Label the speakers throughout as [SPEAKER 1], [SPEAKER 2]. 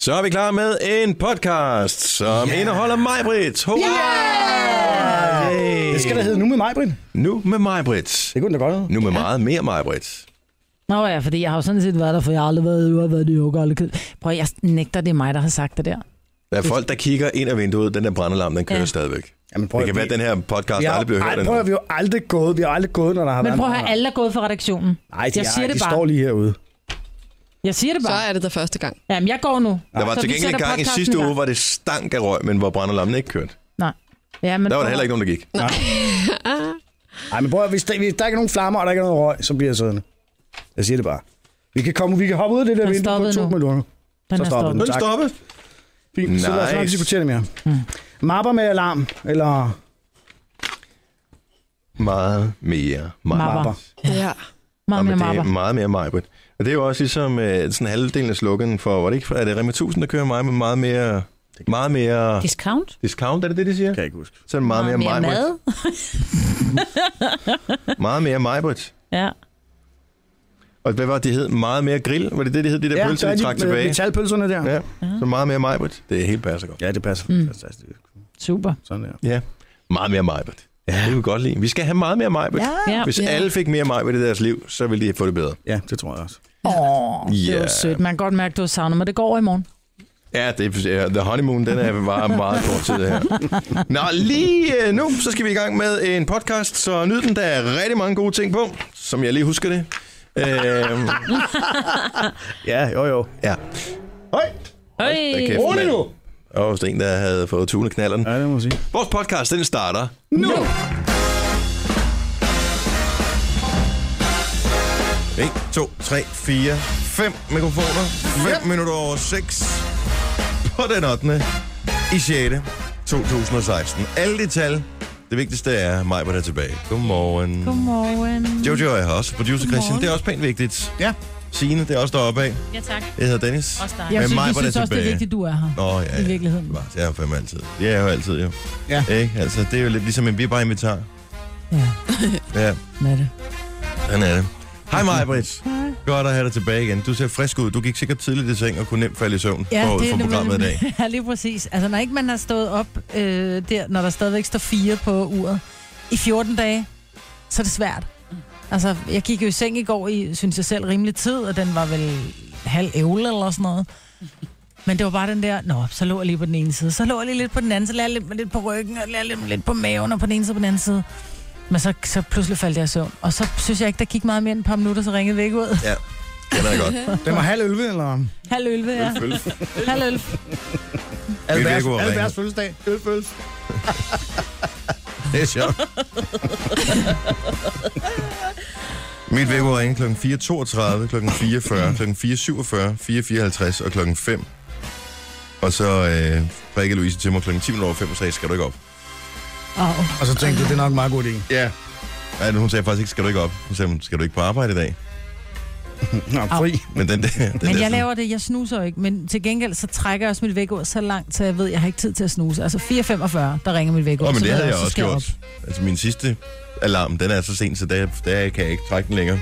[SPEAKER 1] Så er vi klar med en podcast, som yeah. indeholder mig, Britt. Yeah!
[SPEAKER 2] Det skal da hedde nu med mig, Brind.
[SPEAKER 1] Nu med mig, Britt.
[SPEAKER 2] Det kunne den da godt hedde.
[SPEAKER 1] Nu med meget mere mig, Britt.
[SPEAKER 3] Nå ja, fordi jeg har jo sådan set været der, for jeg har aldrig været ude og været i yoga. Aldrig. Prøv, at- jeg nægter, det er mig, der har sagt det der.
[SPEAKER 1] Der er folk, der kigger ind ad vinduet. Den der brandalarm, den kører ja.
[SPEAKER 3] Ja.
[SPEAKER 1] stadigvæk.
[SPEAKER 2] Jamen, prøv
[SPEAKER 1] Det
[SPEAKER 2] at-
[SPEAKER 1] kan være, at den her podcast
[SPEAKER 2] Vi har,
[SPEAKER 1] aldrig bliver hørt.
[SPEAKER 2] ej,
[SPEAKER 1] endnu.
[SPEAKER 2] prøv at høre, vi har jo aldrig gået, vi har aldrig gået, når der har
[SPEAKER 3] Men
[SPEAKER 2] været...
[SPEAKER 3] prøv at høre, alle er gået fra redaktionen.
[SPEAKER 2] Nej, de,
[SPEAKER 3] jeg siger
[SPEAKER 2] er,
[SPEAKER 3] det
[SPEAKER 2] de
[SPEAKER 3] bare.
[SPEAKER 2] står lige herude.
[SPEAKER 3] Jeg siger det
[SPEAKER 4] Så
[SPEAKER 3] bare.
[SPEAKER 4] er det der første gang.
[SPEAKER 3] Jamen, jeg går nu.
[SPEAKER 1] Der var
[SPEAKER 3] Så
[SPEAKER 1] til
[SPEAKER 3] vi
[SPEAKER 1] gengæld en
[SPEAKER 3] sætter
[SPEAKER 1] gang i
[SPEAKER 3] podcasten
[SPEAKER 1] sidste
[SPEAKER 3] gang.
[SPEAKER 1] uge, hvor det stank af røg, men hvor brandalarmen ikke kørte.
[SPEAKER 3] Nej. Ja, men
[SPEAKER 1] Der var der
[SPEAKER 3] prøv-
[SPEAKER 1] heller ikke nogen, der gik.
[SPEAKER 2] Nej, men prøv at høre, hvis der, hvis der ikke er nogen flammer, og der ikke er noget røg, så bliver jeg siddende. Jeg siger det bare. Vi kan, komme, vi kan hoppe ud af det der
[SPEAKER 3] Den
[SPEAKER 2] vindue på
[SPEAKER 3] stoppede
[SPEAKER 2] to
[SPEAKER 3] nu.
[SPEAKER 2] minutter.
[SPEAKER 3] Den
[SPEAKER 2] så
[SPEAKER 3] er
[SPEAKER 2] stopper
[SPEAKER 3] stoppet.
[SPEAKER 2] den.
[SPEAKER 1] Den
[SPEAKER 2] Tak.
[SPEAKER 1] stoppede.
[SPEAKER 2] Fint, nice. så lad os nok
[SPEAKER 1] Nice.
[SPEAKER 2] diskutere det mere.
[SPEAKER 3] Mm.
[SPEAKER 2] Mapper med alarm, eller
[SPEAKER 1] Meget mere mig.
[SPEAKER 3] Mapper.
[SPEAKER 2] mapper.
[SPEAKER 4] Ja.
[SPEAKER 3] Meget mere
[SPEAKER 1] Jamen, det
[SPEAKER 3] mapper.
[SPEAKER 1] er meget mere mig, Britt. Og det er jo også ligesom øh, sådan halvdelen af slogan for, var det ikke, er det Rema 1000, der kører mig med meget mere, meget mere
[SPEAKER 3] Discount?
[SPEAKER 1] discount, er det det, de siger?
[SPEAKER 2] Kan jeg ikke huske.
[SPEAKER 1] Så er det meget,
[SPEAKER 3] Meget mere
[SPEAKER 1] mere, mig,
[SPEAKER 3] mad.
[SPEAKER 1] Meget mere mig, Britt.
[SPEAKER 3] Ja.
[SPEAKER 1] Og hvad var det, de hed? Meget mere grill? Var det det, de hed, de der ja, pølser,
[SPEAKER 2] der er
[SPEAKER 1] de trak
[SPEAKER 2] med
[SPEAKER 1] tilbage?
[SPEAKER 2] Metalpølserne der.
[SPEAKER 1] Ja, så meget mere mig, Britt. Det er helt passer godt.
[SPEAKER 2] Ja, det passer. Mm. Fantastisk.
[SPEAKER 3] Super.
[SPEAKER 2] Sådan der.
[SPEAKER 1] Ja, meget mere mig, Britt. Ja. Det vil vi godt lide. Vi skal have meget mere mig, Britt.
[SPEAKER 3] Ja.
[SPEAKER 1] Hvis
[SPEAKER 4] Ja.
[SPEAKER 1] alle fik mere mig i deres liv, så ville de få det bedre.
[SPEAKER 2] Ja, det tror jeg også.
[SPEAKER 3] Åh, det
[SPEAKER 1] Ja.
[SPEAKER 3] var sødt. Man kan godt mærke, du har savnet mig. Det går over i morgen.
[SPEAKER 1] Ja, det er, The Honeymoon, den er bare meget kort tid her. Nå, lige øh, nu, så skal vi i gang med en podcast, så nyd den, der er rigtig mange gode ting på, som jeg lige husker det. Øhm,
[SPEAKER 2] Ja, jo jo.
[SPEAKER 1] ja. Høj!
[SPEAKER 3] Øj.
[SPEAKER 1] da kæft, mand. Der var vist en, der havde fået tunet knalleren.
[SPEAKER 2] Ja, det må jeg sige.
[SPEAKER 1] Vores podcast, den starter nu.
[SPEAKER 3] Nu.
[SPEAKER 1] 1, 2, 3, 4, 5 mikrofoner. 5 ja. minutter over 6 på den 8. i 6. 2016. Alle de tal. Det vigtigste er mig, hvor der er tilbage. Godmorgen.
[SPEAKER 3] Godmorgen.
[SPEAKER 1] Jojo er her også. Producer Christian, det er også pænt vigtigt.
[SPEAKER 2] Ja.
[SPEAKER 1] Signe, det er også deroppe af.
[SPEAKER 5] Ja, tak.
[SPEAKER 1] Jeg hedder Dennis.
[SPEAKER 5] Også dig.
[SPEAKER 3] Jeg
[SPEAKER 1] Men
[SPEAKER 3] synes,
[SPEAKER 1] mig
[SPEAKER 3] vi
[SPEAKER 1] var
[SPEAKER 3] synes
[SPEAKER 1] der
[SPEAKER 3] også, det er
[SPEAKER 1] tilbage.
[SPEAKER 3] vigtigt, du er her.
[SPEAKER 1] Nå, ja,
[SPEAKER 3] I
[SPEAKER 1] ja.
[SPEAKER 3] virkeligheden.
[SPEAKER 1] Bevares, Det er jeg fandme altid. Det er jeg jo altid, jo.
[SPEAKER 2] Ja.
[SPEAKER 1] Ikke? Altså, det er jo lidt ligesom en, vi er bare invitar.
[SPEAKER 3] Ja,
[SPEAKER 1] Ja,
[SPEAKER 3] hvad er det?
[SPEAKER 1] sådan er det. Hej mig, Britt. Godt at have dig tilbage igen. Du ser frisk ud. Du gik sikkert tidligt i seng og kunne nemt falde i søvn
[SPEAKER 5] Ja,
[SPEAKER 1] forud
[SPEAKER 5] det er
[SPEAKER 1] for programmet i dag.
[SPEAKER 5] nemlig- Ja, lige præcis. Altså, når ikke man har stået op øh, der, når der stadigvæk står fire på uret i 14 dage, så er det svært. Altså, jeg gik jo i seng i går i, synes jeg selv, rimelig tid, og den var vel halv ævle eller sådan noget. Men det var bare den der, nå, så lå jeg lige på den ene side, så lå jeg lige lidt på den anden, så lagde jeg lidt, lidt på ryggen, og lagde lidt, lidt på maven, og på den ene side og på den anden side. Men så, så pludselig faldt jeg i søvn. Og så synes jeg ikke, der gik meget mere end et par minutter, så ringede væk ud.
[SPEAKER 1] Ja, det er godt.
[SPEAKER 2] Den var halv 11, eller?
[SPEAKER 5] Halv ølve, ja. Halv ølve.
[SPEAKER 1] virker jo
[SPEAKER 2] Albers
[SPEAKER 1] rent.
[SPEAKER 2] fødselsdag. Ølpøls.
[SPEAKER 1] Det er sjovt. Mit væk var ringe kl. 4.32, kl. 4.40, kl. 4.47, 4.54 og kl. 5. Og så øh, prikkede Louise til mig kl. 10 over 5 og sagde, skal du ikke op?
[SPEAKER 3] Åh,
[SPEAKER 2] Og så tænkte du, det er nok en meget god idé.
[SPEAKER 1] Ja. Ej, hun sagde faktisk ikke, skal du ikke op? Hun sagde, skal du ikke på arbejde i dag?
[SPEAKER 2] Nå, fri.
[SPEAKER 1] Men den, der, den
[SPEAKER 5] Men
[SPEAKER 1] der,
[SPEAKER 5] jeg laver det, jeg snuser ikke, men til gengæld så trækker jeg også mit vækord så langt, så jeg ved, jeg har ikke tid til at snuse. Altså 4.45, der ringer mit vækord.
[SPEAKER 1] Åh, men
[SPEAKER 5] så
[SPEAKER 1] det
[SPEAKER 5] ved
[SPEAKER 1] havde jeg
[SPEAKER 5] så
[SPEAKER 1] også
[SPEAKER 5] skal jeg
[SPEAKER 1] gjort. Altså min sidste alarm, den er så sent, så der, der kan jeg ikke trække den længere.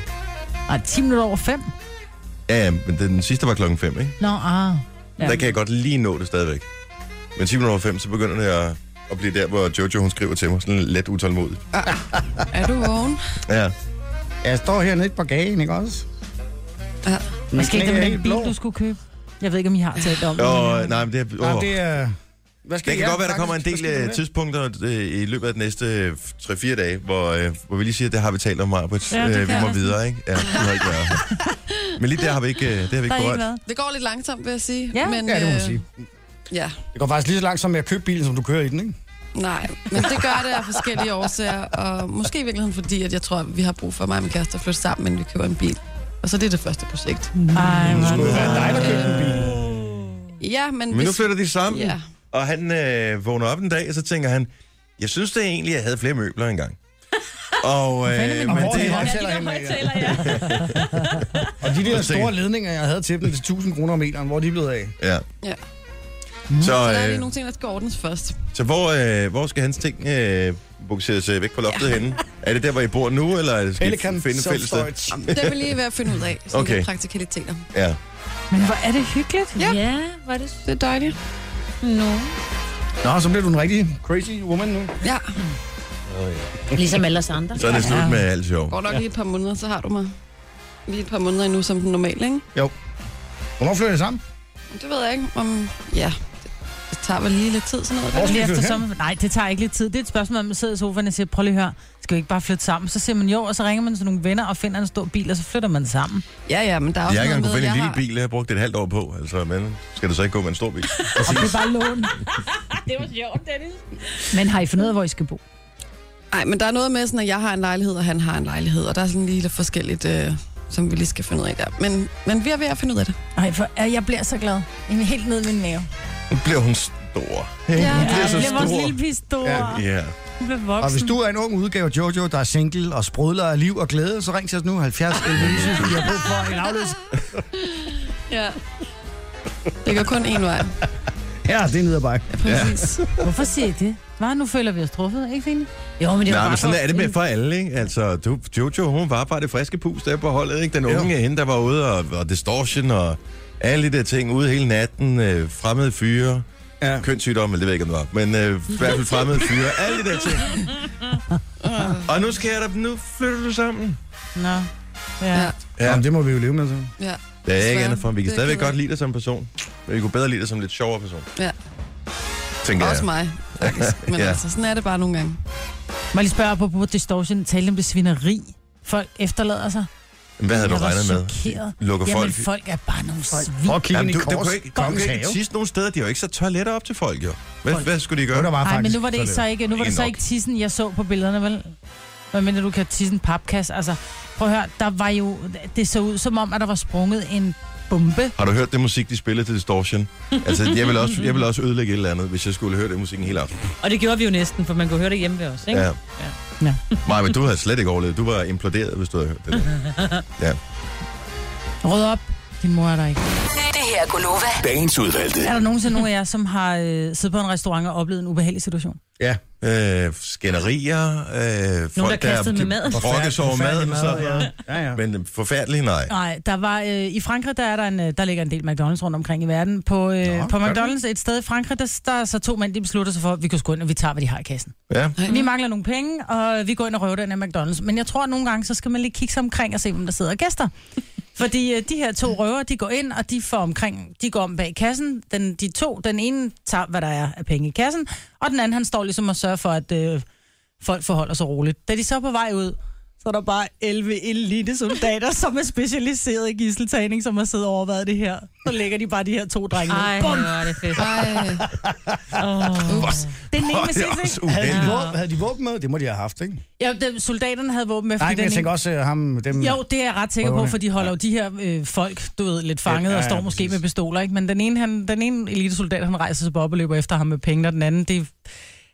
[SPEAKER 5] op. Ej, 10 minutter over 5?
[SPEAKER 1] Ja, ja, men den sidste var klokken 5, ikke?
[SPEAKER 5] Nå, ah.
[SPEAKER 1] Ja. Der kan jeg godt lige nå det stadigvæk. Men 10 minutter over 5, så begynder det at, at blive der, hvor Jojo hun skriver til mig, sådan let utålmodigt.
[SPEAKER 4] Er du vågen?
[SPEAKER 1] Ja.
[SPEAKER 2] Jeg står hernede på gagen, ikke også?
[SPEAKER 4] Ja.
[SPEAKER 2] Min
[SPEAKER 5] Måske
[SPEAKER 2] knæ
[SPEAKER 5] ikke
[SPEAKER 2] er
[SPEAKER 5] om
[SPEAKER 2] helt
[SPEAKER 5] den bil,
[SPEAKER 2] blå.
[SPEAKER 5] du skulle købe. Jeg ved ikke, om I har talt om det.
[SPEAKER 1] Og, nej, men det, er-
[SPEAKER 2] Nej,
[SPEAKER 1] åh.
[SPEAKER 2] det er... Hvad
[SPEAKER 1] det kan
[SPEAKER 2] ja,
[SPEAKER 1] godt være, der kommer en
[SPEAKER 2] faktisk,
[SPEAKER 1] del
[SPEAKER 2] hvad skal
[SPEAKER 1] øh,
[SPEAKER 2] vi
[SPEAKER 1] tidspunkter øh, i løbet af de næste øh, 3-4 dage, hvor, øh, hvor vi lige siger, at det har vi talt om meget, Britt.
[SPEAKER 5] Ja, det
[SPEAKER 1] øh, vi
[SPEAKER 5] kan
[SPEAKER 1] må
[SPEAKER 5] jeg.
[SPEAKER 1] videre, ikke? Ja, det har ikke været. Men lige der har vi ikke, øh, det har vi ikke
[SPEAKER 5] Der er ikke
[SPEAKER 1] berørt.
[SPEAKER 5] været.
[SPEAKER 4] Det går lidt langsomt, vil jeg sige.
[SPEAKER 5] Ja.
[SPEAKER 4] men,
[SPEAKER 2] med? Ja, det må
[SPEAKER 4] øh,
[SPEAKER 2] man sige.
[SPEAKER 4] Ja,
[SPEAKER 2] Det går faktisk lige så langt som med at købe bilen, som du kører i den, ikke?
[SPEAKER 4] nej. Men det gør det af forskellige årsager, og måske i virkeligheden fordi, at jeg tror, at vi har brug for mig og min kæreste at flytte sammen, men vi køber en bil. Og så det er det første projekt.
[SPEAKER 5] Ej, hvor er
[SPEAKER 2] Det
[SPEAKER 5] det-
[SPEAKER 2] er dig, der købte en bil.
[SPEAKER 4] Ja, men,
[SPEAKER 1] Men nu flytter de sammen,
[SPEAKER 4] Ja.
[SPEAKER 1] og han øh, vågner op en dag, og så tænker han, jeg synes det egentlig, jeg havde flere møbler engang. Og, øh, men
[SPEAKER 2] Hvor er
[SPEAKER 1] det,
[SPEAKER 2] de højtaler henne, ja?
[SPEAKER 5] ja.
[SPEAKER 2] Og de der
[SPEAKER 1] Og se.
[SPEAKER 2] store ledninger, jeg havde til dem til 1000 kroner om meteren, hvor er de blevet af?
[SPEAKER 1] ja.
[SPEAKER 4] Ja.
[SPEAKER 1] Så,
[SPEAKER 4] Der er
[SPEAKER 1] øh,
[SPEAKER 4] lige nogle ting, der skal ordnes først.
[SPEAKER 1] Så hvor, øh, hvor skal hans ting øh, bukseres øh, væk på loftet ja. henne? Er det der, hvor I bor nu, eller er det skal I
[SPEAKER 2] Pelican
[SPEAKER 1] finde et fælles sted?
[SPEAKER 2] Self-Storage.
[SPEAKER 4] Det er vi lige ved at finde ud af. Sådan
[SPEAKER 1] Okay.
[SPEAKER 4] okay. praktikaliteter.
[SPEAKER 1] Ja.
[SPEAKER 5] Men hvor er det hyggeligt.
[SPEAKER 4] Ja.
[SPEAKER 6] Ja, var det
[SPEAKER 4] Det er dejligt.
[SPEAKER 6] nu.
[SPEAKER 2] Nå, så bliver du en rigtig crazy woman nu.
[SPEAKER 4] Ja,
[SPEAKER 6] Ligesom alle os andre.
[SPEAKER 1] Så er det slut med alt sjov.
[SPEAKER 4] går nok lige et par måneder, så har du mig. Lige et par måneder endnu som den normale, ikke?
[SPEAKER 2] Hvornår flytter I sammen?
[SPEAKER 4] Men Det ved jeg ikke, om... Ja, det, det tager vel lige lidt tid, sådan noget.
[SPEAKER 2] Hvor
[SPEAKER 4] Der.
[SPEAKER 2] skal
[SPEAKER 5] Lige
[SPEAKER 2] I
[SPEAKER 5] efter
[SPEAKER 2] flytte
[SPEAKER 5] sommer. Nej, det tager ikke lidt tid. Det er et spørgsmål, om man sidder i sofaen og siger, prøv lige at høre, skal vi ikke bare flytte sammen? Så siger man jo, og så ringer man til nogle venner og finder en stor bil, og så flytter man sammen.
[SPEAKER 4] Ja, ja, men der er også
[SPEAKER 1] Jeg har ikke engang kunne
[SPEAKER 4] noget
[SPEAKER 1] finde en
[SPEAKER 4] med, jeg
[SPEAKER 1] lille
[SPEAKER 4] har...
[SPEAKER 1] bil, jeg har brugt et halvt år på. Altså, men skal det så ikke gå med en stor bil?
[SPEAKER 5] Og det er bare lån.
[SPEAKER 3] Men har I fundet ud af, hvor I skal bo?
[SPEAKER 4] Nej, men der er noget med, sådan, at jeg har en lejlighed, og han har en lejlighed, og der er sådan lige lidt forskelligt, øh, som vi lige skal finde ud af der. Men, men vi er ved at finde ud af det.
[SPEAKER 5] Ej, for øh, jeg bliver så glad. Jeg er helt ned i min mave.
[SPEAKER 1] Nu bliver hun stor. Ja, hun bliver så
[SPEAKER 5] jeg bliver vores
[SPEAKER 1] Altså, stor.
[SPEAKER 5] lille pige stor.
[SPEAKER 1] Ja, ja.
[SPEAKER 5] Hun bliver
[SPEAKER 7] Og hvis
[SPEAKER 5] voksen.
[SPEAKER 7] du er en ung udgave af Jojo, der er single og sprudler af liv og glæde, så ring til os nu 70 11 90. Vi har brug for en afløs.
[SPEAKER 4] Ja. Det går kun én vej.
[SPEAKER 7] Ja, det er ned ad bakke.
[SPEAKER 4] Præcis. Ja.
[SPEAKER 5] Hvorfor siger I det? Hvad, nu føler vi os truffet, ikke Fine?
[SPEAKER 6] Jo, men det var
[SPEAKER 1] Nej,
[SPEAKER 6] bare
[SPEAKER 1] men sådan
[SPEAKER 6] for-
[SPEAKER 1] er det med for alle, ikke? Altså, du, Jojo, hun var bare det friske pus der på holdet, ikke? Den unge hende, der var ude og, og distortion og alle de der ting ude hele natten. Øh, fremmede fyre. Ja. Kønssygdomme, det ved jeg ikke, om det var. Men øh, i hvert fald fremmede fyre. Alle de der ting. og nu skal jeg da, nu flytter du sammen.
[SPEAKER 5] Nå. Ja.
[SPEAKER 4] ja.
[SPEAKER 5] ja.
[SPEAKER 1] Ja.
[SPEAKER 7] Jamen, det må vi jo leve med så.
[SPEAKER 4] ja.
[SPEAKER 1] Det er ikke
[SPEAKER 4] Desværre.
[SPEAKER 1] andet for, vi kan
[SPEAKER 4] Det
[SPEAKER 1] stadigvæk
[SPEAKER 4] kan
[SPEAKER 1] godt
[SPEAKER 4] vi.
[SPEAKER 1] lide dig som person. Men vi kunne bedre lide dig som lidt sjovere person.
[SPEAKER 4] Ja.
[SPEAKER 1] Tænker jeg.
[SPEAKER 4] Også mig, faktisk. Men
[SPEAKER 1] Ja.
[SPEAKER 4] ja. altså, sådan er det bare nogle gange.
[SPEAKER 5] Må jeg lige spørge på, på distortion, talte om det svineri. Folk efterlader sig.
[SPEAKER 1] Men Hvad havde du
[SPEAKER 5] Jeg var
[SPEAKER 1] regnet med?
[SPEAKER 5] chokeret.
[SPEAKER 1] Lukker
[SPEAKER 5] Jamen,
[SPEAKER 1] folk...
[SPEAKER 5] folk... er bare nogle svin.
[SPEAKER 7] Prøv at kigge
[SPEAKER 1] Jamen,
[SPEAKER 7] ind
[SPEAKER 1] du,
[SPEAKER 7] i
[SPEAKER 1] det
[SPEAKER 7] kors,
[SPEAKER 1] kunne ikke, du kan
[SPEAKER 7] kongens
[SPEAKER 1] ikke
[SPEAKER 7] have.
[SPEAKER 1] tisse nogen steder. De har jo ikke så toiletter op til folk, jo. Hvad, hvad skulle de
[SPEAKER 7] Jo,
[SPEAKER 1] gøre?
[SPEAKER 7] der var
[SPEAKER 5] Nej,
[SPEAKER 7] faktisk.
[SPEAKER 5] men nu var det ikke så ikke, nu var
[SPEAKER 1] Ikke
[SPEAKER 5] det så
[SPEAKER 1] nok.
[SPEAKER 5] ikke tissen, jeg så på billederne, vel? Hvad mener du kan tisse en papkasse? Altså, prøv at høre, der var jo, det så ud som om, at der var sprunget en bombe.
[SPEAKER 1] Har du hørt det musik, de spiller til Distortion? Altså, jeg ville også, jeg ville også ødelægge et eller andet, hvis jeg skulle høre det musikken hele aften.
[SPEAKER 6] Og det gjorde vi jo næsten, for man kunne høre det hjemme ved os, ikke?
[SPEAKER 1] Ja.
[SPEAKER 5] Ja.
[SPEAKER 1] Maja, men du havde slet ikke overlevet. Du var imploderet, hvis du havde hørt det. der.
[SPEAKER 5] Rød op, din mor er der ikke.
[SPEAKER 8] Det her er Gunova.
[SPEAKER 9] Dagens udvalgte.
[SPEAKER 5] Er der nogensinde nogen af jer, som har øh, siddet på en restaurant og oplevet en ubehagelig situation?
[SPEAKER 7] Ja.
[SPEAKER 1] Øh, skænderier, øh, folk,
[SPEAKER 6] der kastede med maden.
[SPEAKER 1] brokkes over maden.
[SPEAKER 7] Forfærdelig
[SPEAKER 1] Så,
[SPEAKER 7] mad, ja. Ja, ja.
[SPEAKER 1] Men øh, forfærdeligt, nej.
[SPEAKER 5] Nej, der var øh, i Frankrig, der er der en, øh, der ligger en del McDonald's rundt omkring i verden. På, øh,
[SPEAKER 7] Nå,
[SPEAKER 5] på
[SPEAKER 7] gør
[SPEAKER 5] McDonald's et sted i Frankrig, der, der er så to mænd, de beslutter sig for, at vi kan sgu ind, og vi tager, hvad de har i kassen.
[SPEAKER 1] Ja.
[SPEAKER 5] Vi mangler nogle penge, og vi går ind og røver den af McDonald's. Men jeg tror, at nogle gange, så skal man lige kigge sig omkring og se, hvem der sidder og gæster. Fordi øh, de her to røver, de går ind, og de får omkring, de går om bag kassen. Den, de to, den ene tager, hvad der er af penge i kassen, og den anden, han står ligesom og sørger for, at øh, folk forholder sig roligt. Da de så er på vej ud, så er der bare 11 elite soldater, som er specialiseret i gisseltagning, som har siddet og overvejet det her. Så lægger de bare de her to drenge.
[SPEAKER 6] Ej,
[SPEAKER 5] ned.
[SPEAKER 6] hvor
[SPEAKER 5] Bum!
[SPEAKER 6] er det fedt.
[SPEAKER 4] Ej,
[SPEAKER 5] Den ene
[SPEAKER 1] Åh,
[SPEAKER 5] med
[SPEAKER 1] det er
[SPEAKER 5] sindsigt.
[SPEAKER 1] også
[SPEAKER 7] Havde
[SPEAKER 1] uheldigt.
[SPEAKER 7] de, våben, havde de våben med? Det må de have haft, ikke?
[SPEAKER 5] Ja, dem- soldaterne havde våben med.
[SPEAKER 7] Nej,
[SPEAKER 5] fordi
[SPEAKER 7] men
[SPEAKER 5] den
[SPEAKER 7] jeg
[SPEAKER 5] ene-
[SPEAKER 7] tænker også øh, ham, dem...
[SPEAKER 5] Jo, det er jeg ret sikker på,
[SPEAKER 7] Prøverne.
[SPEAKER 5] for de holder jo de her øh, folk, du ved, lidt fanget
[SPEAKER 7] Ja,
[SPEAKER 5] ja,
[SPEAKER 7] ja,
[SPEAKER 5] og står
[SPEAKER 7] ja,
[SPEAKER 5] måske
[SPEAKER 7] præcis.
[SPEAKER 5] med pistoler, ikke? Men den ene, han, den ene elitesoldat, han rejser sig på op og løber efter ham med penge, og den anden, det,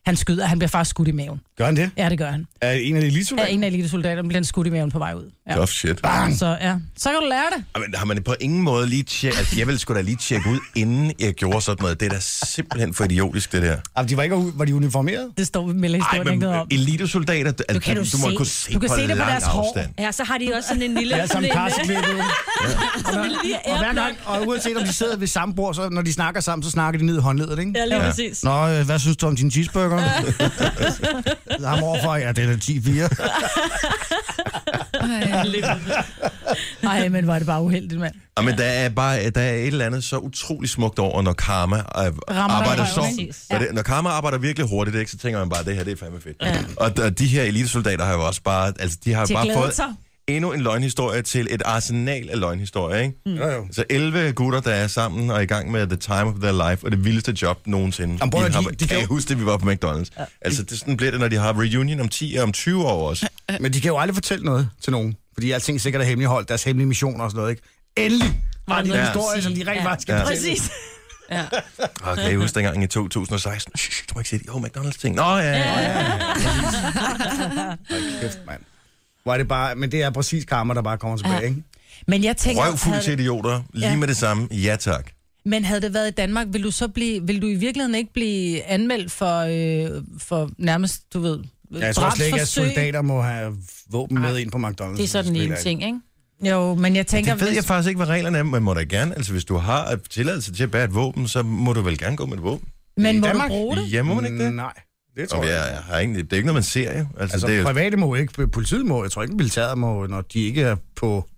[SPEAKER 5] han skyder, han bliver faktisk skudt i maven.
[SPEAKER 7] Gør han det?
[SPEAKER 5] Ja, det gør han.
[SPEAKER 7] Er en af de
[SPEAKER 5] Ja,
[SPEAKER 7] elitesoldater?
[SPEAKER 5] en af elitesoldaterne bliver han skudt i maven på vej ud. Ja.
[SPEAKER 1] Tough shit.
[SPEAKER 5] Så ja, så kan du lære det.
[SPEAKER 1] Ej, Men har man på ingen måde lige tjekket... Altså, jeg ville sgu da lige tjekke ud, inden jeg gjorde sådan noget. Det er da simpelthen for idiotisk, det der.
[SPEAKER 7] Ja. de var, ikke, var de uniformerede?
[SPEAKER 5] Det står med
[SPEAKER 1] Ej,
[SPEAKER 5] historien ikke
[SPEAKER 1] men
[SPEAKER 5] noget om.
[SPEAKER 1] elitesoldater, du, altså,
[SPEAKER 6] kan
[SPEAKER 1] du,
[SPEAKER 6] du
[SPEAKER 1] må
[SPEAKER 6] se-
[SPEAKER 1] kunne se,
[SPEAKER 5] du kan
[SPEAKER 1] på
[SPEAKER 5] se det på
[SPEAKER 1] lang
[SPEAKER 5] deres hår.
[SPEAKER 1] afstand.
[SPEAKER 6] Ja, så har de også sådan en lille...
[SPEAKER 7] Ja, som
[SPEAKER 6] sådan en-
[SPEAKER 7] karseklæde.
[SPEAKER 6] sådan en lille
[SPEAKER 7] Og hver gang,
[SPEAKER 6] æreblok.
[SPEAKER 7] og uanset om de sidder ved samme bord, så når de snakker sammen, så snakker de ned i håndledet, ikke?
[SPEAKER 6] Ja, lige
[SPEAKER 1] Ja.
[SPEAKER 6] præcis.
[SPEAKER 7] Nå, øh, hvad synes du om din cheeseburger? Ham overfor, ja, det er da 10-4.
[SPEAKER 4] ej.
[SPEAKER 5] Nej, men var det bare uheldigt, mand.
[SPEAKER 1] Ja, men der er bare der er et eller andet så utrolig smukt over, når karma øh, arbejder
[SPEAKER 5] dig i
[SPEAKER 1] så...
[SPEAKER 5] røven.
[SPEAKER 1] Når, det, når karma arbejder virkelig hurtigt, ikke, så tænker man bare, det her det er fandme fedt. Ja. Og, og de her elitesoldater har jo også bare... Altså, de har
[SPEAKER 5] De
[SPEAKER 1] de bare
[SPEAKER 5] har glædet
[SPEAKER 1] fået
[SPEAKER 5] sig.
[SPEAKER 1] endnu en løgnhistorie til et arsenal af løgnhistorier, ikke? Mm.
[SPEAKER 7] Jo, jo.
[SPEAKER 1] Så 11 gutter, der er sammen og i gang med the time of their life, og det vildeste job nogensinde.
[SPEAKER 7] Jamen, prøv at
[SPEAKER 1] I
[SPEAKER 7] høre,
[SPEAKER 1] har-
[SPEAKER 7] de-
[SPEAKER 1] kan
[SPEAKER 7] de kan
[SPEAKER 1] I
[SPEAKER 7] jo-
[SPEAKER 1] huske det, vi var på McDonald's? Ja. Altså, det, sådan bliver det, når de har reunion om 10 og om 20 år også.
[SPEAKER 7] Men de kan jo aldrig fortælle noget til nogen, fordi alting sikkert er hemmeligholdt, deres hemmelige missioner og sådan noget, ikke? Endelig var det en
[SPEAKER 6] Ja.
[SPEAKER 7] historie, som de rent
[SPEAKER 6] Ja.
[SPEAKER 7] faktisk skal
[SPEAKER 1] Ja.
[SPEAKER 7] fortælle.
[SPEAKER 5] Præcis.
[SPEAKER 1] Og kan I huske dengang i 2016? Shh, du må ikke sige det. Jo, McDonald's-ting. Nå, ja, ja, ja.
[SPEAKER 7] Hold kæft, mand. Hvor er det bare, men det er præcis karma, der bare kommer tilbage, ikke?
[SPEAKER 5] Men jeg tænker...
[SPEAKER 1] Røvfuld
[SPEAKER 5] havde-
[SPEAKER 1] til idioter. Lige
[SPEAKER 5] Ja.
[SPEAKER 1] med det samme. Ja, tak.
[SPEAKER 5] Men havde det været i Danmark, ville du så blive, ville du i virkeligheden ikke blive anmeldt for, øh, for nærmest, du ved,
[SPEAKER 7] Ja, jeg tror slet ikke, at
[SPEAKER 5] drabsforsøg?
[SPEAKER 7] soldater må have våben med ind på McDonald's.
[SPEAKER 6] Det er sådan en ting, ikke?
[SPEAKER 5] Jo, men jeg tænker...
[SPEAKER 1] Det ved jeg faktisk ikke, hvad reglerne er, men må da gerne. Altså, hvis du har et tilladelse til at bære et våben, så må du vel gerne gå med et våben.
[SPEAKER 5] Men må
[SPEAKER 2] Danmark?
[SPEAKER 5] du bruge det?
[SPEAKER 1] Ja, må man ikke det?
[SPEAKER 7] Mm,
[SPEAKER 2] Nej. Det tror
[SPEAKER 1] Om
[SPEAKER 2] jeg.
[SPEAKER 1] jeg, jeg har egentlig, det er ikke noget, man ser jo. Altså,
[SPEAKER 7] Altså,
[SPEAKER 1] det er, jo-
[SPEAKER 7] private må ikke, politiet må, jeg tror ikke, militæret må, når de ikke er på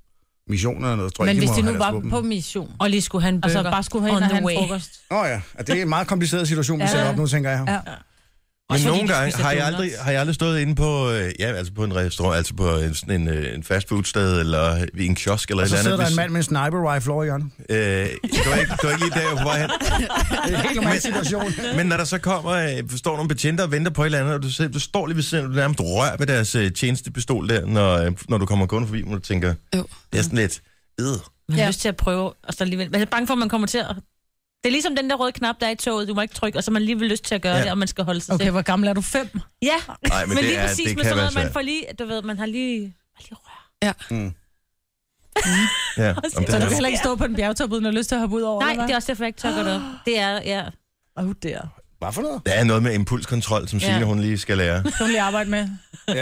[SPEAKER 7] missioner eller noget. Jeg tror
[SPEAKER 5] Men
[SPEAKER 7] ikke,
[SPEAKER 5] hvis
[SPEAKER 7] må
[SPEAKER 5] de nu
[SPEAKER 7] have
[SPEAKER 5] var
[SPEAKER 7] deres våben.
[SPEAKER 5] på mission,
[SPEAKER 6] Og lige skulle have en burger.
[SPEAKER 5] altså bare skulle have en
[SPEAKER 6] on
[SPEAKER 5] og
[SPEAKER 6] the
[SPEAKER 5] have en
[SPEAKER 6] way.
[SPEAKER 5] frokost.
[SPEAKER 7] Nå ja, og det er en meget kompliceret situation, vi
[SPEAKER 5] Ja.
[SPEAKER 7] sætter op nu, tænker jeg.
[SPEAKER 5] Ja.
[SPEAKER 1] men
[SPEAKER 6] Også fordi
[SPEAKER 1] nogle
[SPEAKER 6] de
[SPEAKER 1] gange
[SPEAKER 6] spiser
[SPEAKER 1] har jeg,
[SPEAKER 6] donuts.
[SPEAKER 1] aldrig, har jeg aldrig stået inde på, øh, ja, altså på en restaurant, altså på en, sådan en, øh, en fastfoodsted, eller i en kiosk, eller
[SPEAKER 7] Og
[SPEAKER 1] et
[SPEAKER 7] så
[SPEAKER 1] eller
[SPEAKER 7] sidder der en
[SPEAKER 1] andet.
[SPEAKER 7] mand med en sniper rifle over i hjørnet.
[SPEAKER 1] hvis- Øh, det, var ikke, det var ikke lige der, jeg var på vej hen.
[SPEAKER 7] Det er en helt normal situation.
[SPEAKER 1] Men når der så kommer, øh, står nogle betjente og venter på et eller andet, og du, selv- du står lige ved siden, og du nærmest rører ved deres øh, tjenestepistol der, når, øh, når du kommer kun forbi, og du tænker,
[SPEAKER 4] Jo.
[SPEAKER 1] det er sådan lidt, øh.
[SPEAKER 6] Man har
[SPEAKER 5] Ja.
[SPEAKER 6] ja. lyst til at prøve, og så alligevel... Man er bange for, at man kommer til at... Det er ligesom den der røde knap, der er i toget. Du må ikke trykke, og så har man alligevel lyst til at gøre
[SPEAKER 1] Ja.
[SPEAKER 6] ja. det, og man skal holde sig
[SPEAKER 5] Okay,
[SPEAKER 6] selv.
[SPEAKER 5] hvor gammel er du? Fem?
[SPEAKER 6] Ja,
[SPEAKER 1] Ej, men
[SPEAKER 6] men
[SPEAKER 1] det
[SPEAKER 6] lige
[SPEAKER 1] er-
[SPEAKER 6] præcis
[SPEAKER 1] det
[SPEAKER 6] med
[SPEAKER 1] kan
[SPEAKER 6] sådan
[SPEAKER 1] være
[SPEAKER 6] noget, man
[SPEAKER 1] svært.
[SPEAKER 6] får lige... Du ved, man har lige... man lige rør.
[SPEAKER 1] Ja,
[SPEAKER 6] Også
[SPEAKER 1] om
[SPEAKER 6] Ja.
[SPEAKER 5] Så
[SPEAKER 1] det
[SPEAKER 5] du
[SPEAKER 1] er.
[SPEAKER 5] kan heller ikke stå på en bjergtop, uden at lyst til at hoppe ud over?
[SPEAKER 6] Nej, det er også derfor, jeg ikke tør gøre det op. Det er... Ja.
[SPEAKER 5] Åh, oh, der.
[SPEAKER 7] Hvad for noget?
[SPEAKER 1] Der er noget med impulskontrol, som Signe,
[SPEAKER 6] Ja.
[SPEAKER 1] hun lige skal lære.
[SPEAKER 5] Kan hun lige arbejde med?
[SPEAKER 6] Ej,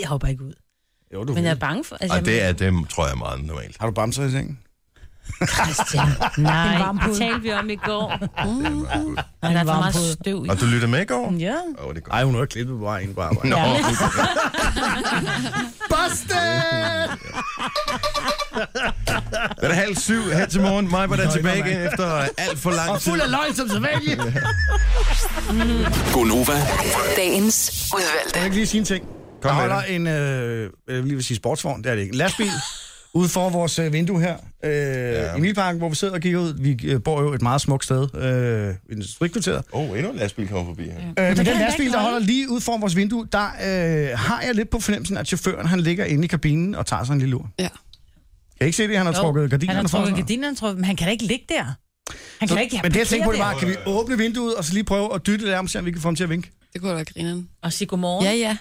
[SPEAKER 6] jeg hopper ikke ud.
[SPEAKER 7] Jo, du
[SPEAKER 6] Men jeg er bange for... Altså,
[SPEAKER 1] Og
[SPEAKER 6] jeg-
[SPEAKER 1] det er, det tror jeg er meget normalt.
[SPEAKER 7] Har du bamser i sengen?
[SPEAKER 6] Christian,
[SPEAKER 5] En
[SPEAKER 6] nej,
[SPEAKER 5] varm
[SPEAKER 6] det
[SPEAKER 5] pude.
[SPEAKER 6] talte vi om i går.
[SPEAKER 1] Det er meget godt.
[SPEAKER 6] Og der er
[SPEAKER 5] varm
[SPEAKER 6] for meget
[SPEAKER 5] pude.
[SPEAKER 6] støv i.
[SPEAKER 1] Og du lytter med i går?
[SPEAKER 5] Ja.
[SPEAKER 1] Åh, det er godt.
[SPEAKER 7] Ej, hun har jo klippet bare en på arbejde.
[SPEAKER 1] Nå,
[SPEAKER 6] Ja.
[SPEAKER 1] det er halv syv her til morgen. Mig var der tilbage igen efter alt for lang tid.
[SPEAKER 7] løgn som sædvanligt.
[SPEAKER 8] Gonova.
[SPEAKER 9] Dagens udvalgte.
[SPEAKER 7] Jeg kan lige sige en ting.
[SPEAKER 1] Kom
[SPEAKER 7] Kom der
[SPEAKER 1] med
[SPEAKER 7] holder en, øh, jeg vil lige vil sige sportsvogn, det er det ikke. En lastbil ude for vores øh, vindue her. Øh, ja. I Milparken, hvor vi sidder og kigger ud. Vi øh, bor jo et meget smukt sted. Øh, i industrikvarteret.
[SPEAKER 1] Åh, oh, endnu en lastbil kommer forbi her.
[SPEAKER 7] Øh, men
[SPEAKER 5] kan
[SPEAKER 7] den
[SPEAKER 5] han da
[SPEAKER 7] lastbil,
[SPEAKER 5] ikke
[SPEAKER 7] der
[SPEAKER 5] holde.
[SPEAKER 7] holder lige ude for vores vindue, der øh, har jeg lidt på fornemmelsen, at chaufføren han ligger inde i kabinen og tager sig en lille lur.
[SPEAKER 4] Ja.
[SPEAKER 7] Kan I ikke se det? Han har trukket
[SPEAKER 5] Han har
[SPEAKER 7] gardinerne for. og
[SPEAKER 5] trukket
[SPEAKER 7] sådan noget.
[SPEAKER 5] gardinerne, tror jeg, men han kan da ikke ligge der. Han kan da ikke
[SPEAKER 7] Men det jeg tænkte på, det
[SPEAKER 5] parkere
[SPEAKER 7] var, kan vi åbne vinduet og så lige prøve at dytte det om, se om vi kan få ham til at vinke?
[SPEAKER 4] Det kunne da være grineren.
[SPEAKER 6] Og sige godmorgen.
[SPEAKER 4] Ja, ja.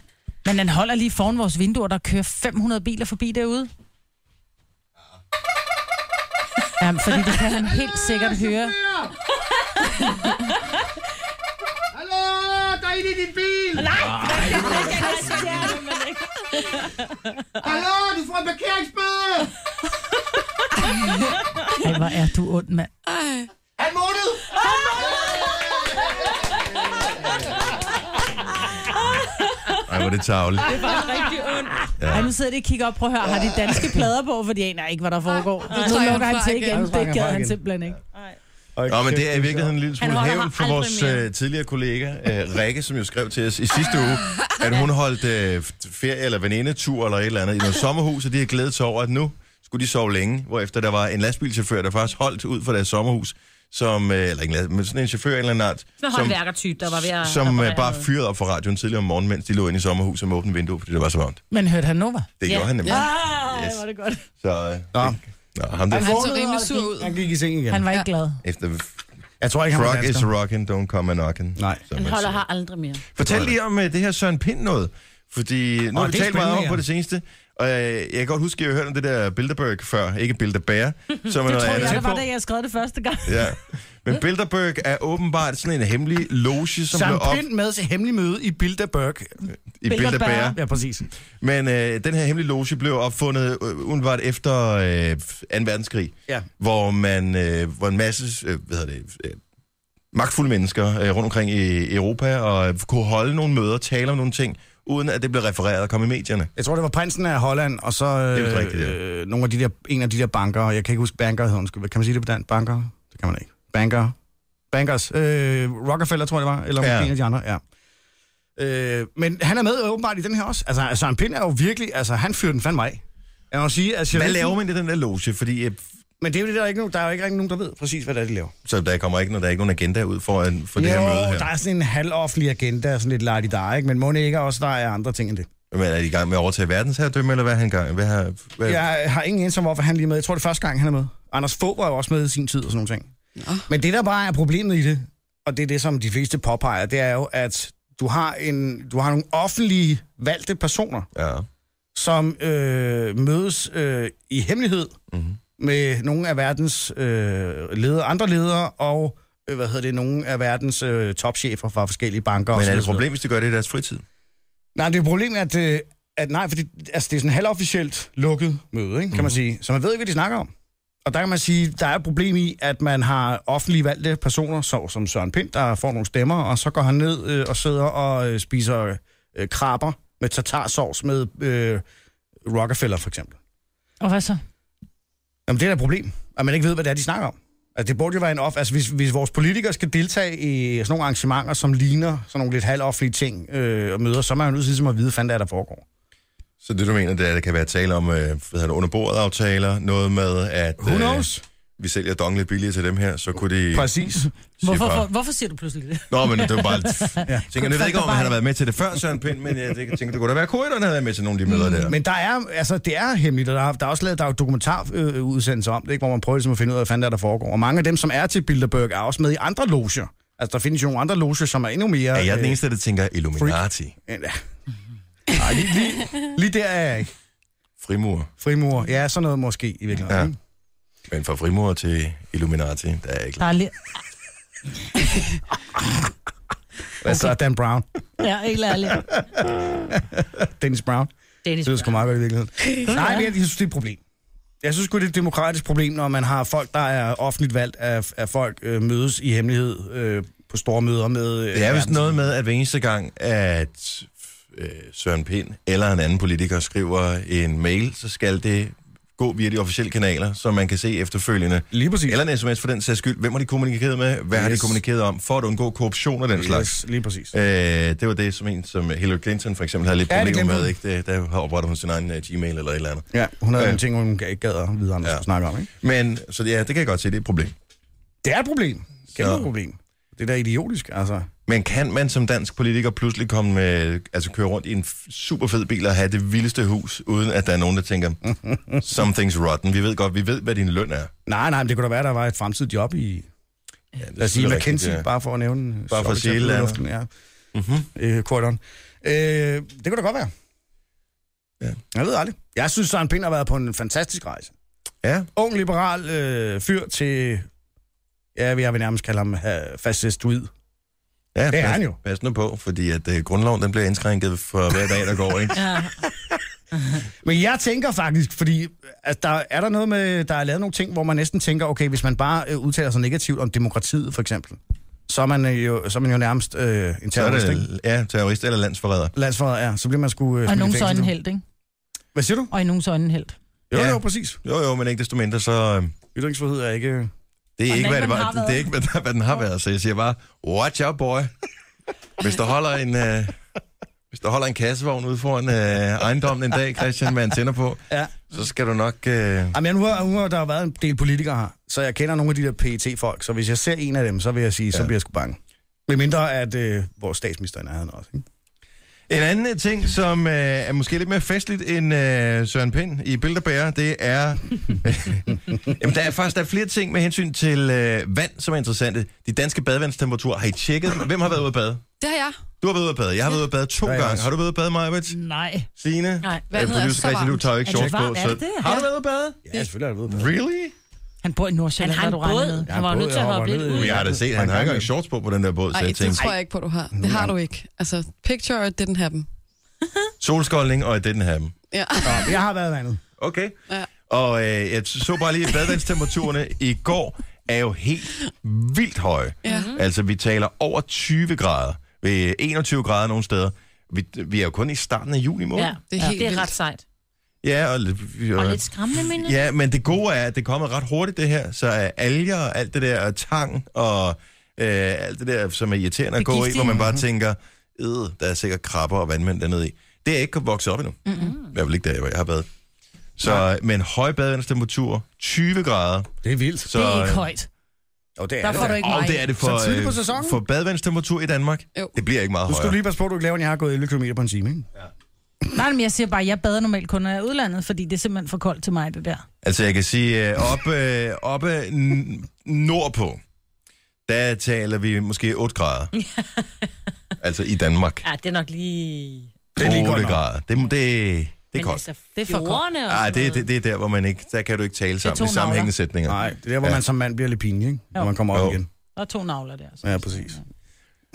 [SPEAKER 5] der. Men han holder lige foran vores vinduer, der kører 500 biler forbi derude. Ja, fordi det kan han helt sikkert høre.
[SPEAKER 7] Hallo, der er en i din bil! Nej! Hallo, du får en parkeringsbøde!
[SPEAKER 5] Ej, hvor er du ond, mand.
[SPEAKER 7] Han måned!
[SPEAKER 1] Ej, hvor er det tavligt.
[SPEAKER 6] Rigtig ondt.
[SPEAKER 5] Ej, nu sidder de og kigger op, prøv at høre, har de danske plader på, fordi jeg aner ikke, hvad der foregår. Nu
[SPEAKER 4] trækker
[SPEAKER 5] lukker han
[SPEAKER 4] han fra
[SPEAKER 5] til
[SPEAKER 4] igen.
[SPEAKER 5] igen,
[SPEAKER 7] Nu trækker han
[SPEAKER 5] det gad
[SPEAKER 7] fra
[SPEAKER 5] han
[SPEAKER 7] igen.
[SPEAKER 5] simpelthen ikke.
[SPEAKER 1] Nå, men det er i virkeligheden en lille smule
[SPEAKER 6] Han holder
[SPEAKER 1] hævn
[SPEAKER 6] mig
[SPEAKER 1] for
[SPEAKER 6] aldrig
[SPEAKER 1] vores
[SPEAKER 6] mere.
[SPEAKER 1] øh, tidligere kollega, øh, Rikke, som jo skrev til os i sidste uge, at hun holdt øh, f- ferie eller venindetur eller et eller andet i noget sommerhus, og de har glædet sig over, at nu skulle de sove længe, hvorefter der var en lastbilchauffør, der faktisk holdt ud for deres sommerhus, som, øh, eller ikke en last- men sådan en chauffør af en eller anden art,
[SPEAKER 6] Sådan en håndværkertype, der var ved at...
[SPEAKER 1] som øh,
[SPEAKER 6] reparere
[SPEAKER 1] bare
[SPEAKER 6] noget.
[SPEAKER 1] fyrede op for radioen tidligere om morgenen, mens de lå inde i sommerhuset med åbent vindue, fordi det var så varmt.
[SPEAKER 5] Men hørte han Nova?
[SPEAKER 1] Det
[SPEAKER 6] Ja.
[SPEAKER 1] gjorde han nemlig.
[SPEAKER 5] Ah,
[SPEAKER 1] Yes.
[SPEAKER 5] var det godt.
[SPEAKER 1] Så, øh,
[SPEAKER 7] Nå.
[SPEAKER 1] det- Nå, ham der,
[SPEAKER 4] Han så rimelig sur ud.
[SPEAKER 7] Han gik i seng igen.
[SPEAKER 5] Han var ikke glad.
[SPEAKER 1] efter
[SPEAKER 7] Jeg tror ikke, han var
[SPEAKER 1] Frog is
[SPEAKER 7] dansker.
[SPEAKER 1] rockin', don't come a knockin'.
[SPEAKER 7] Nej.
[SPEAKER 1] som
[SPEAKER 6] Han
[SPEAKER 1] man
[SPEAKER 6] holder
[SPEAKER 1] siger.
[SPEAKER 6] her aldrig mere.
[SPEAKER 1] Fortæl lige om uh, det her Søren Pind noget. Fordi nu har vi
[SPEAKER 7] det er
[SPEAKER 1] talt meget
[SPEAKER 7] spændende,
[SPEAKER 1] om
[SPEAKER 7] ja.
[SPEAKER 1] på det seneste, og øh, jeg kan godt huske, at jeg hørte om det der Bilderberg før, ikke Bilderberg, som er
[SPEAKER 5] Det
[SPEAKER 1] noget
[SPEAKER 5] tror jeg, det
[SPEAKER 1] andet.
[SPEAKER 5] var, da jeg skrev det første gang.
[SPEAKER 1] Ja. Men Bilderberg er åbenbart sådan en hemmelig loge, som blev
[SPEAKER 7] Sam
[SPEAKER 1] op
[SPEAKER 7] Pind med til hemmelig møde i Bilderberg.
[SPEAKER 1] i Bilderberg.
[SPEAKER 7] Ja, præcis.
[SPEAKER 1] Men øh, den her hemmelige loge blev opfundet øh, umiddelbart efter øh, 2. verdenskrig,
[SPEAKER 7] Ja.
[SPEAKER 1] hvor man øh, hvor en masse øh, hvad hedder det, øh, magtfulde mennesker øh, rundt omkring i Europa og øh, kunne holde nogle møder, tale om nogle ting, uden at det blev refereret og kom i medierne.
[SPEAKER 7] Jeg tror, det var prinsen af Holland, og så
[SPEAKER 1] Det er vist
[SPEAKER 7] øh,
[SPEAKER 1] rigtigt, ja.
[SPEAKER 7] øh, nogle af de der, en af de der banker. Jeg kan ikke huske, banker hedder undskyld. Kan man sige det på dansk? Banker? Det kan man ikke. Banker. Bankers. Øh, Rockefeller, tror jeg, det var. Eller
[SPEAKER 1] Ja.
[SPEAKER 7] ja. en af de andre, ja. Øh, men han er med åbenbart i den her også. Altså, Søren Pind er jo virkelig... Altså, han fyrer den fandme af. Jeg må sige, at
[SPEAKER 1] Hvad laver man i den der loge? Fordi øh,
[SPEAKER 7] Men det er jo det, der er ikke nogen, der er jo ikke rigtig nogen, der ved præcis, hvad det er, de laver.
[SPEAKER 1] så der kommer ikke, når der er ikke nogen agenda ud for, en, for det her møde
[SPEAKER 7] der
[SPEAKER 1] her.
[SPEAKER 7] er sådan en halvoffentlig agenda, sådan lidt lejt i dig, ikke? Men må det ikke også, der er andre ting end det.
[SPEAKER 1] Men er de i gang med at overtage verdensherredømme, eller hvad er han i gang? Hvad har, hvad, ja.
[SPEAKER 7] Jeg har ingen anelse om, hvorfor han lige er med. Jeg tror, det er første gang, han er med. Anders Fogh var jo også med i sin tid og sådan nogle ting. Nå. Men det, der bare er problemet i det, og det er det, som de fleste påpeger, det er jo, at du har, en, du har nogle offentlige valgte personer,
[SPEAKER 1] ja.
[SPEAKER 7] som øh, mødes øh, i hemmelighed
[SPEAKER 1] Mhm.
[SPEAKER 7] mm-hmm. med nogle af verdens øh, ledere, andre ledere og øh, hvad hedder det, nogle af verdens øh, topchefer fra forskellige banker. og
[SPEAKER 1] Men
[SPEAKER 7] så
[SPEAKER 1] er det et
[SPEAKER 7] videre.
[SPEAKER 1] problem, hvis de gør det i deres fritid?
[SPEAKER 7] Nej, det er problemet, at øh, at nej, fordi altså, det er sådan et halvofficielt lukket møde, ikke, kan man sige. Så man ved ikke, hvad de snakker om. Og der kan man sige, der er et problem i, at man har offentlige valgte personer, så, som Søren Pind, der får nogle stemmer, og så går han ned øh, og sidder og øh, spiser øh, krabber med tartarsovs med øh, Rockefeller, for eksempel.
[SPEAKER 5] Og hvad så?
[SPEAKER 7] Jamen, det er da et problem, at man ikke ved, hvad det er, de snakker om. Altså, det burde jo være en off... Altså, hvis, hvis vores politikere skal deltage i sådan nogle arrangementer, som ligner sådan nogle lidt halvoffentlige ting øh, og møder, så er man jo nødt til ligesom at vide, hvad fanden det er, der foregår.
[SPEAKER 1] Så det, du mener, det er, at der kan være tale om øh, underbordet aftaler, noget med, at øh,
[SPEAKER 7] Who knows?
[SPEAKER 1] vi sælger dong lidt billigere til dem her, så kunne de...
[SPEAKER 7] Præcis.
[SPEAKER 1] sige
[SPEAKER 5] Hvorfor,
[SPEAKER 1] fra.
[SPEAKER 5] for, hvorfor siger du pludselig det?
[SPEAKER 1] Nå, men det var bare... ja. tænker, jeg ved ikke, om han har været med til det før, Søren Pind, men jeg tænker, det kunne da være korrekt, at han havde været med til nogle af de møder der.
[SPEAKER 7] Men der er, altså, det er hemmeligt, og der er, der er også lavet der er jo dokumentarudsendelser om det, ikke, hvor man prøver ligesom, at finde ud af, hvad fanden det er, der foregår. Og mange af dem, som er til Bilderberg, er også med i andre loger. Altså, der findes jo nogle andre loger, som er endnu mere...
[SPEAKER 1] Er jeg den eneste, der tænker Illuminati?
[SPEAKER 7] Øh, ja. Nej, lige, lige, lige der er jeg ikke.
[SPEAKER 1] Frimur.
[SPEAKER 7] Frimurer. Ja, sådan noget måske i virkeligheden.
[SPEAKER 1] Ja.
[SPEAKER 7] ikke?
[SPEAKER 1] Men fra frimur til Illuminati, der er jeg ikke
[SPEAKER 5] Der er lige...
[SPEAKER 7] Hvad så Altså, Dan Brown?
[SPEAKER 5] Ja, ikke ærligt.
[SPEAKER 7] Dennis Brown?
[SPEAKER 6] Dennis
[SPEAKER 7] Det lyder sgu meget godt i virkeligheden. Nej, men jeg, jeg synes, det er et problem. Jeg synes sgu, det er et demokratisk problem, når man har folk, der er offentligt valgt, at, at folk øh, mødes i hemmelighed øh, på store møder med... Øh,
[SPEAKER 1] Det er vist
[SPEAKER 7] verdens-
[SPEAKER 1] noget med, at hver eneste gang, at øh, Søren Pind eller en anden politiker skriver en mail, så skal det gå via de officielle kanaler, så man kan se efterfølgende.
[SPEAKER 7] Lige præcis.
[SPEAKER 1] Eller en sms for den sags skyld. Hvem har de kommunikeret med? Hvad yes. har de
[SPEAKER 7] Yes.
[SPEAKER 1] kommunikeret om? For at undgå korruption og den yes. slags.
[SPEAKER 7] Yes, lige præcis.
[SPEAKER 1] Øh, det var det, som en som Hillary Clinton for eksempel havde lidt
[SPEAKER 7] Ja, det
[SPEAKER 1] problemer
[SPEAKER 7] glemte
[SPEAKER 1] med.
[SPEAKER 7] hun.
[SPEAKER 1] Ikke? Det, der oprettede hun sin egen uh, Gmail eller et eller andet.
[SPEAKER 7] Ja, hun havde
[SPEAKER 1] Ja.
[SPEAKER 7] nogle ting, hun ikke gad at vide, andre
[SPEAKER 1] øh. Ja.
[SPEAKER 7] ja. snakke om. Ikke?
[SPEAKER 1] Men, så ja, det kan jeg godt se, det er et problem.
[SPEAKER 7] Det er et problem. Kæmpe
[SPEAKER 1] Så.
[SPEAKER 7] så. problem. Det der idiotisk, altså.
[SPEAKER 1] Men kan man som dansk politiker pludselig komme med, altså køre rundt i en f- super fed bil og have det vildeste hus, uden at der er nogen, der tænker, "Hmm, something's rotten. Vi ved godt, vi ved, hvad din løn er.
[SPEAKER 7] Nej, nej, men det kunne da være, der var et fremtidigt job i... Ja, lad os sige
[SPEAKER 1] selvfølgelig
[SPEAKER 7] McKinsey,
[SPEAKER 1] rigtigt, ja.
[SPEAKER 7] bare for at nævne...
[SPEAKER 1] Bare for at sige et eller andet.
[SPEAKER 7] luften, ja.
[SPEAKER 1] Mhm.
[SPEAKER 7] Mm-hmm. Øh, Cordon. Øh, det kunne da godt være.
[SPEAKER 1] Ja.
[SPEAKER 7] Jeg ved aldrig. Jeg synes, Søren Pind har været på en fantastisk rejse.
[SPEAKER 1] Ja,
[SPEAKER 7] Ung liberal øh, fyr til... Ja, jeg vil nærmest kalde ham øh, fascistoid.
[SPEAKER 1] ja
[SPEAKER 7] Det er
[SPEAKER 1] pas-
[SPEAKER 7] han jo.
[SPEAKER 1] Pas nu på, fordi at øh, grundloven den bliver indskrænket for hver dag, der går. Ikke?
[SPEAKER 6] Ja.
[SPEAKER 7] Men jeg tænker faktisk, fordi altså, der er der noget med, der er lavet nogle ting, hvor man næsten tænker, okay, hvis man bare øh, udtaler sig negativt om demokratiet, for eksempel, så er man øh, jo, så er man jo nærmest øh, en
[SPEAKER 1] Så er
[SPEAKER 7] terrorist, ikke?
[SPEAKER 1] det, ja, terrorist eller landsforræder.
[SPEAKER 7] Landsforræder, ja. Så bliver man sgu... Øh,
[SPEAKER 5] Og i
[SPEAKER 7] smidt i
[SPEAKER 5] nogens
[SPEAKER 7] fængsel,
[SPEAKER 5] øjne en
[SPEAKER 7] du.
[SPEAKER 5] held, ikke?
[SPEAKER 7] Hvad siger du?
[SPEAKER 5] Og i nogens øjne en held.
[SPEAKER 7] Jo,
[SPEAKER 1] Ja.
[SPEAKER 7] jo, præcis.
[SPEAKER 1] Jo, jo, men ikke desto mindre, så øh,
[SPEAKER 7] Ytringsfrihed er ikke... øh,
[SPEAKER 1] det er
[SPEAKER 6] Og
[SPEAKER 1] ikke,
[SPEAKER 6] den
[SPEAKER 1] hvad det
[SPEAKER 6] ikke,
[SPEAKER 1] var.
[SPEAKER 6] den har
[SPEAKER 1] Det er
[SPEAKER 6] været.
[SPEAKER 1] ikke, hvad, den- hvad den har været. Så jeg siger bare, watch out, boy. Hvis der holder en... Øh, hvis der holder en kassevogn ude foran øh, ejendommen en dag, Christian, med antenner på,
[SPEAKER 7] Ja.
[SPEAKER 1] så skal du nok... Øh,
[SPEAKER 7] Jamen, nu har, nu har der jo været en del politikere her, så jeg kender nogle af de der pet folk så hvis jeg ser en af dem, så vil jeg sige, ja. så
[SPEAKER 1] Ja.
[SPEAKER 7] bliver jeg sgu bange. Med mindre, at øh, vores statsminister er i nærheden også, ikke?
[SPEAKER 1] En anden øh, ting, som øh, er måske lidt mere festligt end øh, Søren Pind i Bilderbærer, det er... Jamen, der er faktisk der er flere ting med hensyn til øh, vand, som er interessante. De danske badevandstemperaturer, har I tjekket? dem? Hvem har været ude at bade?
[SPEAKER 4] Det har jeg.
[SPEAKER 1] Du har været ude at bade. Jeg har været ude at bade to
[SPEAKER 7] Ja, jeg
[SPEAKER 1] gange.
[SPEAKER 7] også.
[SPEAKER 1] Har du været ude at bade, Majbert?
[SPEAKER 5] Nej.
[SPEAKER 1] Signe? øh,
[SPEAKER 6] Nej,
[SPEAKER 4] vandet er så
[SPEAKER 1] Christian, du
[SPEAKER 4] varmt.
[SPEAKER 1] tager jo ikke
[SPEAKER 6] Er det
[SPEAKER 1] shorts på.
[SPEAKER 6] varmt? Er det det?
[SPEAKER 1] Har du været ude at bade?
[SPEAKER 7] Ja, selvfølgelig er det ved.
[SPEAKER 1] Really?
[SPEAKER 5] Han bor i
[SPEAKER 6] Han
[SPEAKER 5] Nordsjælland,
[SPEAKER 6] har
[SPEAKER 5] har
[SPEAKER 6] en
[SPEAKER 5] du regnet med.
[SPEAKER 6] båd. Han
[SPEAKER 7] en
[SPEAKER 6] var jo
[SPEAKER 7] båd,
[SPEAKER 6] nødt til at
[SPEAKER 7] jeg
[SPEAKER 6] hoppe
[SPEAKER 7] hopper
[SPEAKER 6] lidt
[SPEAKER 7] ned i.
[SPEAKER 6] ud.
[SPEAKER 1] Men jeg har da set, han har ikke engang shorts på på den der båd, så
[SPEAKER 4] Ej,
[SPEAKER 1] jeg
[SPEAKER 4] det
[SPEAKER 1] tænkte,
[SPEAKER 4] tror jeg ikke på, du har. Det har du ikke. Altså, picture didn't happen.
[SPEAKER 1] solskoldning, og det den her dem.
[SPEAKER 4] Ja.
[SPEAKER 7] Nå, jeg har været i vandet.
[SPEAKER 1] Okay. Ja.
[SPEAKER 4] Ja.
[SPEAKER 1] Og øh, jeg så bare lige, at badevandstemperaturerne i går er jo helt vildt høje.
[SPEAKER 4] Ja.
[SPEAKER 1] Altså, vi taler over 20 grader, ved 21 grader nogle steder. Vi, vi er jo kun i starten af juni måned.
[SPEAKER 6] Ja, det er, helt det er
[SPEAKER 4] vildt.
[SPEAKER 6] ret sejt.
[SPEAKER 1] ja og, lidt- vi-
[SPEAKER 6] Og
[SPEAKER 1] øh,
[SPEAKER 6] lidt skræmmende, men
[SPEAKER 1] Ja, men det gode er, at det er kommet ret hurtigt, det her. Så er alger og alt det der, og tang og øh, alt det der, som er irriterende at gå i, hvor man bare tænker, øh, der er sikkert krabber og vandmænd dernede i. Det er ikke vokset op endnu. Mm-hmm. I hvert fald ikke der, hvor jeg har været. Så, men høj badevandstemperatur, 20 grader.
[SPEAKER 7] Det er vildt.
[SPEAKER 1] Så,
[SPEAKER 5] Det er ikke højt.
[SPEAKER 7] Jo, det er
[SPEAKER 5] Der
[SPEAKER 7] det
[SPEAKER 5] får
[SPEAKER 7] da.
[SPEAKER 5] du ikke
[SPEAKER 1] Og
[SPEAKER 5] mig.
[SPEAKER 1] det er det for,
[SPEAKER 7] Så tidligt på
[SPEAKER 1] øh,
[SPEAKER 7] sæsonen?
[SPEAKER 1] for badevandstemperatur i Danmark.
[SPEAKER 4] Jo.
[SPEAKER 1] Det bliver ikke meget
[SPEAKER 7] Du skal
[SPEAKER 1] højere.
[SPEAKER 7] lige passe på, at du ikke laver, at jeg har gået 11 km på en time, ikke?
[SPEAKER 5] Nej, men jeg siger bare, at jeg bader normalt kun, når jeg er i udlandet, fordi det er simpelthen for koldt til mig, det der.
[SPEAKER 1] Altså, jeg kan sige, øh, oppe, øh, oppe n- nordpå, der taler vi måske 8 grader. altså i Danmark.
[SPEAKER 6] ja, det er nok lige...
[SPEAKER 1] Det er lige
[SPEAKER 7] godt nok.
[SPEAKER 1] grader. Det, det, det er
[SPEAKER 6] Men
[SPEAKER 1] koldt.
[SPEAKER 6] altså,
[SPEAKER 5] Det er for koldt.
[SPEAKER 6] fjordene og
[SPEAKER 1] Ah,
[SPEAKER 6] sådan
[SPEAKER 1] det, det,
[SPEAKER 6] noget.
[SPEAKER 1] det er der, hvor man ikke... Der kan du ikke tale sammen
[SPEAKER 6] to
[SPEAKER 1] i sammenhængende
[SPEAKER 6] navler.
[SPEAKER 1] sætninger.
[SPEAKER 7] Nej, det er der, hvor
[SPEAKER 1] Ja.
[SPEAKER 7] ja. man som mand bliver lidt pinlig, ikke? Når
[SPEAKER 5] Jo.
[SPEAKER 7] man kommer op
[SPEAKER 1] Jo.
[SPEAKER 7] igen.
[SPEAKER 5] Der er to navler der. Så.
[SPEAKER 7] Ja, præcis.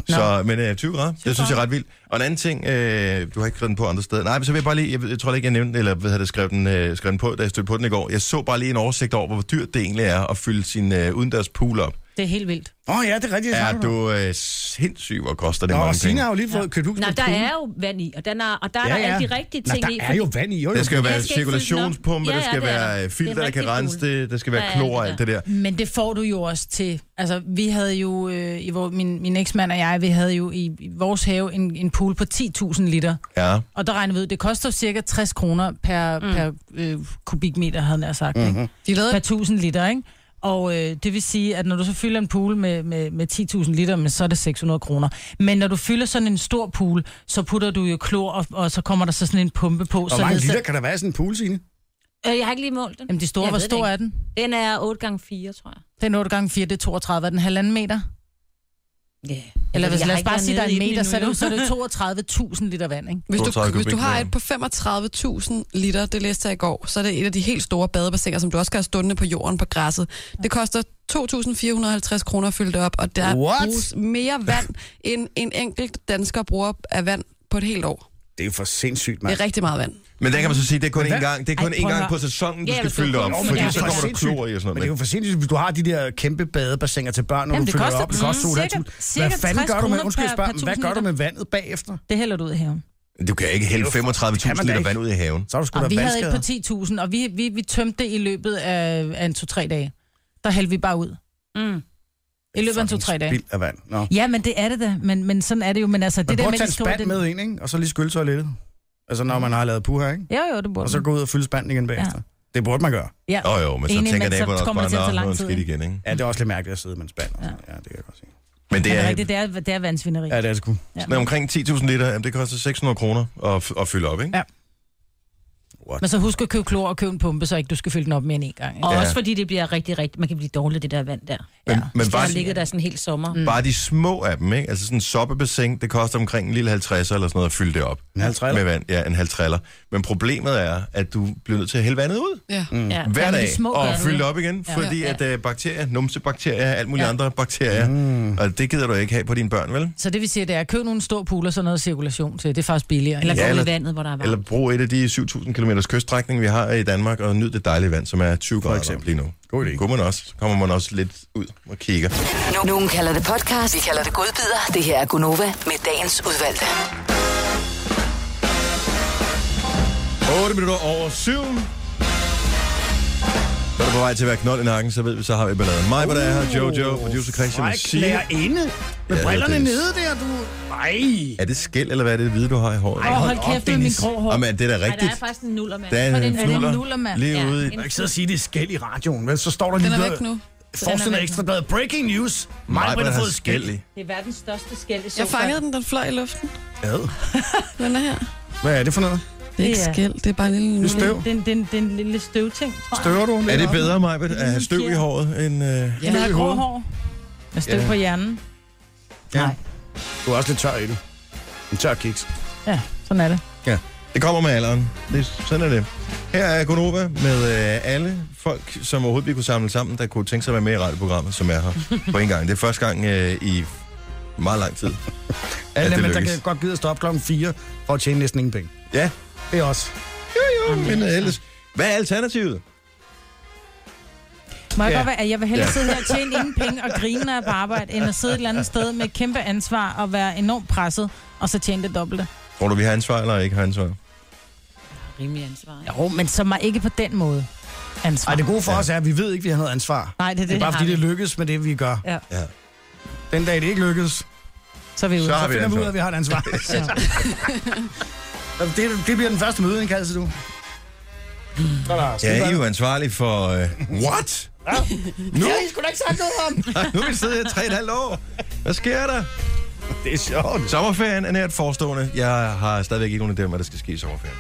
[SPEAKER 1] Så, men øh, 20 grader, det synes jeg er ret vildt. Og en anden ting, øh, du har ikke skrevet den på andre steder. Nej, men så vil jeg bare lige, jeg, ved- jeg tror ikke, jeg nævnte, den, eller hvad havde jeg skrevet den, øh, skrevet den på, da jeg stødte på den i går. Jeg så bare lige en oversigt over, hvor dyrt det egentlig er at fylde sin øh, udendørs pool op.
[SPEAKER 6] Det er helt vildt.
[SPEAKER 7] Åh oh, ja, det er rigtigt.
[SPEAKER 1] Er du øh, sindssyg, hvor koster det
[SPEAKER 7] Nå, og
[SPEAKER 1] mange
[SPEAKER 7] Signe
[SPEAKER 1] penge?
[SPEAKER 7] har jo lige fået købt hus.
[SPEAKER 6] Nej,
[SPEAKER 7] med
[SPEAKER 6] der
[SPEAKER 7] pool.
[SPEAKER 6] er jo vand i, og, den er, og der er
[SPEAKER 7] Ja,
[SPEAKER 6] ja, ja.
[SPEAKER 7] ja.
[SPEAKER 6] alle de rigtige
[SPEAKER 7] Nå,
[SPEAKER 6] ting i.
[SPEAKER 7] der er
[SPEAKER 6] fordi-
[SPEAKER 7] jo vand i. Jo, jo.
[SPEAKER 1] Der skal jo
[SPEAKER 6] Jeg
[SPEAKER 1] være
[SPEAKER 6] skal ikke fylde den op.
[SPEAKER 1] cirkulationspumpe,
[SPEAKER 6] Ja,
[SPEAKER 1] der
[SPEAKER 6] ja,
[SPEAKER 1] skal
[SPEAKER 6] det er der. Det
[SPEAKER 1] være øh,
[SPEAKER 6] er
[SPEAKER 1] filter, der
[SPEAKER 6] rigtig
[SPEAKER 1] kan rense
[SPEAKER 6] cool.
[SPEAKER 1] det, der skal være
[SPEAKER 6] Ja, ja,
[SPEAKER 1] klor og
[SPEAKER 6] det
[SPEAKER 1] alt det der.
[SPEAKER 5] Men det får du jo også til. Altså, vi havde jo, øh, i hvor, min, min eksmand og jeg, vi havde jo i, i vores have en, en pool på 10.000 liter.
[SPEAKER 1] Ja.
[SPEAKER 5] Og der regnede vi ud, det koster cirka 60 kroner per, mm. per øh, kubikmeter, havde jeg nær
[SPEAKER 7] Mm.
[SPEAKER 5] sagt. Mm-hmm. Ikke?
[SPEAKER 4] De lavede
[SPEAKER 5] Per 1000 liter, ikke? Og øh, det vil sige, at når du så fylder en pool med, med, med 10.000 liter, men så er det 600 kroner. Men når du fylder sådan en stor pool, så putter du jo klor, og, og så kommer der så sådan en pumpe på.
[SPEAKER 7] Hvor
[SPEAKER 5] så
[SPEAKER 7] mange liter kan der være i sådan en pool, Signe?
[SPEAKER 6] Øh, jeg har ikke lige målt den.
[SPEAKER 5] Jamen, de store,
[SPEAKER 6] Jeg
[SPEAKER 5] hvor
[SPEAKER 6] ved det
[SPEAKER 5] stor
[SPEAKER 6] ikke.
[SPEAKER 5] er den?
[SPEAKER 6] Den er 8 gange 4 tror jeg.
[SPEAKER 5] Den er 8 gange 4, det er 32. Er den halvanden meter?
[SPEAKER 6] Ja.
[SPEAKER 5] Eller hvis, lad os bare sige, der er en meter, så er det, jo-
[SPEAKER 6] så
[SPEAKER 5] så er det 32.000 liter vand, ikke?
[SPEAKER 4] Hvis du,
[SPEAKER 1] 32
[SPEAKER 4] hvis du har et på
[SPEAKER 1] kubikmeter.
[SPEAKER 4] 35.000 liter, det læste jeg i går, så er det et af de helt store badebassiner, som du også skal have stående på jorden på græsset. Det koster 2.450 kroner at fylde det op, og der
[SPEAKER 7] What?
[SPEAKER 4] bruges mere vand, end en enkelt dansker bruger af vand på et helt år.
[SPEAKER 7] Det er jo for sindssygt, mand.
[SPEAKER 4] Det er rigtig meget vand.
[SPEAKER 1] Men der kan man så sige, det er kun
[SPEAKER 7] hvad-
[SPEAKER 1] én gang, det er kun
[SPEAKER 5] Ej,
[SPEAKER 1] én
[SPEAKER 5] prøv at
[SPEAKER 1] gang på
[SPEAKER 5] høre.
[SPEAKER 1] sæsonen, du
[SPEAKER 6] Ja,
[SPEAKER 1] skal
[SPEAKER 6] hvis du
[SPEAKER 1] fylde det
[SPEAKER 6] har
[SPEAKER 1] op,
[SPEAKER 6] fået-
[SPEAKER 7] men det
[SPEAKER 1] fordi
[SPEAKER 7] er jo
[SPEAKER 1] så
[SPEAKER 7] for
[SPEAKER 1] kommer der
[SPEAKER 7] sindssygt.
[SPEAKER 1] klor i og sådan
[SPEAKER 7] Men det er jo
[SPEAKER 1] noget.
[SPEAKER 7] for sindssygt, hvis du har de der kæmpe badebassiner til børn, når du
[SPEAKER 5] Jamen, det
[SPEAKER 7] fylder
[SPEAKER 5] koster-
[SPEAKER 7] op. Det
[SPEAKER 5] mm,
[SPEAKER 7] koster
[SPEAKER 5] cirka-
[SPEAKER 7] 8.000.
[SPEAKER 5] cirka
[SPEAKER 7] Hvad fanden
[SPEAKER 5] 60
[SPEAKER 7] gør du med,
[SPEAKER 5] kroner
[SPEAKER 7] undskyld, jeg
[SPEAKER 5] per-
[SPEAKER 7] spørger,
[SPEAKER 5] per
[SPEAKER 7] hvad
[SPEAKER 5] 1000
[SPEAKER 7] gør du med vandet bagefter?
[SPEAKER 5] Det hælder du ud af haven.
[SPEAKER 1] Men Du kan ikke hælde
[SPEAKER 7] Det er jo for- det kan
[SPEAKER 1] 35.000
[SPEAKER 7] man da
[SPEAKER 1] liter
[SPEAKER 7] ikke.
[SPEAKER 1] vand ud i haven.
[SPEAKER 7] Så er du sgu
[SPEAKER 5] Og
[SPEAKER 7] da
[SPEAKER 5] vi havde et
[SPEAKER 7] vandskader.
[SPEAKER 5] på 10.000, og vi, vi, vi tømte det i løbet af, af en to-tre dage. Der hældte vi bare ud.
[SPEAKER 6] Mm.
[SPEAKER 5] I løbet af en to-tre
[SPEAKER 7] Fucking
[SPEAKER 5] dage.
[SPEAKER 7] Spild af vand. Nå.
[SPEAKER 5] Ja, men det er det da. Men, men sådan er det jo. Men altså,
[SPEAKER 7] Man
[SPEAKER 5] det der
[SPEAKER 7] burde
[SPEAKER 5] med,
[SPEAKER 7] tage en
[SPEAKER 5] de skriver...
[SPEAKER 7] spand
[SPEAKER 5] Den...
[SPEAKER 7] med ind, ikke? Og så lige skylle toilettet. Altså, når man har lavet puha, ikke?
[SPEAKER 5] Jo, jo, det burde
[SPEAKER 7] Og så
[SPEAKER 5] man.
[SPEAKER 7] gå ud og fylde spanden igen bagefter. Det burde man gøre.
[SPEAKER 5] ja.
[SPEAKER 1] Åh oh, jo, men så
[SPEAKER 5] Enig,
[SPEAKER 1] tænker
[SPEAKER 5] men så
[SPEAKER 1] naboen også
[SPEAKER 5] kommer det til at
[SPEAKER 1] bare,
[SPEAKER 5] tage
[SPEAKER 1] nå, nu er
[SPEAKER 5] lang
[SPEAKER 1] det
[SPEAKER 5] tid,
[SPEAKER 1] skidt
[SPEAKER 5] ikke?"
[SPEAKER 1] igen, ikke?
[SPEAKER 7] Ja, det er også lidt mærkeligt at sidde med en spand. og sådan. Ja, det kan jeg godt se.
[SPEAKER 1] Men det
[SPEAKER 5] Det er
[SPEAKER 1] er,
[SPEAKER 5] rigtigt, det er, det er vandsvineri.
[SPEAKER 7] Ja, det er sgu.
[SPEAKER 1] men omkring 10.000 liter, jamen, det koster 600 kroner at, f- at fylde op, ikke?
[SPEAKER 5] Ja. Men så husk at købe klor og købe en pumpe, så ikke du skal fylde den op mere end en gang. Ikke?
[SPEAKER 6] Og
[SPEAKER 1] Ja.
[SPEAKER 6] også fordi det bliver rigtig, rigtig... Man kan blive dårlig, af det der vand der.
[SPEAKER 1] Men, men
[SPEAKER 6] Det
[SPEAKER 1] bare,
[SPEAKER 6] har ligget der sådan en hel sommer. Mm.
[SPEAKER 1] bare de små af dem, ikke? Altså sådan en soppebassin, det koster omkring en lille 50 eller sådan noget at fylde det op.
[SPEAKER 7] En halv triller?
[SPEAKER 1] Med vand, ja, en halv triller. Men problemet er, at du bliver nødt til at hælde vandet ud
[SPEAKER 4] Ja.
[SPEAKER 6] Ja.
[SPEAKER 1] hver
[SPEAKER 5] Ja, men
[SPEAKER 1] dag
[SPEAKER 5] de små gør
[SPEAKER 1] og
[SPEAKER 5] det,
[SPEAKER 1] fylde det
[SPEAKER 5] ikke?
[SPEAKER 1] op igen,
[SPEAKER 5] Ja.
[SPEAKER 1] fordi
[SPEAKER 6] Ja.
[SPEAKER 1] at øh, bakterier, numsebakterier, alt muligt andre bakterier,
[SPEAKER 7] Mm.
[SPEAKER 1] og det gider du ikke have på dine børn, vel?
[SPEAKER 5] Så det vil sige, at det er at købe nogle store pooler, så noget cirkulation til. Det er faktisk billigere.
[SPEAKER 6] Eller
[SPEAKER 5] ikke?
[SPEAKER 1] Ja,
[SPEAKER 6] gå ud
[SPEAKER 1] eller-
[SPEAKER 6] i vandet, hvor der er varmt.
[SPEAKER 1] Eller brug et af de 7.000 km kyststrækning, vi har i Danmark, og nyd det dejlige vand, som er 20 grader
[SPEAKER 7] eksempel.
[SPEAKER 1] lige nu.
[SPEAKER 7] God idé.
[SPEAKER 1] Kunne man også. Så kommer man også lidt ud og kigger.
[SPEAKER 9] No- Nogen kalder det podcast, vi kalder det godbider. Det her er Gunova med dagens udvalgte.
[SPEAKER 1] 8 minutter over 7. Så er du på vej til at være knold i nakken, så ved vi, så har vi balladen. Mig, hvor der er her, Jojo,
[SPEAKER 7] Uh,
[SPEAKER 1] producer Christian og Signe.
[SPEAKER 7] Fræk inde med
[SPEAKER 1] Ja,
[SPEAKER 7] brillerne
[SPEAKER 1] det er-
[SPEAKER 7] nede der, du. Nej.
[SPEAKER 1] Er det skæld, eller hvad er det hvide, du har i håret?
[SPEAKER 5] Åh, hold
[SPEAKER 7] op,
[SPEAKER 5] kæft med min
[SPEAKER 7] Dennis.
[SPEAKER 5] grå hår.
[SPEAKER 1] Jamen, det er da
[SPEAKER 6] Nej, der
[SPEAKER 1] rigtigt.
[SPEAKER 6] er faktisk en nuller, mand.
[SPEAKER 1] Der er
[SPEAKER 6] For
[SPEAKER 1] en
[SPEAKER 6] den
[SPEAKER 5] det en
[SPEAKER 1] nuller.
[SPEAKER 5] nullermand?
[SPEAKER 1] Lige
[SPEAKER 6] Ja,
[SPEAKER 1] ude i
[SPEAKER 6] en
[SPEAKER 7] Jeg kan ikke sidde og sige, det er skæld i radioen, vel? Så står der
[SPEAKER 4] Den
[SPEAKER 7] lige
[SPEAKER 4] er
[SPEAKER 7] der-
[SPEAKER 4] væk nu.
[SPEAKER 7] Forsiden af
[SPEAKER 5] væk nu.
[SPEAKER 7] Ekstrabladet. Breaking news.
[SPEAKER 1] Mig,
[SPEAKER 7] Mig,
[SPEAKER 1] hvor
[SPEAKER 7] har
[SPEAKER 1] der
[SPEAKER 7] fået skæld i.
[SPEAKER 1] skæld i.
[SPEAKER 6] Det er verdens største skæld i sofaen.
[SPEAKER 4] Jeg fangede den, den fløj i luften.
[SPEAKER 7] Ad.
[SPEAKER 4] Den er her.
[SPEAKER 7] Hvad er det for noget?
[SPEAKER 4] Det er ikke
[SPEAKER 5] Det er-
[SPEAKER 4] skæld, det er bare en lille...
[SPEAKER 7] Det er støv.
[SPEAKER 5] Den, den, den lille støvting, tror jeg.
[SPEAKER 7] Støver du?
[SPEAKER 1] Er
[SPEAKER 7] lidt?
[SPEAKER 1] det bedre, Maja, at have støv i håret, end... Øh...
[SPEAKER 5] Den
[SPEAKER 4] Ja.
[SPEAKER 5] havde grå hår. Med støv
[SPEAKER 1] Ja.
[SPEAKER 5] på hjernen.
[SPEAKER 7] Ja.
[SPEAKER 5] Nej.
[SPEAKER 7] Du er også lidt tør i det. En tør kiks.
[SPEAKER 5] Ja, sådan er det.
[SPEAKER 1] Ja, det kommer med alderen. Det, sådan er det. Her er Gonova med øh, alle folk, som overhovedet vi kunne samle sammen, der kunne tænke sig at være med i radioprogrammet, som er her på en gang. Det er første gang øh, i meget lang tid.
[SPEAKER 7] Alle
[SPEAKER 1] det
[SPEAKER 7] dem, der
[SPEAKER 1] lykkes.
[SPEAKER 7] kan godt gide at stå op klokken 4 for at tjene næsten ingen penge.
[SPEAKER 1] Ja,
[SPEAKER 7] Det er også.
[SPEAKER 1] jo, men øh, ellers... Hvad er alternativet?
[SPEAKER 5] Må jeg
[SPEAKER 7] Ja.
[SPEAKER 5] godt være, at jeg vil hellere
[SPEAKER 1] Ja.
[SPEAKER 5] sidde her og tjene ingen penge og grine, når jeg er på arbejde, end at sidde et eller andet sted med et kæmpe ansvar og være enormt presset, og så tjene det dobbelte.
[SPEAKER 1] Tror du, vi har ansvar eller ikke har ansvar?
[SPEAKER 6] Rimelig ansvar. ikke?
[SPEAKER 5] Jo, men så mig ikke på den måde ansvar.
[SPEAKER 7] Ej, det gode for
[SPEAKER 1] Ja.
[SPEAKER 7] os er, at vi ved ikke, at vi har noget ansvar.
[SPEAKER 5] Nej, det er det.
[SPEAKER 7] Det er bare fordi,
[SPEAKER 5] har
[SPEAKER 7] det
[SPEAKER 5] vi.
[SPEAKER 7] lykkes med det, vi gør.
[SPEAKER 5] Ja.
[SPEAKER 1] Ja.
[SPEAKER 7] Den dag, det ikke lykkes,
[SPEAKER 5] Så er vi ude.
[SPEAKER 1] Så
[SPEAKER 7] så
[SPEAKER 1] har vi et
[SPEAKER 7] finder vi ud af,
[SPEAKER 1] ansvar.
[SPEAKER 7] at vi har et ansvar.
[SPEAKER 5] Ja.
[SPEAKER 7] det, det bliver den første mødeindkaldelse, du. Så er der
[SPEAKER 1] Ja, I er jo ansvarlige for... Øh, what? Nu?
[SPEAKER 7] Ja, I skulle da ikke sagt noget om.
[SPEAKER 1] nu har vi siddet her i tre og et halvt år. Hvad sker der?
[SPEAKER 7] Det er sjovt.
[SPEAKER 1] Sommerferien er nært forestående. Jeg har stadigvæk ikke nogen idé om, hvad der skal ske i sommerferien.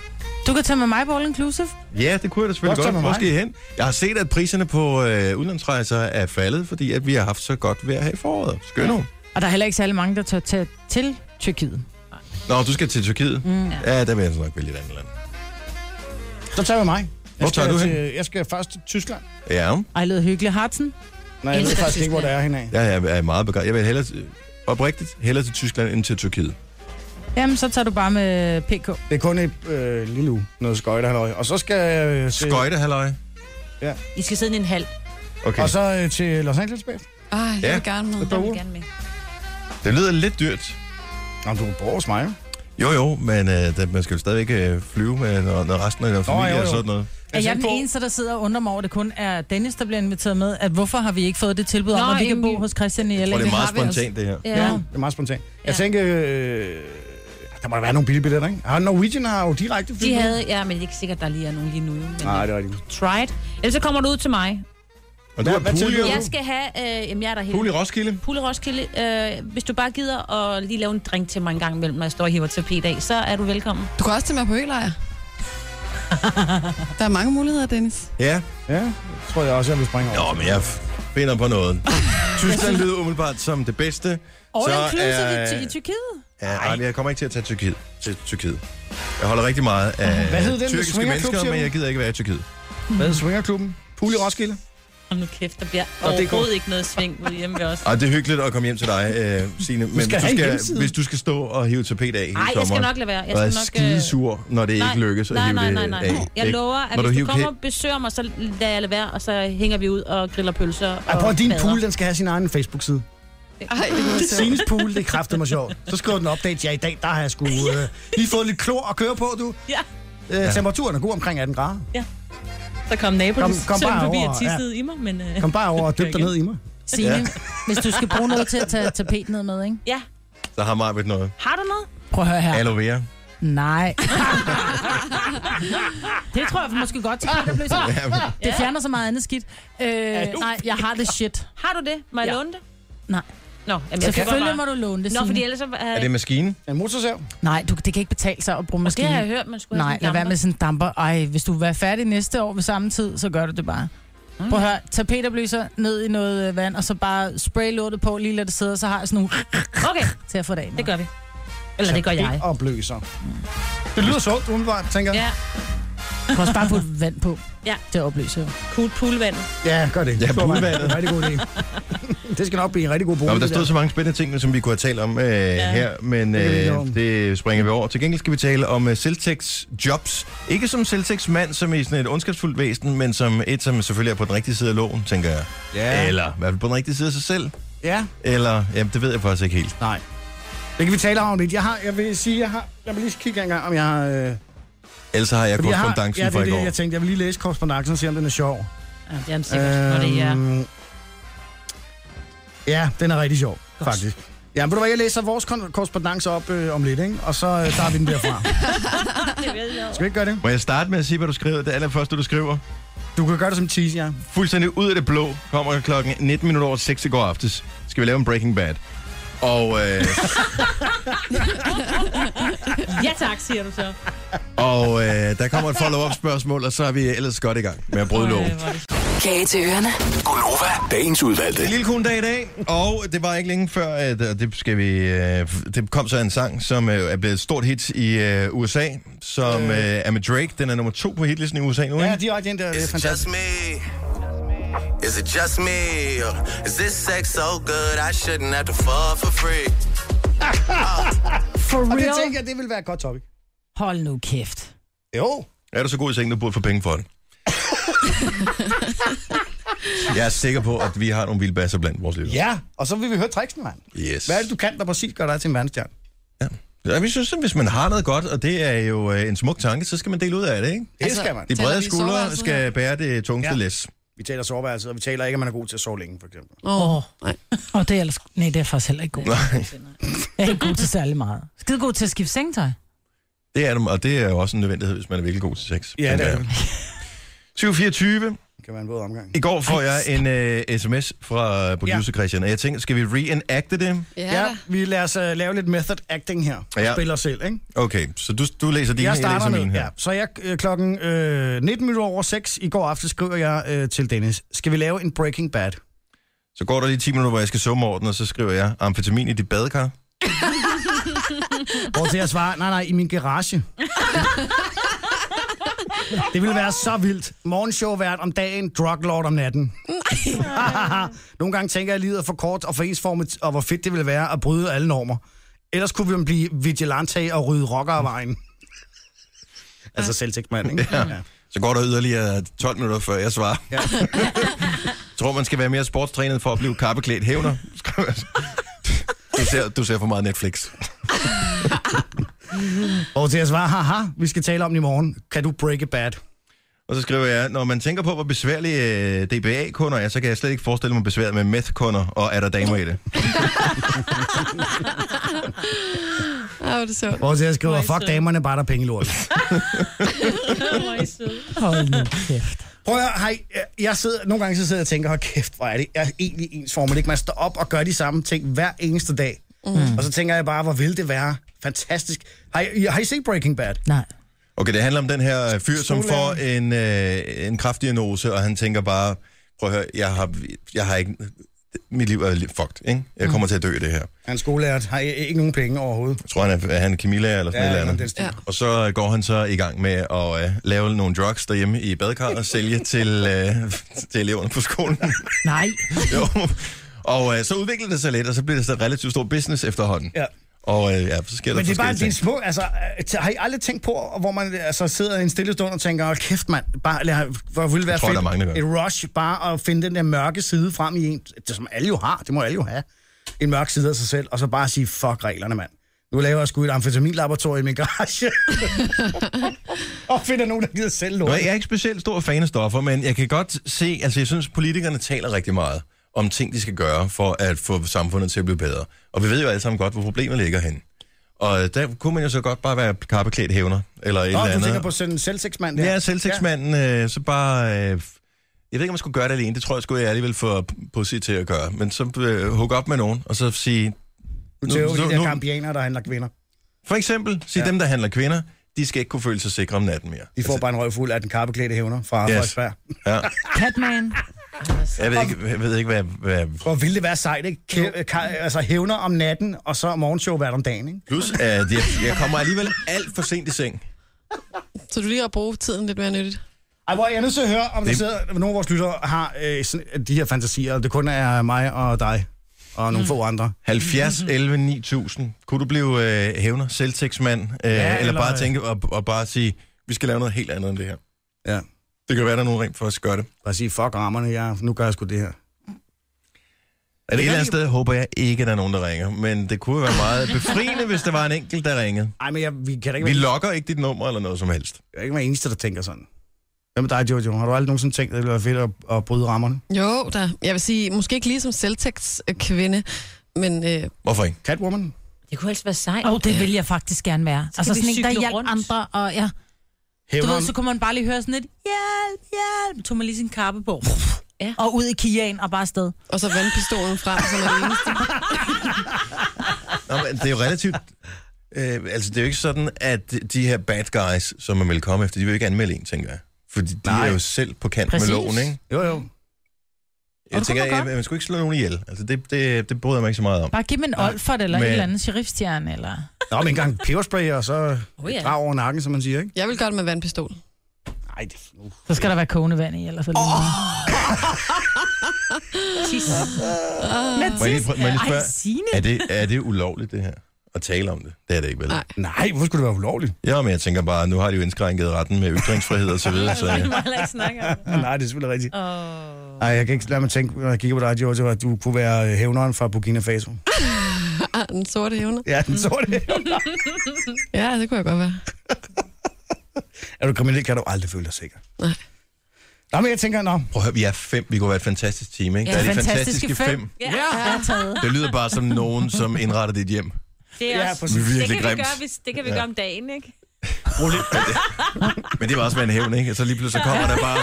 [SPEAKER 5] Du kan tage med mig på All Inclusive.
[SPEAKER 1] Ja, det kunne jeg da selvfølgelig
[SPEAKER 7] Også
[SPEAKER 1] godt.
[SPEAKER 7] med
[SPEAKER 1] Hvor
[SPEAKER 7] mig.
[SPEAKER 1] skal I hen? Jeg har set, at priserne på øh, udenlandsrejser er faldet, fordi at vi har haft så godt vejr her i foråret. Skøn ja.
[SPEAKER 5] Og der er heller ikke særlig mange, der tør tage til Tyrkiet.
[SPEAKER 1] Nå, du skal til Tyrkiet? Mm. Ja, der vil jeg så nok vælge et andet land.
[SPEAKER 7] Så tager vi mig. Jeg
[SPEAKER 1] Hvor
[SPEAKER 7] skal
[SPEAKER 1] tager du hen?
[SPEAKER 7] til, Jeg skal først til Tyskland.
[SPEAKER 1] Ja,
[SPEAKER 5] Ej, lød hyggeligt. Hartsen?
[SPEAKER 7] Nej, jeg ved
[SPEAKER 6] Elsker
[SPEAKER 7] faktisk ikke, hvor det er henad.
[SPEAKER 1] jeg er- er meget begejstret. Jeg vil hellere... øh, oprigtigt hellere til Tyskland end til Tyrkiet.
[SPEAKER 5] Jamen, så tager du bare med PK.
[SPEAKER 7] Det er kun et øh, lille uge, noget skøjtehalløj. Og så skal jeg... Øh, til-
[SPEAKER 1] Skøjte, halløj.
[SPEAKER 6] I skal sidde i en halv.
[SPEAKER 1] Okay.
[SPEAKER 7] Og så øh, til Los Angeles bag.
[SPEAKER 4] Ej, jeg
[SPEAKER 1] Ja.
[SPEAKER 4] vil gerne med.
[SPEAKER 6] Jeg vil gerne med.
[SPEAKER 1] Det lyder lidt dyrt.
[SPEAKER 7] Nå, du bor hos mig, jo.
[SPEAKER 1] Jo, jo, men øh, der, man skal jo stadigvæk øh, flyve med når, når resten af familien
[SPEAKER 7] jo,
[SPEAKER 1] og
[SPEAKER 7] jo.
[SPEAKER 1] sådan noget.
[SPEAKER 5] Er jeg den
[SPEAKER 7] på-
[SPEAKER 5] eneste, der sidder og undrer mig over, at det kun er Dennis, der bliver inviteret med? At hvorfor har vi ikke fået det tilbud om,
[SPEAKER 6] Nå,
[SPEAKER 5] at vi kan
[SPEAKER 6] jamen,
[SPEAKER 5] bo
[SPEAKER 6] vi-
[SPEAKER 5] hos Christian i
[SPEAKER 1] Jeg
[SPEAKER 5] LA?
[SPEAKER 1] tror, det er meget
[SPEAKER 4] har vi altså.
[SPEAKER 1] spontant, det her.
[SPEAKER 6] Ja.
[SPEAKER 7] Det er meget spontant. Ja.
[SPEAKER 6] Ja.
[SPEAKER 7] Jeg tænker, øh, der må da være nogle billige billetter, ikke? Ah, Norwegian har jo direkte fly.
[SPEAKER 6] De
[SPEAKER 7] nu.
[SPEAKER 6] havde, ja, men det er ikke sikkert, der lige er nogen lige nu. Men
[SPEAKER 7] Nej, det er rigtigt.
[SPEAKER 6] try it. Ellers så kommer du ud til mig.
[SPEAKER 1] Og du har
[SPEAKER 7] hvad
[SPEAKER 1] pool,
[SPEAKER 7] tænker
[SPEAKER 1] jo.
[SPEAKER 6] Jeg skal have, øh, jamen jeg er der helt.
[SPEAKER 1] pool i Roskilde.
[SPEAKER 6] Pule Roskilde, øh, hvis du bare gider at lige lave en drink til mig en gang imellem, når jeg står og hiver tapet af, så er du velkommen.
[SPEAKER 4] Du kan også tage med på ølejr. Der er mange muligheder, Dennis.
[SPEAKER 1] Ja.
[SPEAKER 7] Ja, det tror jeg også, jeg vil springe over.
[SPEAKER 1] Nå, men jeg finder på noget. Tyskland lyder umiddelbart som det bedste.
[SPEAKER 5] All
[SPEAKER 1] Så
[SPEAKER 5] inclusive
[SPEAKER 1] er-
[SPEAKER 5] i, Ty- i Tyrkiet?
[SPEAKER 1] Ja, ej, jeg kommer ikke til at tage Tyrkiet. til Tyrkiet. Jeg holder rigtig meget af
[SPEAKER 7] Hvad hed den
[SPEAKER 1] tyrkiske
[SPEAKER 7] swingerklub,
[SPEAKER 1] mennesker, men
[SPEAKER 7] siger du?
[SPEAKER 1] jeg gider ikke være i Tyrkiet.
[SPEAKER 7] Hvad er Swingerklubben? Pool i Roskilde?
[SPEAKER 6] Om nu kæft, der bliver
[SPEAKER 7] går-
[SPEAKER 6] overhovedet ikke noget sving ude hjemme ved os.
[SPEAKER 1] Ej, det er hyggeligt at komme hjem til dig, øh, Signe. Men
[SPEAKER 7] skal have
[SPEAKER 1] hvis, du skal,
[SPEAKER 7] en hjemmeside.
[SPEAKER 1] hvis du skal stå og hive tapet af hele
[SPEAKER 6] Nej, jeg skal
[SPEAKER 1] sommeren,
[SPEAKER 6] nok lade være. Jeg
[SPEAKER 1] og er
[SPEAKER 6] skal nok, øh,
[SPEAKER 1] skide sur, når det
[SPEAKER 6] nej,
[SPEAKER 1] ikke lykkes at
[SPEAKER 6] nej,
[SPEAKER 1] hive
[SPEAKER 6] nej,
[SPEAKER 1] det
[SPEAKER 6] nej, nej.
[SPEAKER 1] af.
[SPEAKER 6] Jeg
[SPEAKER 1] Ikke?
[SPEAKER 6] lover, at
[SPEAKER 1] Når
[SPEAKER 6] hvis du
[SPEAKER 1] hiver
[SPEAKER 6] kommer og besøger mig, så lader jeg lade være, og så hænger vi ud og griller pølser og
[SPEAKER 7] Ej, prøv at din
[SPEAKER 6] bader.
[SPEAKER 7] pool, den skal have sin egen Facebook-side.
[SPEAKER 4] Ej, det kunne jeg selv.
[SPEAKER 7] Sines pool, det er kraftigt mig sjovt. Så skriver den update, ja, i dag, der har jeg sgu øh, lige fået lidt klor at køre på, du.
[SPEAKER 6] Ja.
[SPEAKER 7] Øh, temperaturen er god omkring 18 grader.
[SPEAKER 6] Så kom naboen
[SPEAKER 7] Kom- kom
[SPEAKER 6] søn
[SPEAKER 7] bare
[SPEAKER 6] forbi
[SPEAKER 7] over,
[SPEAKER 6] og tissede ja. i mig, men... Øh,
[SPEAKER 7] Kom bare over og dyb dig ned i mig.
[SPEAKER 5] Signe, ja. hvis du skal bruge noget til at tage tapet ned med, ikke?
[SPEAKER 6] ja,
[SPEAKER 1] Så har Marvitt noget.
[SPEAKER 6] har du noget?
[SPEAKER 5] Prøv at høre her.
[SPEAKER 1] Aloe vera.
[SPEAKER 5] Nej. det tror jeg måske godt til kvindebløsning. Det fjerner så meget andet skidt. Øh, nej, jeg har det shit.
[SPEAKER 6] Har du det? Må jeg
[SPEAKER 5] Ja.
[SPEAKER 6] låne det?
[SPEAKER 5] Nej.
[SPEAKER 6] Nå, jamen, jeg
[SPEAKER 5] Selvfølgelig må du låne det,
[SPEAKER 6] Nå, fordi
[SPEAKER 5] Signe.
[SPEAKER 6] ellers så... Øh,
[SPEAKER 1] Er det maskinen?
[SPEAKER 7] En motorsav?
[SPEAKER 5] Nej, du, det kan ikke betale sig at bruge
[SPEAKER 6] det har jeg
[SPEAKER 5] maskinen.
[SPEAKER 6] hørt, man skulle
[SPEAKER 5] Nej,
[SPEAKER 6] have
[SPEAKER 5] lad
[SPEAKER 6] sådan
[SPEAKER 5] være
[SPEAKER 6] en
[SPEAKER 5] med sådan en damper. Ej, hvis du vil være færdig næste år ved samme tid, så gør du det bare. Prøv at høre, tapeterbløser ned i noget øh, vand, og så bare spray lortet på, lige lad det sidde, og så har jeg sådan nogle
[SPEAKER 6] gammel. Okay,
[SPEAKER 5] til at få det af. med.
[SPEAKER 6] det gør vi. Eller det gør jeg.
[SPEAKER 7] Opløser. Det lyder sundt, umiddelbart, tænker jeg.
[SPEAKER 6] Ja,
[SPEAKER 5] Du kan også bare putte vand på.
[SPEAKER 6] Ja.
[SPEAKER 5] Det opløser jo.
[SPEAKER 6] cool poolvand.
[SPEAKER 7] Ja, gør det.
[SPEAKER 1] Ja,
[SPEAKER 7] Det var
[SPEAKER 1] poolvandet.
[SPEAKER 7] en Rigtig god idé. Det skal nok blive en rigtig god bolig.
[SPEAKER 1] Nå, men der
[SPEAKER 7] det
[SPEAKER 1] stod så mange spændende ting, som vi kunne have talt om øh, ja. her, men
[SPEAKER 7] Det kan vi ikke
[SPEAKER 1] øh,
[SPEAKER 7] nå.
[SPEAKER 1] det springer vi over. Til gengæld skal vi tale om øh, selvtægts jobs. Ikke som selvtægtsmand, som i sådan et ondskabsfuldt væsen, men som et, som selvfølgelig er på den rigtige side af loven, tænker jeg.
[SPEAKER 7] Ja.
[SPEAKER 1] Eller i hvert fald på den rigtige side af sig selv.
[SPEAKER 7] Ja.
[SPEAKER 1] Eller, jamen det ved jeg faktisk ikke helt.
[SPEAKER 7] Nej. Det kan vi tale om lidt. Jeg, har, jeg vil sige, jeg har... Lad mig lige kigge en gang, om jeg har... Øh, fordi
[SPEAKER 1] Ellers så har jeg
[SPEAKER 7] jeg har
[SPEAKER 1] korrespondancen
[SPEAKER 7] ja, det
[SPEAKER 1] fra
[SPEAKER 7] er
[SPEAKER 1] i går.
[SPEAKER 7] det, jeg tænkte. Jeg vil lige læse korrespondancen og se, om den er sjov.
[SPEAKER 6] Ja, det er den sikkert, øhm, når det er...
[SPEAKER 7] Øhm, Ja, den er rigtig sjov, Godt. faktisk. Ja, men ved du hvad, jeg læser vores kon- korrespondance op øh, om lidt, ikke? Og så øh, tager vi den derfra. Skal vi ikke gøre det?
[SPEAKER 1] Må jeg starte med at sige, hvad du skriver? Det allerførste, du skriver.
[SPEAKER 7] Du kan gøre det som tease, ja.
[SPEAKER 1] fuldstændig ud af det blå, kommer klokken 19 minutter over 6 i går aftes. Skal vi lave en Breaking Bad? Og, øh,
[SPEAKER 6] Ja tak, siger du så.
[SPEAKER 1] og øh, der kommer et follow-up spørgsmål, og så er vi ellers godt i gang med at bryde loven.
[SPEAKER 9] Kage til ørerne.
[SPEAKER 8] Gunova, dagens udvalgte.
[SPEAKER 1] En lille kun dag i dag, og det var ikke længe før, at og det, skal vi, øh, f- det kom så en sang, som øh, er blevet et stort hit i øh, USA, som øh, er med Drake. Den er nummer to på hitlisten i USA nu,
[SPEAKER 7] Ja,
[SPEAKER 1] ikke?
[SPEAKER 7] direkte ind der. Det er
[SPEAKER 8] Is it
[SPEAKER 7] fantastisk.
[SPEAKER 8] just me? Is it just me? Or is this sex so good I shouldn't have to fuck for free?
[SPEAKER 5] For
[SPEAKER 7] Og det
[SPEAKER 5] real?
[SPEAKER 7] tænker jeg, det vil være et godt topic.
[SPEAKER 5] Hold nu kæft.
[SPEAKER 7] Jo.
[SPEAKER 1] Er du så god i sengen, du burde få penge for den? Jeg er sikker på, at vi har nogle vilde basser blandt vores lyttere.
[SPEAKER 7] Ja, og så vil vi høre tricksen, mand.
[SPEAKER 1] Yes.
[SPEAKER 7] Hvad er det, du kan, der præcis gør dig til en verdensstjerne?
[SPEAKER 1] Ja, vi synes, at hvis man har noget godt, og det er jo øh, en smuk tanke, så skal man dele ud af det, ikke?
[SPEAKER 7] Det
[SPEAKER 4] Altså,
[SPEAKER 7] skal man.
[SPEAKER 1] De
[SPEAKER 4] Taler
[SPEAKER 1] brede
[SPEAKER 4] vi i
[SPEAKER 1] skuldre
[SPEAKER 4] soveværelset
[SPEAKER 1] skal bære det tungeste
[SPEAKER 7] Ja.
[SPEAKER 1] ja. læs.
[SPEAKER 7] Vi taler soveværelset, og vi taler ikke, om man er god til at sove længe, for eksempel.
[SPEAKER 4] Åh, oh, nej.
[SPEAKER 5] Og det er ellers... Nej, det er jeg faktisk heller ikke god. til.
[SPEAKER 1] Nej,
[SPEAKER 5] Jeg er ikke god til særlig meget. Skide god til at skifte sengtøj.
[SPEAKER 1] det er det, og det er jo også en nødvendighed, hvis man er virkelig god til sex.
[SPEAKER 7] Ja, det er det.
[SPEAKER 1] 724.
[SPEAKER 7] Det kan være en våd omgang.
[SPEAKER 1] I går får jeg en uh, sms fra producer Christian, og jeg tænker, skal vi reenacte det?
[SPEAKER 4] Ja,
[SPEAKER 7] Ja,
[SPEAKER 4] da.
[SPEAKER 7] vi lader os uh, lave lidt method acting her.
[SPEAKER 1] Ja.
[SPEAKER 7] Ja. Spiller os selv, ikke?
[SPEAKER 1] Okay, så du, du læser din,
[SPEAKER 7] jeg
[SPEAKER 1] jeg,
[SPEAKER 7] starter
[SPEAKER 1] læser min
[SPEAKER 7] med,
[SPEAKER 1] ligesom her.
[SPEAKER 7] ja. Så jeg øh, klokken øh, 19 minutter over 6 i går aften skriver jeg øh, til Dennis, skal vi lave en Breaking Bad?
[SPEAKER 1] Så går der lige 10 minutter, hvor jeg skal summe over den, og så skriver jeg, amfetamin i dit badekar.
[SPEAKER 7] Hvor til jeg svarer, nej, nej, i min garage. det ville være så vildt. Morgenshow vært om dagen, drug lord om natten. Nogle gange tænker jeg, at livet er for kort og for ensformet, og hvor fedt det ville være at bryde alle normer. Ellers kunne vi jo blive vigilante og rydde rocker af vejen. altså selvtægtsmand, ikke?
[SPEAKER 1] Ja. Så går der yderligere 12 minutter, før jeg svarer.
[SPEAKER 7] Ja.
[SPEAKER 1] tror, man skal være mere sportstrænet for at blive kappeklædt hævner. Du ser, du ser for meget Netflix.
[SPEAKER 7] Og til at svare, haha, vi skal tale om det i morgen. Kan du break it bad?
[SPEAKER 1] Og så skriver jeg, når man tænker på, hvor besværlige øh, DBA-kunder er, så kan jeg slet ikke forestille mig besværet med meth-kunder, og er der damer i det?
[SPEAKER 4] Åh, oh, det så.
[SPEAKER 7] Og til at skrive, fuck damerne, bare der er penge i lort.
[SPEAKER 3] Hold nu kæft.
[SPEAKER 7] Prøv at høre, hej, jeg sidder, nogle gange så sidder jeg og tænker, hold kæft, hvor er det jeg er egentlig ens formel, ikke? Man står op og gør de samme ting hver eneste dag. Mm. Og så tænker jeg bare, hvor vil det være fantastisk. Har I, har I set Breaking Bad?
[SPEAKER 3] Nej.
[SPEAKER 1] Okay, det handler om den her øh, fyr, som får en, øh, en kraftdiagnose, og han tænker bare, prøv at høre, jeg har, jeg har ikke... Mit liv er li- fucked, ikke? Jeg kommer til at dø i det her.
[SPEAKER 7] Han er skolelærer, har I ikke nogen penge overhovedet.
[SPEAKER 1] Jeg tror, han er, er han Camilla eller sådan
[SPEAKER 7] Ja,
[SPEAKER 1] ja, noget
[SPEAKER 7] jamen,
[SPEAKER 1] eller
[SPEAKER 7] den stil.
[SPEAKER 1] andet. Og så øh, går han så i gang med at øh, lave nogle drugs derhjemme i badekarret og sælge til, øh, til eleverne på skolen.
[SPEAKER 3] Nej.
[SPEAKER 1] jo. Og øh, så udvikler det sig lidt, og så bliver det så et relativt stor business efterhånden.
[SPEAKER 7] Ja.
[SPEAKER 1] Og øh, ja, så sker
[SPEAKER 7] Men
[SPEAKER 1] der
[SPEAKER 7] det er bare
[SPEAKER 1] forskellige
[SPEAKER 7] de
[SPEAKER 1] ting.
[SPEAKER 7] små, altså, øh, t- har I aldrig tænkt på, hvor man altså, sidder i en stille stund og tænker, hold kæft mand, bare, lad, hvor ville være
[SPEAKER 1] tror, der er mange, der
[SPEAKER 7] fedt,
[SPEAKER 1] gør.
[SPEAKER 7] et rush, bare at finde den der mørke side frem i en, det, som alle jo har, det må alle jo have, en mørk side af sig selv, og så bare sige, fuck reglerne mand. Nu laver jeg sgu et amfetaminlaboratorium i min garage. og finder nogen, der gider sælge
[SPEAKER 1] Nå,
[SPEAKER 7] lort.
[SPEAKER 1] jeg er ikke specielt stor fan af stoffer, men jeg kan godt se, altså jeg synes, politikerne taler rigtig meget om ting, de skal gøre for at få samfundet til at blive bedre. Og vi ved jo alle sammen godt, hvor problemet ligger hen. Og øh, der kunne man jo så godt bare være kappeklædt hævner, eller et
[SPEAKER 7] Nå,
[SPEAKER 1] eller
[SPEAKER 7] du
[SPEAKER 1] andet.
[SPEAKER 7] tænker på sådan en selvsexmand der.
[SPEAKER 1] Ja, selvtægtsmanden, øh, så bare... Øh, jeg ved ikke, om man skulle gøre det alene. Det tror jeg sgu, jeg alligevel får pussy til at gøre. Men så øh, hook op med nogen, og så sige...
[SPEAKER 7] Du tæver de der gambianere, der handler kvinder.
[SPEAKER 1] for eksempel, sige ja. dem, der handler kvinder, de skal ikke kunne føle sig sikre om natten mere. Altså,
[SPEAKER 7] De får bare en røv fuld af den karpeklædte hævner fra
[SPEAKER 1] Yes.
[SPEAKER 7] yes. Frederiksberg.
[SPEAKER 1] Ja.
[SPEAKER 5] Catman.
[SPEAKER 1] Jeg ved ikke, jeg ved ikke hvad, hvad,
[SPEAKER 7] Hvor ville det være sejt, ikke? Kæ- ka- altså hævner om natten, og så morgenshow hvert om dagen, ikke?
[SPEAKER 1] Plus, at jeg, jeg kommer alligevel alt for sent i seng.
[SPEAKER 4] Så du lige at bruge tiden lidt mere nyttigt.
[SPEAKER 7] Ej, hvor er jeg nødt til at høre, om det... der
[SPEAKER 1] Det-
[SPEAKER 7] sidder, nogle af vores lyttere har øh, sådan, de her fantasier, og det kun er mig og dig, og nogle mm. få andre.
[SPEAKER 1] 70, 11, 9000. Kunne du blive øh, hævner, selvtægtsmand, øh, ja, eller,
[SPEAKER 7] eller-
[SPEAKER 1] bare tænke og, og bare sige, vi skal lave noget helt andet end det her.
[SPEAKER 7] Ja.
[SPEAKER 1] Det kan være, der er nogen rent for os gør det.
[SPEAKER 7] Bare sige, fuck rammerne, jeg, nu gør jeg sgu det her.
[SPEAKER 1] Er det et eller andet sted håber jeg ikke, at der er nogen, der ringer, men det kunne være meget befriende, hvis der var en enkelt, der ringede.
[SPEAKER 7] Ej, men jeg, vi kan da ikke,
[SPEAKER 1] Vi
[SPEAKER 7] være,
[SPEAKER 1] lokker ikke dit nummer eller noget som helst.
[SPEAKER 7] jeg kan ikke være eneste, der tænker sådan. Hvad med dig, Jojo? Har du aldrig nogensinde tænkt, at det ville være fedt at, at bryde rammerne?
[SPEAKER 4] Jo, der. Jeg vil sige, måske ikke lige som selvtægtskvinde, men øh,
[SPEAKER 1] Hvorfor ikke?
[SPEAKER 7] Catwoman?
[SPEAKER 6] Det kunne altså være sejt.
[SPEAKER 5] Og oh, det vil jeg faktisk gerne være.
[SPEAKER 6] Så
[SPEAKER 5] altså
[SPEAKER 6] kan vi
[SPEAKER 5] sådan en, der
[SPEAKER 6] cykle
[SPEAKER 5] hjalp
[SPEAKER 6] rundt.
[SPEAKER 5] andre, og ja. Du
[SPEAKER 7] Hævner
[SPEAKER 5] ved, så kunne man bare lige høre sådan et, hjælp, hjælp, tog man lige sin kappe på. Ja. Og ud i kiaen og bare afsted.
[SPEAKER 4] og så vandpistolen frem, som er det eneste.
[SPEAKER 1] Nå, men det er jo relativt... Øh, altså, det er jo ikke sådan, at de her bad guys, som man vil komme efter, de vil jo ikke anmelde en, tænker jeg. Fordi de
[SPEAKER 7] Nej.
[SPEAKER 1] er jo selv på kant
[SPEAKER 3] Præcis.
[SPEAKER 1] med loven, ikke?
[SPEAKER 7] Jo, jo.
[SPEAKER 1] Jeg tænker, at man skulle ikke slå nogen ihjel. Altså, det, det, det bryder jeg mig ikke så meget om.
[SPEAKER 5] Bare giv dem en olfert eller
[SPEAKER 1] men-
[SPEAKER 5] men... et eller andet sheriffstjerne, eller...
[SPEAKER 7] Nå, men engang peberspray, og så
[SPEAKER 6] Oh, ja.
[SPEAKER 7] drag over nakken, som man siger, ikke?
[SPEAKER 4] Jeg vil gøre det med vandpistol.
[SPEAKER 7] Nej, det... Uh.
[SPEAKER 5] Så skal der være kogende vand i, eller så lige... Oh.
[SPEAKER 1] Må jeg lige, prø- må jeg lige
[SPEAKER 5] Ej,
[SPEAKER 1] spørge,
[SPEAKER 5] Signe.
[SPEAKER 1] er det, er det ulovligt, det her? At tale om det? Det er det ikke, vel?
[SPEAKER 4] Nej.
[SPEAKER 7] Nej, hvorfor skulle det være ulovligt?
[SPEAKER 1] Ja, men jeg tænker bare, nu har de jo indskrænket retten med ytringsfrihed og så videre, så
[SPEAKER 6] Du
[SPEAKER 1] jeg
[SPEAKER 6] må heller ikke snakke om det.
[SPEAKER 7] Nej, det er selvfølgelig rigtigt. Ej,
[SPEAKER 6] Åh.
[SPEAKER 7] jeg kan ikke lade mig tænke, når jeg kigger på dig, Jojo, at du kunne være øh, hævneren fra Burkina Faso.
[SPEAKER 4] Ah, den sorte hævner.
[SPEAKER 7] Ja, den så det.
[SPEAKER 4] Ja, det kunne jeg godt være.
[SPEAKER 7] er du kriminel, kan du aldrig føle dig sikker.
[SPEAKER 4] Nej.
[SPEAKER 7] Nå, men jeg tænker, nå.
[SPEAKER 1] Prøv at høre, vi er fem. Vi kunne være et fantastisk team, ikke?
[SPEAKER 6] Ja,
[SPEAKER 1] Der er de
[SPEAKER 5] fantastiske
[SPEAKER 1] fantastiske
[SPEAKER 5] fem.
[SPEAKER 1] fem.
[SPEAKER 6] Ja, ja.
[SPEAKER 1] Det lyder bare som nogen, som indretter dit hjem.
[SPEAKER 6] Det er
[SPEAKER 7] Ja,
[SPEAKER 6] også...
[SPEAKER 7] præcis.
[SPEAKER 6] Det
[SPEAKER 1] Virkelig
[SPEAKER 6] kan, vi
[SPEAKER 1] grimt.
[SPEAKER 6] gøre, hvis, det kan vi gøre om dagen, ikke?
[SPEAKER 1] Men det var også være en hævn, ikke? Og så lige pludselig så kommer der bare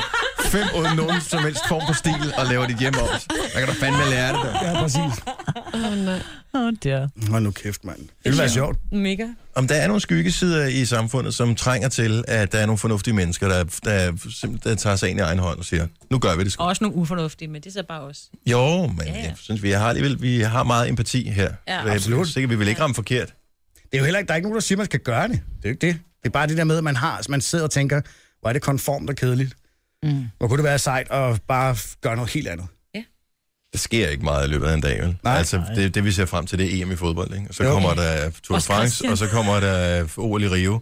[SPEAKER 1] fem uden nogen som helst form for stil og laver dit hjem om. Der kan du fandme lære det, der.
[SPEAKER 7] Ja, præcis.
[SPEAKER 4] Oh, nej.
[SPEAKER 5] Åh, der.
[SPEAKER 7] Hold nu kæft, mand. Det ville være sjovt.
[SPEAKER 6] Mega.
[SPEAKER 1] Om der er nogle skyggesider i samfundet, som trænger til, at der er nogle fornuftige mennesker, der, der, der, der tager sig ind i egen hånd og siger, nu gør vi det sgu.
[SPEAKER 6] Og også nogle ufornuftige, men det er så bare os.
[SPEAKER 1] Jo, men ja,
[SPEAKER 6] ja.
[SPEAKER 1] jeg synes, vi har alligevel vi har meget empati her.
[SPEAKER 6] Ja,
[SPEAKER 1] Øh,
[SPEAKER 7] absolut.
[SPEAKER 1] Sikkert, vi vil ikke ramme forkert.
[SPEAKER 7] Det er jo heller ikke, der er ikke nogen, der siger, man skal gøre det. Det er jo ikke det. Det er bare det der med, at man har, man sidder og tænker, hvor er det konformt og kedeligt. Mm. Hvor kunne det være sejt at bare f- gøre noget helt andet.
[SPEAKER 1] der sker ikke meget i løbet af en dag, vel? Nej. Altså, det, det vi ser frem til, det er EM i fodbold, ikke? Og så
[SPEAKER 2] Jo.
[SPEAKER 1] kommer der Tour de
[SPEAKER 6] Også
[SPEAKER 1] France,
[SPEAKER 6] Christian.
[SPEAKER 1] og så kommer der øh, OL i Rio.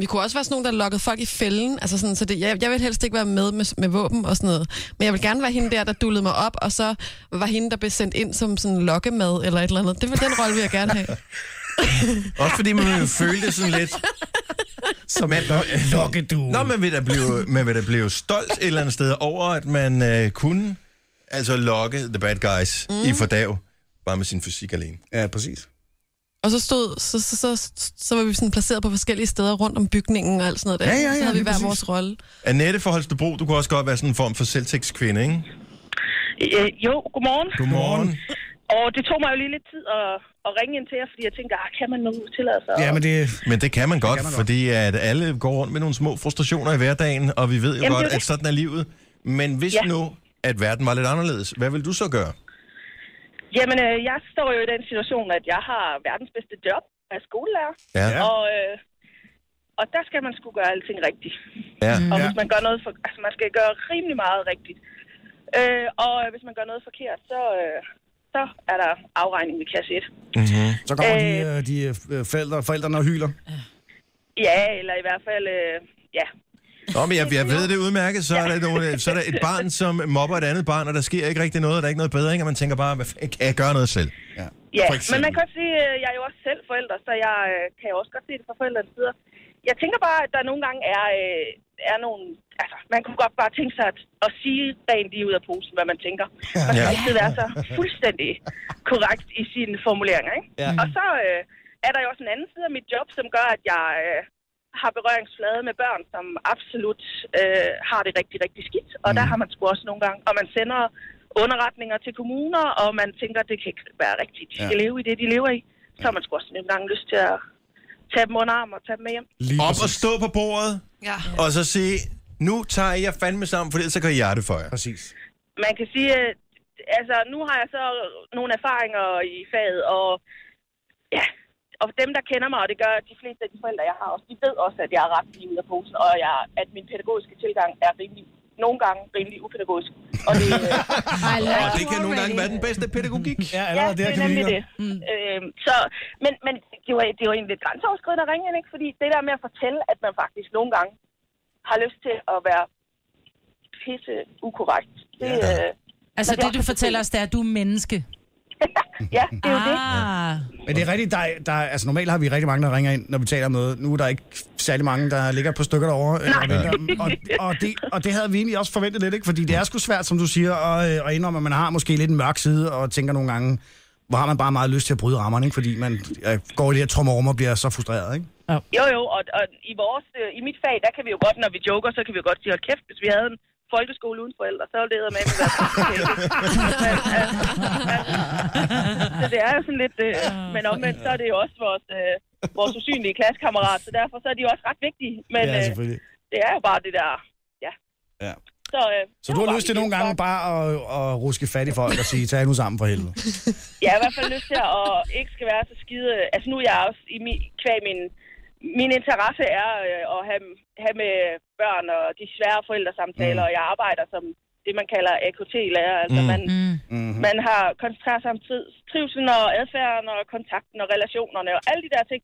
[SPEAKER 4] Vi kunne også være sådan nogen, der lukkede folk i fælden. Altså sådan, så det, jeg, jeg vil helst ikke være med, med med våben og sådan noget. Men jeg vil gerne være hende der, der dullede mig op, og så var hende, der blev sendt ind som sådan lokkemad eller et eller andet. Det var den rolle, vil jeg gerne have.
[SPEAKER 1] Også fordi man vil føle det sådan lidt... Som man,
[SPEAKER 7] Lokke du.
[SPEAKER 1] Nå, man vil, da blive, man vil da blive stolt et eller andet sted over, at man øh, kunne altså lokke the bad guys mm. i fordav, bare med sin fysik alene.
[SPEAKER 7] Ja, præcis.
[SPEAKER 4] Og så, stod, så, så, så, så var vi sådan placeret på forskellige steder rundt om bygningen og alt sådan noget der.
[SPEAKER 7] Ja, ja, ja,
[SPEAKER 4] så havde vi
[SPEAKER 7] lige
[SPEAKER 4] hver
[SPEAKER 7] præcis.
[SPEAKER 4] vores rolle.
[SPEAKER 1] Annette fra Holstebro, du kunne også godt være sådan en form for selvtægtskvinde, ikke?
[SPEAKER 10] Øh, jo, godmorgen.
[SPEAKER 1] Godmorgen.
[SPEAKER 10] Og det tog mig jo lige lidt tid at, at ringe ind til jer, fordi jeg tænkte, ah, kan man nu tillade sig?
[SPEAKER 7] Ja, men det...
[SPEAKER 1] Men det kan man godt,
[SPEAKER 7] kan man godt.
[SPEAKER 1] fordi at alle går rundt med nogle små frustrationer i hverdagen, og vi ved jo
[SPEAKER 10] Jamen,
[SPEAKER 1] godt,
[SPEAKER 10] det er
[SPEAKER 1] at
[SPEAKER 10] det.
[SPEAKER 1] sådan er livet. Men hvis ja.
[SPEAKER 10] Ja.
[SPEAKER 1] nu, at verden var lidt anderledes, hvad vil du så gøre?
[SPEAKER 10] Jamen, øh, jeg står jo i den situation, at jeg har verdens bedste job. Jeg er skolelærer,
[SPEAKER 1] Ja,
[SPEAKER 10] og, øh, og der skal man sgu gøre alting rigtigt.
[SPEAKER 1] ja.
[SPEAKER 7] Mm.
[SPEAKER 10] Og hvis man gør noget for, altså, man skal gøre rimelig meget rigtigt. Øh, og øh, hvis man gør noget forkert, så, øh, så er der afregning ved kasse 1.
[SPEAKER 1] Mm-hmm.
[SPEAKER 7] Så kommer de,
[SPEAKER 10] Øh.
[SPEAKER 7] øh, de øh, forældre, forældrene og hyler.
[SPEAKER 10] Ja, eller i hvert fald, øh, ja.
[SPEAKER 1] Nå, men jeg, jeg ved det udmærket, så er, der nogle, så er der et barn, som mobber et andet barn, og der sker ikke rigtig noget, og der er ikke noget bedring, og man tænker bare, hvad fanden, kan jeg gøre noget selv?
[SPEAKER 10] Ja,
[SPEAKER 1] For eksempel.
[SPEAKER 10] men man kan også sige, øh, jeg er jo også selv forældre, så jeg øh, kan jo også godt se det fra forældrenes side. Jeg tænker bare, at der nogle gange er, øh, er nogle... Altså, man kunne godt bare tænke sig at, at sige rent lige ud af posen, hvad man tænker. Man skal
[SPEAKER 1] Ja.
[SPEAKER 10] altid være så fuldstændig korrekt i sine formuleringer, ikke?
[SPEAKER 1] Ja.
[SPEAKER 10] Og så øh, er der jo også en anden side af mit job, som gør, at jeg øh, har berøringsflade med børn, som absolut øh, har det rigtig, rigtig skidt. Og mm. der har man sgu også nogle gange... Og man sender underretninger til kommuner, og man tænker, at det kan ikke være rigtigt. De skal ja. leve i det, de lever i. Så har man sgu også nogle gange lyst til at tage dem under arm og tage dem med hjem.
[SPEAKER 7] Lige
[SPEAKER 1] Op og stå på bordet,
[SPEAKER 4] Ja.
[SPEAKER 1] og så sige, nu tager jeg fandme sammen, for ellers så kan jeg det for jer.
[SPEAKER 7] Præcis.
[SPEAKER 10] man kan sige, øh, altså nu har jeg så nogle erfaringer i faget, og ja, og dem, der kender mig, og det gør de fleste af de forældre, jeg har også, de ved også, at jeg er ret lige ud af posen, og jeg, at min pædagogiske tilgang er rimelig, nogle gange rimelig upædagogisk. Og det, øh,
[SPEAKER 5] Ej, lad
[SPEAKER 1] Og
[SPEAKER 5] os
[SPEAKER 1] det kan nogle gange være den bedste pædagogik.
[SPEAKER 7] Ja,
[SPEAKER 10] ja,
[SPEAKER 7] allerede
[SPEAKER 10] det
[SPEAKER 7] der
[SPEAKER 10] er
[SPEAKER 7] kan vi
[SPEAKER 10] nemlig
[SPEAKER 7] lide.
[SPEAKER 10] det. Mm. Øhm, så, men, men det var, det var egentlig lidt grænseoverskridende at ringe ind, ikke? Fordi det der med at fortælle, at man faktisk nogle gange har lyst til at være pisse ukorrekt, det, ja. Øh,
[SPEAKER 5] Altså,
[SPEAKER 10] Men det er
[SPEAKER 5] det du
[SPEAKER 10] også
[SPEAKER 5] fortæller os, det er, at du er menneske.
[SPEAKER 10] ja, det er jo det.
[SPEAKER 5] Ah,
[SPEAKER 7] Men det er rigtigt, der, er- der, er- altså normalt har vi rigtig mange, der ringer ind, når vi taler om noget. Nu er der ikke særlig mange, der ligger på stykker derovre. øh, og venter. Og, og, det, og det havde vi egentlig også forventet lidt, ikke? fordi det er sgu svært, som du siger, at, øh, at indrømme, at man har måske lidt en mørk side, og tænker nogle gange, hvor har man bare meget lyst til at bryde rammerne, ikke? fordi man øh, går i det her trummerum og bliver så frustreret. Ikke?
[SPEAKER 10] Jo, jo, og, og i, vores, øh, i mit fag, der kan vi jo godt, når vi joker, så kan vi jo godt sige, hold kæft, hvis vi havde en folkeskole uden forældre, så ville det med at være Så det er jo sådan lidt, øh, men omvendt, så er det jo også vores, øh, vores usynlige klassekammerat, så derfor så er de jo også ret vigtige, men øh,
[SPEAKER 7] selvfølgelig.
[SPEAKER 10] det er jo bare det der, ja.
[SPEAKER 7] Ja.
[SPEAKER 10] Så, øh,
[SPEAKER 7] Så du har lyst til nogle gange bare at, at ruske fat i folk og sige, tag nu sammen for helvede.
[SPEAKER 10] Jeg har i hvert fald lyst til at ikke skal være så skide... Altså nu er jeg også i mi, kvæg min... Min interesse er øh, at have, have med børn og de svære forældresamtaler, mm. og jeg arbejder som det, man kalder AKT-lærer. Altså
[SPEAKER 1] Mm.
[SPEAKER 10] man,
[SPEAKER 7] Mm-hmm.
[SPEAKER 10] man har koncentreret sig om tid, trivselen og adfærden og kontakten og relationerne og alle de der ting.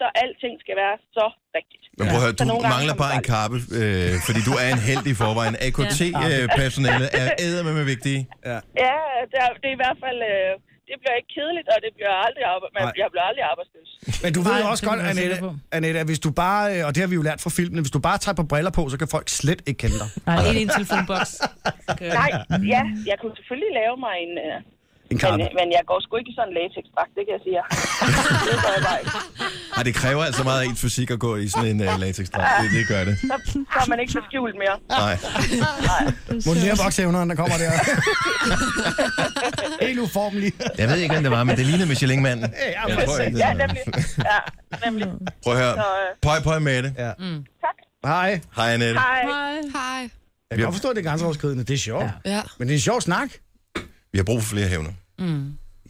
[SPEAKER 10] Så alting skal være så rigtigt.
[SPEAKER 1] Men prøv at høre,
[SPEAKER 10] Så nogle
[SPEAKER 1] du
[SPEAKER 10] gange
[SPEAKER 1] mangler
[SPEAKER 10] kommer
[SPEAKER 1] bare en
[SPEAKER 10] der-
[SPEAKER 1] kappe, øh, fordi du er en heldig i forvejen. AKT-personalet er ædermame med vigtige.
[SPEAKER 10] Ja, det er, det er i hvert fald... Øh, det bliver ikke kedeligt, og det bliver aldrig arbe- man,
[SPEAKER 7] Nej.
[SPEAKER 10] jeg bliver aldrig arbejdsløs.
[SPEAKER 7] Men du ved
[SPEAKER 5] Nej,
[SPEAKER 7] jo også
[SPEAKER 5] det er
[SPEAKER 7] godt,
[SPEAKER 5] jeg sikker
[SPEAKER 7] Annette,
[SPEAKER 5] på.
[SPEAKER 7] Annette, at hvis du bare, øh, og det har vi jo lært fra filmen, hvis du bare tager på briller på, så kan folk slet ikke kende dig.
[SPEAKER 6] Nej, det er en telefonboks. Okay.
[SPEAKER 10] Nej, ja, jeg kunne selvfølgelig lave mig en... Øh,
[SPEAKER 7] En
[SPEAKER 10] Men,
[SPEAKER 7] karpe.
[SPEAKER 10] men jeg går sgu ikke i sådan en latexdragt, det kan jeg sige. jer. det gør jeg bare ikke.
[SPEAKER 1] Ej, det kræver altså meget af ens fysik at gå i sådan en uh, latexdrag. Det, det gør det.
[SPEAKER 10] Så, så er man ikke så skjult mere.
[SPEAKER 1] Nej.
[SPEAKER 7] Må den voksevneren, der kommer der. Helt uformelig.
[SPEAKER 1] Jeg ved ikke, hvem det var, men det lignede Michelin-manden.
[SPEAKER 7] Ja,
[SPEAKER 1] Jeg tror ikke,
[SPEAKER 10] Ja,
[SPEAKER 1] det
[SPEAKER 10] nemlig. øh, Ja, nemlig.
[SPEAKER 1] Prøv at høre. Pøj, pøj med det.
[SPEAKER 10] Tak.
[SPEAKER 7] Hej.
[SPEAKER 1] Hej, Annette.
[SPEAKER 10] Hej.
[SPEAKER 4] Hej.
[SPEAKER 7] Jeg kan godt forstå, at det er grænseoverskridende. Det er sjovt. Ja.
[SPEAKER 4] Ja.
[SPEAKER 7] Men det er en sjov snak.
[SPEAKER 1] Vi har brug for flere hævner.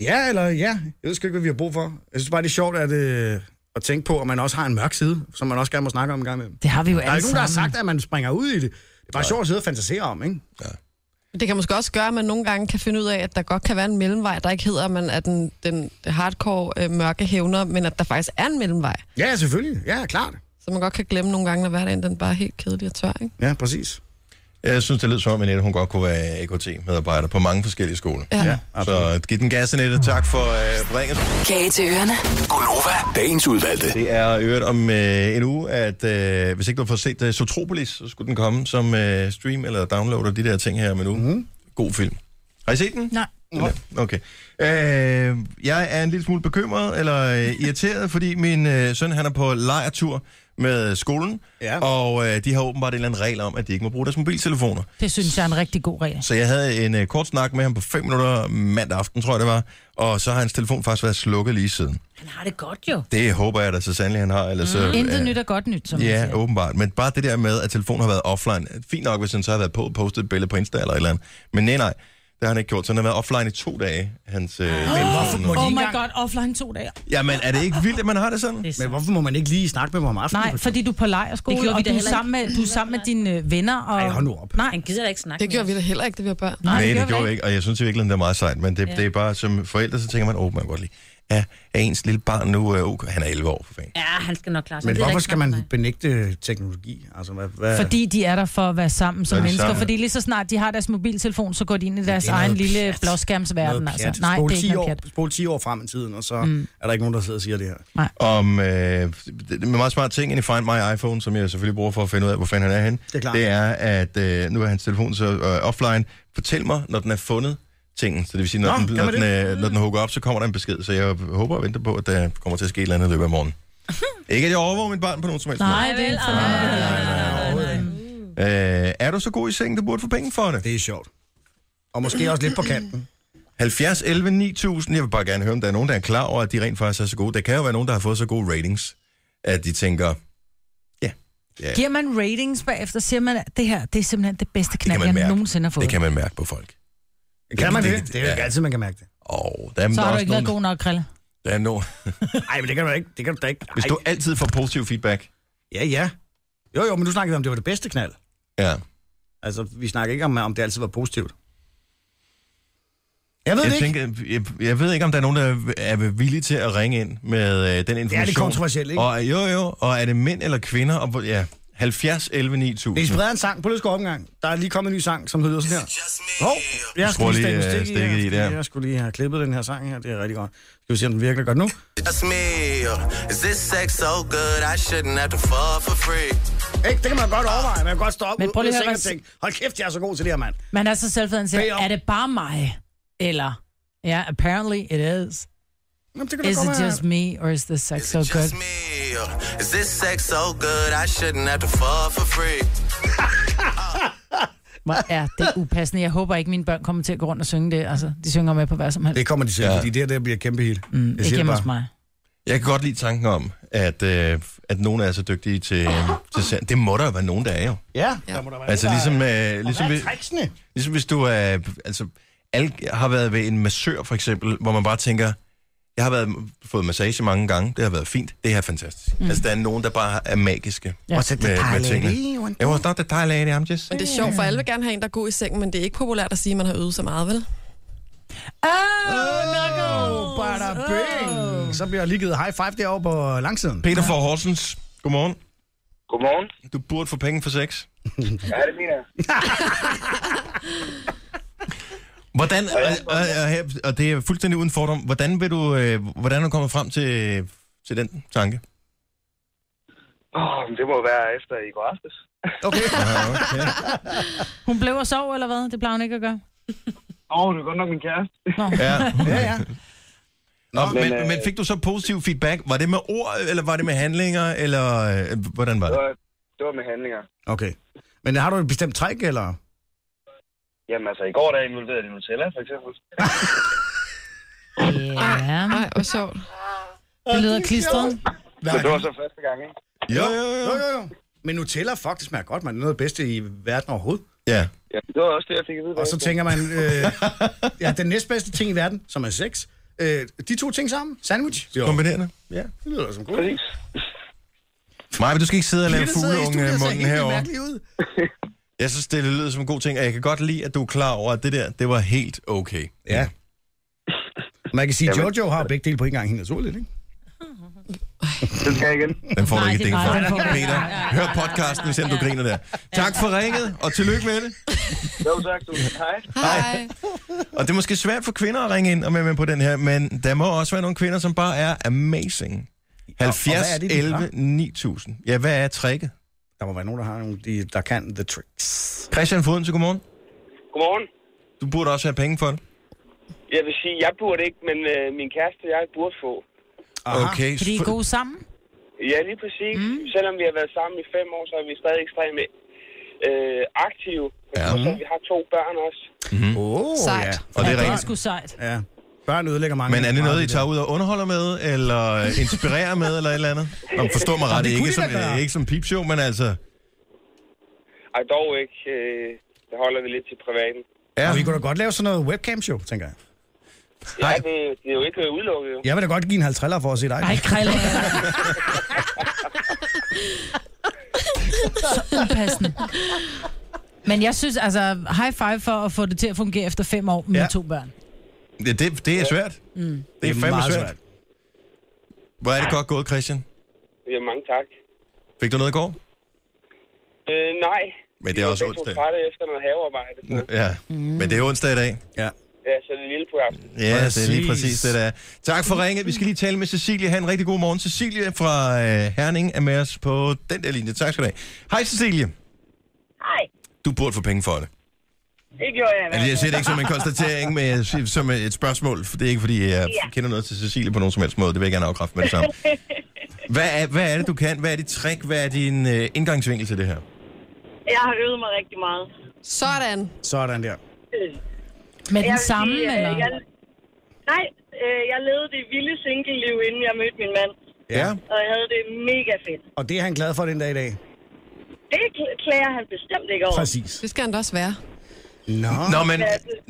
[SPEAKER 7] Ja, eller ja. Jeg ved sgu ikke, hvad vi har brug for. Jeg synes bare, det er sjovt at, øh, at tænke på, at man også har en mørk side, som man også gerne må snakke om en gang imellem.
[SPEAKER 5] det har vi jo
[SPEAKER 7] Der er
[SPEAKER 5] alle
[SPEAKER 7] ikke nogen, der har
[SPEAKER 5] sammen.
[SPEAKER 7] sagt, at man springer ud i det. Det er bare sjovt at sidde og fantasere om, ikke?
[SPEAKER 4] Det kan måske også gøre, at man nogle gange kan finde ud af, at der godt kan være en mellemvej, der ikke hedder, at man er den, den hardcore øh, mørke hævner, men at der faktisk er en mellemvej.
[SPEAKER 7] Ja, selvfølgelig. Ja, klart.
[SPEAKER 4] Så man godt kan glemme nogle gange, når hverdagen den bare er helt kedelig og tør, ikke?
[SPEAKER 7] Ja, præcis.
[SPEAKER 1] Jeg synes, det lyder som om, Annette, hun godt kunne være AKT-medarbejder på mange forskellige skoler.
[SPEAKER 4] Ja. Ja,
[SPEAKER 1] så giv den gas, Annette. Tak for uh, ringet.
[SPEAKER 9] Kage til ørerne.
[SPEAKER 1] Gunova, dagens udvalgte. Det er i øvrigt om øh, en uge, at øh, hvis ikke du får set øh, Sotropolis, så skulle den komme som øh, stream eller download og de der ting her om en uge. Mm-hmm. God film. Har I set den?
[SPEAKER 6] Nej.
[SPEAKER 1] Den er- Okay. Øh, jeg er en lille smule bekymret eller øh, irriteret, fordi min øh, søn han er på lejertur med skolen, ja. og øh, de har åbenbart en eller anden regel om, at de ikke må bruge deres mobiltelefoner.
[SPEAKER 5] Det synes jeg er en rigtig god regel.
[SPEAKER 1] Så jeg havde en øh, kort snak med ham på 5 minutter mandag aften, tror jeg det var, og så har hans telefon faktisk været slukket lige siden.
[SPEAKER 6] Han har det godt jo.
[SPEAKER 1] Det håber jeg da så sandelig, han har. Ellers, så,
[SPEAKER 5] Mm. Intet
[SPEAKER 1] øh,
[SPEAKER 5] nyt er godt nyt, som man
[SPEAKER 1] Ja,
[SPEAKER 5] siger.
[SPEAKER 1] åbenbart. Men bare det der med, at telefonen har været offline. Fint nok, hvis han så har været på og postet et billede på Insta eller et eller andet. Men nej, nej. Det har han ikke gjort. Så han har været offline i to dage, hans øh, oh,
[SPEAKER 6] Oh my god, offline to dage.
[SPEAKER 1] Jamen, er det ikke vildt, at man har det sådan?
[SPEAKER 7] Men hvorfor må man ikke lige snakke med mig om aftenen?
[SPEAKER 5] Nej, fordi du er på
[SPEAKER 6] Det
[SPEAKER 5] lejerskole,
[SPEAKER 6] gjorde vi
[SPEAKER 5] og
[SPEAKER 6] da
[SPEAKER 5] du er,
[SPEAKER 6] heller
[SPEAKER 5] sammen med, du er sammen med dine øh, venner. Og...
[SPEAKER 7] Ej, hold nu op.
[SPEAKER 5] Nej,
[SPEAKER 6] Han gider da ikke snakke
[SPEAKER 4] Det gjorde vi da heller ikke, det vi var børn.
[SPEAKER 1] Nej, det, det gjorde jeg ikke, og jeg synes i virkeligheden, det er meget sejt, men det,
[SPEAKER 6] Ja.
[SPEAKER 1] ja. det er bare, som forældre, så tænker man, åh, oh, man kan godt lide. Er, er ens lille barn nu, øh, okay, han er 11 år for fanden.
[SPEAKER 6] Ja, han skal nok klare sig. Han
[SPEAKER 7] Men
[SPEAKER 6] gider da
[SPEAKER 7] hvorfor
[SPEAKER 6] ikke
[SPEAKER 7] skal
[SPEAKER 6] snakke med
[SPEAKER 7] man benægte teknologi? Altså, hvad, hvad?
[SPEAKER 5] Fordi de er der for at være sammen som
[SPEAKER 7] Er de
[SPEAKER 5] mennesker.
[SPEAKER 7] sammen?
[SPEAKER 5] Fordi lige så snart de har deres mobiltelefon, så går de ind i deres
[SPEAKER 7] er noget
[SPEAKER 5] egen lille
[SPEAKER 7] pjat.
[SPEAKER 5] blåskærmsverden.
[SPEAKER 7] Noget
[SPEAKER 5] Altså.
[SPEAKER 7] pjat.
[SPEAKER 5] Nej,
[SPEAKER 7] spol,
[SPEAKER 5] det er
[SPEAKER 7] 10
[SPEAKER 5] ikke noget
[SPEAKER 7] år,
[SPEAKER 5] pjat.
[SPEAKER 7] spol 10 år frem i tiden, og så
[SPEAKER 5] Mm.
[SPEAKER 7] mm. er der ikke nogen, der sidder og siger det her.
[SPEAKER 1] om øh, det er en meget smart ting inde i Find My iPhone, som jeg selvfølgelig bruger for at finde ud af, hvor fanden han er henne.
[SPEAKER 7] Det er klart.
[SPEAKER 1] det er at øh, nu er hans telefon så øh, offline. Fortæl mig, når den er fundet, tingen. Så det vil sige, når,
[SPEAKER 7] Nå,
[SPEAKER 1] Nå,
[SPEAKER 7] kan
[SPEAKER 1] den, når,
[SPEAKER 7] man
[SPEAKER 1] den,
[SPEAKER 7] det?
[SPEAKER 1] øh, når den hugger op, så kommer der en besked. Så jeg håber og venter på, at der kommer til at ske et eller andet i løbet af morgenen. Ikke at jeg overvåger mit barn på nogen som helst
[SPEAKER 5] Nej, det er ikke
[SPEAKER 1] måde. Øh, er du så god i sengen, du burde få penge for det?
[SPEAKER 7] Det er sjovt. Og måske også lidt på kanten.
[SPEAKER 1] 70, 11, 9000. Jeg vil bare gerne høre, om der er nogen, der er klar over, at de rent faktisk er så gode. Der kan jo være nogen, der har fået så gode ratings, at de tænker, ja, ja
[SPEAKER 5] Giver man ratings bagefter, siger man, at det her det er simpelthen det bedste knald,
[SPEAKER 1] man
[SPEAKER 5] jeg
[SPEAKER 1] mærke.
[SPEAKER 5] nogensinde har fået.
[SPEAKER 1] det kan man mærke på folk.
[SPEAKER 7] Kan man
[SPEAKER 1] Det-
[SPEAKER 7] det?
[SPEAKER 1] det-
[SPEAKER 7] Det er jo ikke
[SPEAKER 1] ja.
[SPEAKER 7] altid, man kan mærke det.
[SPEAKER 1] Og der er,
[SPEAKER 5] Så
[SPEAKER 1] der
[SPEAKER 5] har
[SPEAKER 1] er
[SPEAKER 5] du
[SPEAKER 1] også
[SPEAKER 5] ikke
[SPEAKER 1] nogen,
[SPEAKER 5] været god nok, Krille.
[SPEAKER 1] der er nogen,
[SPEAKER 7] Nej, men det kan du da ikke. Det kan du da ikke.
[SPEAKER 1] hvis
[SPEAKER 7] Ej.
[SPEAKER 1] du altid får positiv feedback,
[SPEAKER 7] Ja, ja. Jo, jo, men nu snakkede vi om, det var det bedste knald.
[SPEAKER 1] ja.
[SPEAKER 7] Altså, vi snakker ikke om, om det altid var positivt. Jeg ved
[SPEAKER 1] Jeg,
[SPEAKER 7] det ikke.
[SPEAKER 1] tænker, jeg, jeg ved ikke, om der er nogen, der er villige til at ringe ind med øh, den information.
[SPEAKER 7] kontroversielt, ikke?
[SPEAKER 1] Og, jo, jo. Og er det mænd eller kvinder? Og, hvor- ja, 70, 11, 9000.
[SPEAKER 7] Vi spreder en sang på Løsgaard Omgang. Der er lige kommet en ny sang, som hedder sådan her. Hov, jeg,
[SPEAKER 1] Jeg tror
[SPEAKER 7] skulle
[SPEAKER 1] lige,
[SPEAKER 7] lige stikke
[SPEAKER 1] øh,
[SPEAKER 7] i
[SPEAKER 1] stikket
[SPEAKER 7] her,
[SPEAKER 1] i der.
[SPEAKER 7] fordi Jeg skulle lige have klippet den her sang her. Det er rigtig godt. Skal vi se, om den virkelig godt nu?
[SPEAKER 8] Just me. Is this sex so good I shouldn't have to fall for free?
[SPEAKER 7] Ikke? Det kan man godt overveje. Man kan godt stå op
[SPEAKER 5] Men
[SPEAKER 7] ude
[SPEAKER 5] prøv lige
[SPEAKER 7] ude i
[SPEAKER 5] at høre,
[SPEAKER 7] sengen og tænke, hold kæft, jeg er så god til det her, mand.
[SPEAKER 5] Man er så selvfeden siger,
[SPEAKER 7] Bag om.
[SPEAKER 5] er det bare mig? Eller, ja, yeah, apparently it is.
[SPEAKER 7] Jamen, det kan
[SPEAKER 5] Is
[SPEAKER 7] da godt
[SPEAKER 5] it
[SPEAKER 7] være.
[SPEAKER 5] just me, or is the sex so good?
[SPEAKER 8] Just me. Is this sex so good I shouldn't have to fall for free?
[SPEAKER 5] Hvor er det upassende. Jeg håber ikke, mine børn kommer til at gå rundt og synge det. Altså, de synger med på hvad som helst.
[SPEAKER 7] Det kommer de til,
[SPEAKER 1] Ja.
[SPEAKER 7] ja. fordi det her der bliver et kæmpe hit. Mm, jeg
[SPEAKER 5] Ikke
[SPEAKER 7] siger det
[SPEAKER 5] hjemme hos
[SPEAKER 7] bare.
[SPEAKER 5] mig.
[SPEAKER 1] Jeg kan godt lide tanken om, at, øh, at nogen er så dygtige til, øh, til sand. Det må der jo være nogen, der er jo.
[SPEAKER 7] Ja, ja. Der må der være
[SPEAKER 1] Altså
[SPEAKER 7] nogen, der-
[SPEAKER 1] ligesom, øh, ligesom,
[SPEAKER 7] Hvad
[SPEAKER 1] hvis,
[SPEAKER 7] er tricksene?
[SPEAKER 1] ligesom hvis du er... Altså, alle har været ved en massør, for eksempel, hvor man bare tænker, jeg har været, fået massage mange gange, det har været fint, det her er fantastisk. Mm. Altså, der er nogen, der bare er magiske
[SPEAKER 5] Ja.
[SPEAKER 7] Og så det dejlige.
[SPEAKER 1] Jeg var not the Thai lady, I'm just
[SPEAKER 4] Men det er sjovt, for alle vil gerne have en, der er god i sengen, men det er ikke populært at sige, at man har øvet så meget, vel?
[SPEAKER 5] Oh,
[SPEAKER 7] Oh, bada bing. Så bliver jeg lige givet high five derovre på øh, langsiden.
[SPEAKER 1] Peter fra Horsens, godmorgen.
[SPEAKER 11] Godmorgen.
[SPEAKER 1] Du burde få penge for sex.
[SPEAKER 11] Ja, det mener jeg.
[SPEAKER 1] Hvordan, og, og, og, her- og det er fuldstændig uden fordom, hvordan, vil du, øh, hvordan er du kommet frem til, til den tanke?
[SPEAKER 11] Åh, men det må jo være efter i går aftes.
[SPEAKER 7] Okay.
[SPEAKER 1] Ja, Ah, okay.
[SPEAKER 5] Hun blev og sov, eller hvad? Det plejer hun ikke at gøre.
[SPEAKER 11] Åh, oh, det er godt nok min kæreste.
[SPEAKER 5] Nå.
[SPEAKER 1] Ja.
[SPEAKER 7] Ja, ja.
[SPEAKER 1] Nå, men,
[SPEAKER 11] Men, øh,
[SPEAKER 1] men, men fik du så positiv feedback? Var det med ord, eller var det med handlinger, eller øh, hvordan var
[SPEAKER 11] Det
[SPEAKER 1] det?
[SPEAKER 11] var, det var med handlinger.
[SPEAKER 7] Okay. Men har du et bestemt træk, eller?
[SPEAKER 11] Jamen altså, i går der involverede det Nutella, for eksempel.
[SPEAKER 5] Ja,
[SPEAKER 4] Nej, hvor sjovt.
[SPEAKER 5] Ah. det lyder klistret.
[SPEAKER 11] Men det var så første gang, ikke?
[SPEAKER 1] Jo, jo, jo.
[SPEAKER 7] Jo, jo, jo. Men Nutella, fuck, det smager godt, man. Det er noget af det bedste i verden overhovedet.
[SPEAKER 1] Ja.
[SPEAKER 11] Ja, det var også det, jeg fik at vide.
[SPEAKER 7] Og så
[SPEAKER 11] bagefter.
[SPEAKER 7] tænker man, øh, ja, den næstbedste ting i verden, som er sex, øh, de to ting sammen, sandwich. Jo, det
[SPEAKER 1] Kombinerende. Ja.
[SPEAKER 7] lyder da som godt.
[SPEAKER 11] Præcis.
[SPEAKER 1] Maja, men du skal ikke sidde og lave
[SPEAKER 7] Peter sidder i
[SPEAKER 1] fugleunge
[SPEAKER 7] studiet og ser
[SPEAKER 1] munden
[SPEAKER 7] helt
[SPEAKER 1] herovre.
[SPEAKER 7] mærkelig ud.
[SPEAKER 1] Jeg synes, det lyder som en god ting, og jeg kan godt lide, at du er klar over, at det der, det var helt okay.
[SPEAKER 7] Ja. Man kan sige, at
[SPEAKER 1] Jamen.
[SPEAKER 7] Jojo har begge dele på en gang, helt naturligt, ikke?
[SPEAKER 12] Den skal jeg igen.
[SPEAKER 1] Den får du
[SPEAKER 12] Nej,
[SPEAKER 1] ikke et
[SPEAKER 12] det-
[SPEAKER 1] ding
[SPEAKER 12] nej,
[SPEAKER 1] for.
[SPEAKER 12] den får du ikke.
[SPEAKER 1] Peter, hør podcasten, hvis end du griner der. Tak for ringet, og tillykke med det.
[SPEAKER 12] Jo, tak. Du. Hej.
[SPEAKER 1] Hej. Og det er måske svært for kvinder at ringe ind og være med på den her, men der må også være nogle kvinder, som bare er amazing.
[SPEAKER 7] og
[SPEAKER 1] 70,
[SPEAKER 7] hvad er det, de
[SPEAKER 1] 11,
[SPEAKER 7] har?
[SPEAKER 1] 9000. Ja, hvad er tricket?
[SPEAKER 7] Der må være nogen, der har nogle, de, der kan the tricks.
[SPEAKER 1] Christian Foden, til godmorgen.
[SPEAKER 12] Godmorgen.
[SPEAKER 1] Du burde også have penge for det.
[SPEAKER 12] Jeg vil sige, jeg burde ikke, men øh, min kæreste og jeg burde få.
[SPEAKER 1] Okay,
[SPEAKER 5] Fordi I er
[SPEAKER 1] for-
[SPEAKER 5] gode sammen?
[SPEAKER 12] Ja, lige præcis. Mm. Selvom vi har været sammen i fem år, så er vi stadig ekstremt øh, aktive. Ja. Og så vi har to børn også.
[SPEAKER 1] Mm-hmm.
[SPEAKER 7] Oh,
[SPEAKER 12] Sejt.
[SPEAKER 7] Ja.
[SPEAKER 1] Og det er
[SPEAKER 5] Det er
[SPEAKER 1] rigtigt.
[SPEAKER 5] sgu sejt.
[SPEAKER 7] Ja. Børn ødelægger mange.
[SPEAKER 1] Men er det
[SPEAKER 7] meget
[SPEAKER 1] noget, I
[SPEAKER 7] der.
[SPEAKER 1] tager ud og underholder med, eller inspirerer med, eller et eller andet? Nå, men forstå mig
[SPEAKER 7] Nå,
[SPEAKER 1] ret,
[SPEAKER 7] det
[SPEAKER 1] det er
[SPEAKER 7] kunne
[SPEAKER 1] ikke
[SPEAKER 7] de
[SPEAKER 1] som,
[SPEAKER 7] da gøre.
[SPEAKER 1] øh, ikke som pipshow, men altså...
[SPEAKER 12] Ej, dog ikke. Øh, det holder vi lidt til privaten.
[SPEAKER 1] Ja.
[SPEAKER 7] Og vi kunne da godt lave sådan noget webcam-show, tænker jeg.
[SPEAKER 12] Ja, det, det er jo ikke øh, udelukket, jo.
[SPEAKER 7] Jeg vil da godt give en 50 for at se dig.
[SPEAKER 5] Ej, krejler. Så upassende. Men jeg synes, altså, high five for at få det til at fungere efter fem år med
[SPEAKER 1] Ja.
[SPEAKER 5] ja. to børn.
[SPEAKER 1] Det, det, det er svært.
[SPEAKER 5] Mm.
[SPEAKER 1] Det er fandme
[SPEAKER 7] meget
[SPEAKER 1] svært. Hvor er det godt gået, Christian?
[SPEAKER 12] Ja, mange tak.
[SPEAKER 1] Fik du noget i går?
[SPEAKER 12] Øh, nej.
[SPEAKER 1] Men det
[SPEAKER 12] Vi
[SPEAKER 1] er
[SPEAKER 12] var
[SPEAKER 1] også
[SPEAKER 12] begge to
[SPEAKER 1] onsdag.
[SPEAKER 12] trætte efter noget havearbejde.
[SPEAKER 1] Ja, Mm. men det er onsdag i dag. Ja,
[SPEAKER 12] Ja, så er det lille på aftenen.
[SPEAKER 1] ja det er lige præcis det, der er. Tak for ringet. Vi skal lige tale med Cecilie. Ha' en rigtig god morgen. Cecilie fra øh, Herning er med os på den der linje. Tak skal du have. Hej Cecilie.
[SPEAKER 6] Hej,
[SPEAKER 1] Du burde få penge for det.
[SPEAKER 6] det gjorde jeg. i hvert
[SPEAKER 1] Altså, jeg ser det
[SPEAKER 6] fald.
[SPEAKER 1] ikke som en konstatering, men jeg siger det som et spørgsmål, for det er ikke, fordi jeg
[SPEAKER 6] Ja.
[SPEAKER 1] kender noget til Cecilie på nogen som helst måde. Det vil jeg gerne afkræfte med det samme. Hvad er, hvad er det, du kan? Hvad er dit trick? Hvad er din øh, indgangsvinkel til det her?
[SPEAKER 6] jeg har øvet mig rigtig meget. Øh, Sådan.
[SPEAKER 7] Sådan der.
[SPEAKER 5] Med den samme,
[SPEAKER 6] sige, øh,
[SPEAKER 5] eller?
[SPEAKER 6] Jeg, nej, øh, jeg levede det vilde single-liv, inden jeg mødte min mand.
[SPEAKER 7] Ja.
[SPEAKER 6] Og jeg havde det mega fedt.
[SPEAKER 7] Og det er han glad for den dag i dag.
[SPEAKER 6] Det kl- klager han bestemt ikke over.
[SPEAKER 7] Præcis.
[SPEAKER 6] Det skal han da også være.
[SPEAKER 7] Nå.
[SPEAKER 1] Nå, men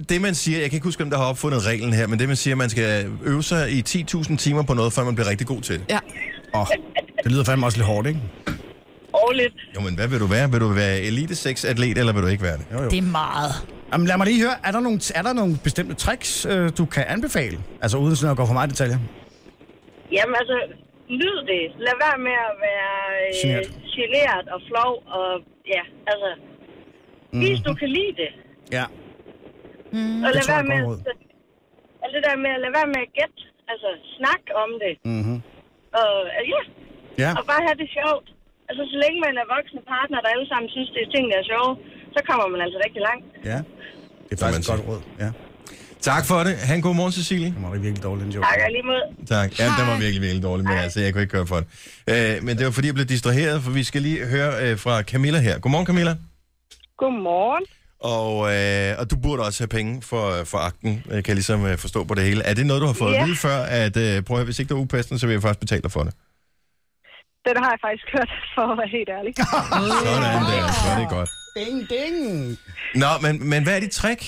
[SPEAKER 1] det man siger, jeg kan ikke huske, hvem der har opfundet reglen her, men det man siger, man skal øve sig i 10.000 timer på noget, før man bliver rigtig god til det.
[SPEAKER 6] Ja.
[SPEAKER 7] Åh, det lyder fandme også lidt hårdt, ikke?
[SPEAKER 6] Og lidt.
[SPEAKER 1] Jo, men hvad vil du være? Vil du være elite atlet eller vil du ikke være det?
[SPEAKER 7] Jo, jo.
[SPEAKER 5] Det er meget.
[SPEAKER 7] Jamen, lad mig lige høre, er der nogle, er der nogle bestemte tricks, øh, du kan anbefale? Altså uden sådan at gå for meget i detaljer.
[SPEAKER 6] Jamen altså, nyd det. Lad være med at være øh,
[SPEAKER 7] Genert.
[SPEAKER 6] generet og flov. Og ja, altså, vis du kan lide det.
[SPEAKER 7] Ja.
[SPEAKER 6] Og
[SPEAKER 7] Det
[SPEAKER 6] Øh, lad
[SPEAKER 7] tror jeg
[SPEAKER 6] være
[SPEAKER 7] er
[SPEAKER 6] med
[SPEAKER 7] et godt
[SPEAKER 6] at, alt det der med at lade være med at gætte. Altså, snak om det.
[SPEAKER 7] Mm-hmm.
[SPEAKER 6] Og øh, ja,
[SPEAKER 7] Ja.
[SPEAKER 6] og bare have det sjovt. Altså, så længe man er voksne partner, der alle sammen synes, det er tingene er sjove, så kommer man altså rigtig langt.
[SPEAKER 7] Ja. Det er faktisk et godt råd. Ja.
[SPEAKER 1] Tak for det. Han god morgen, Cecilie.
[SPEAKER 7] Det var virkelig dårligt, den joke.
[SPEAKER 6] Tak alligevel.
[SPEAKER 1] Tak. Ja, den var virkelig, virkelig dårlig, men altså, jeg kunne ikke køre for det. Øh, men det var fordi, jeg blev distraheret, for vi skal lige høre øh, fra Camilla her. Godmorgen, Camilla.
[SPEAKER 10] Godmorgen.
[SPEAKER 1] Og, øh, og du burde også have penge for, for akten, øh, kan jeg ligesom øh, forstå på det hele. Er det noget, du har fået
[SPEAKER 10] Ja.
[SPEAKER 1] at vide før, at øh, prøv at høre, hvis ikke du er upassende, så vil jeg faktisk betale dig for det?
[SPEAKER 10] Den har jeg faktisk hørt, for at være helt ærlig.
[SPEAKER 1] Sådan der, så er det godt.
[SPEAKER 7] Ding, ding.
[SPEAKER 1] Nå, men, men hvad er dit trick?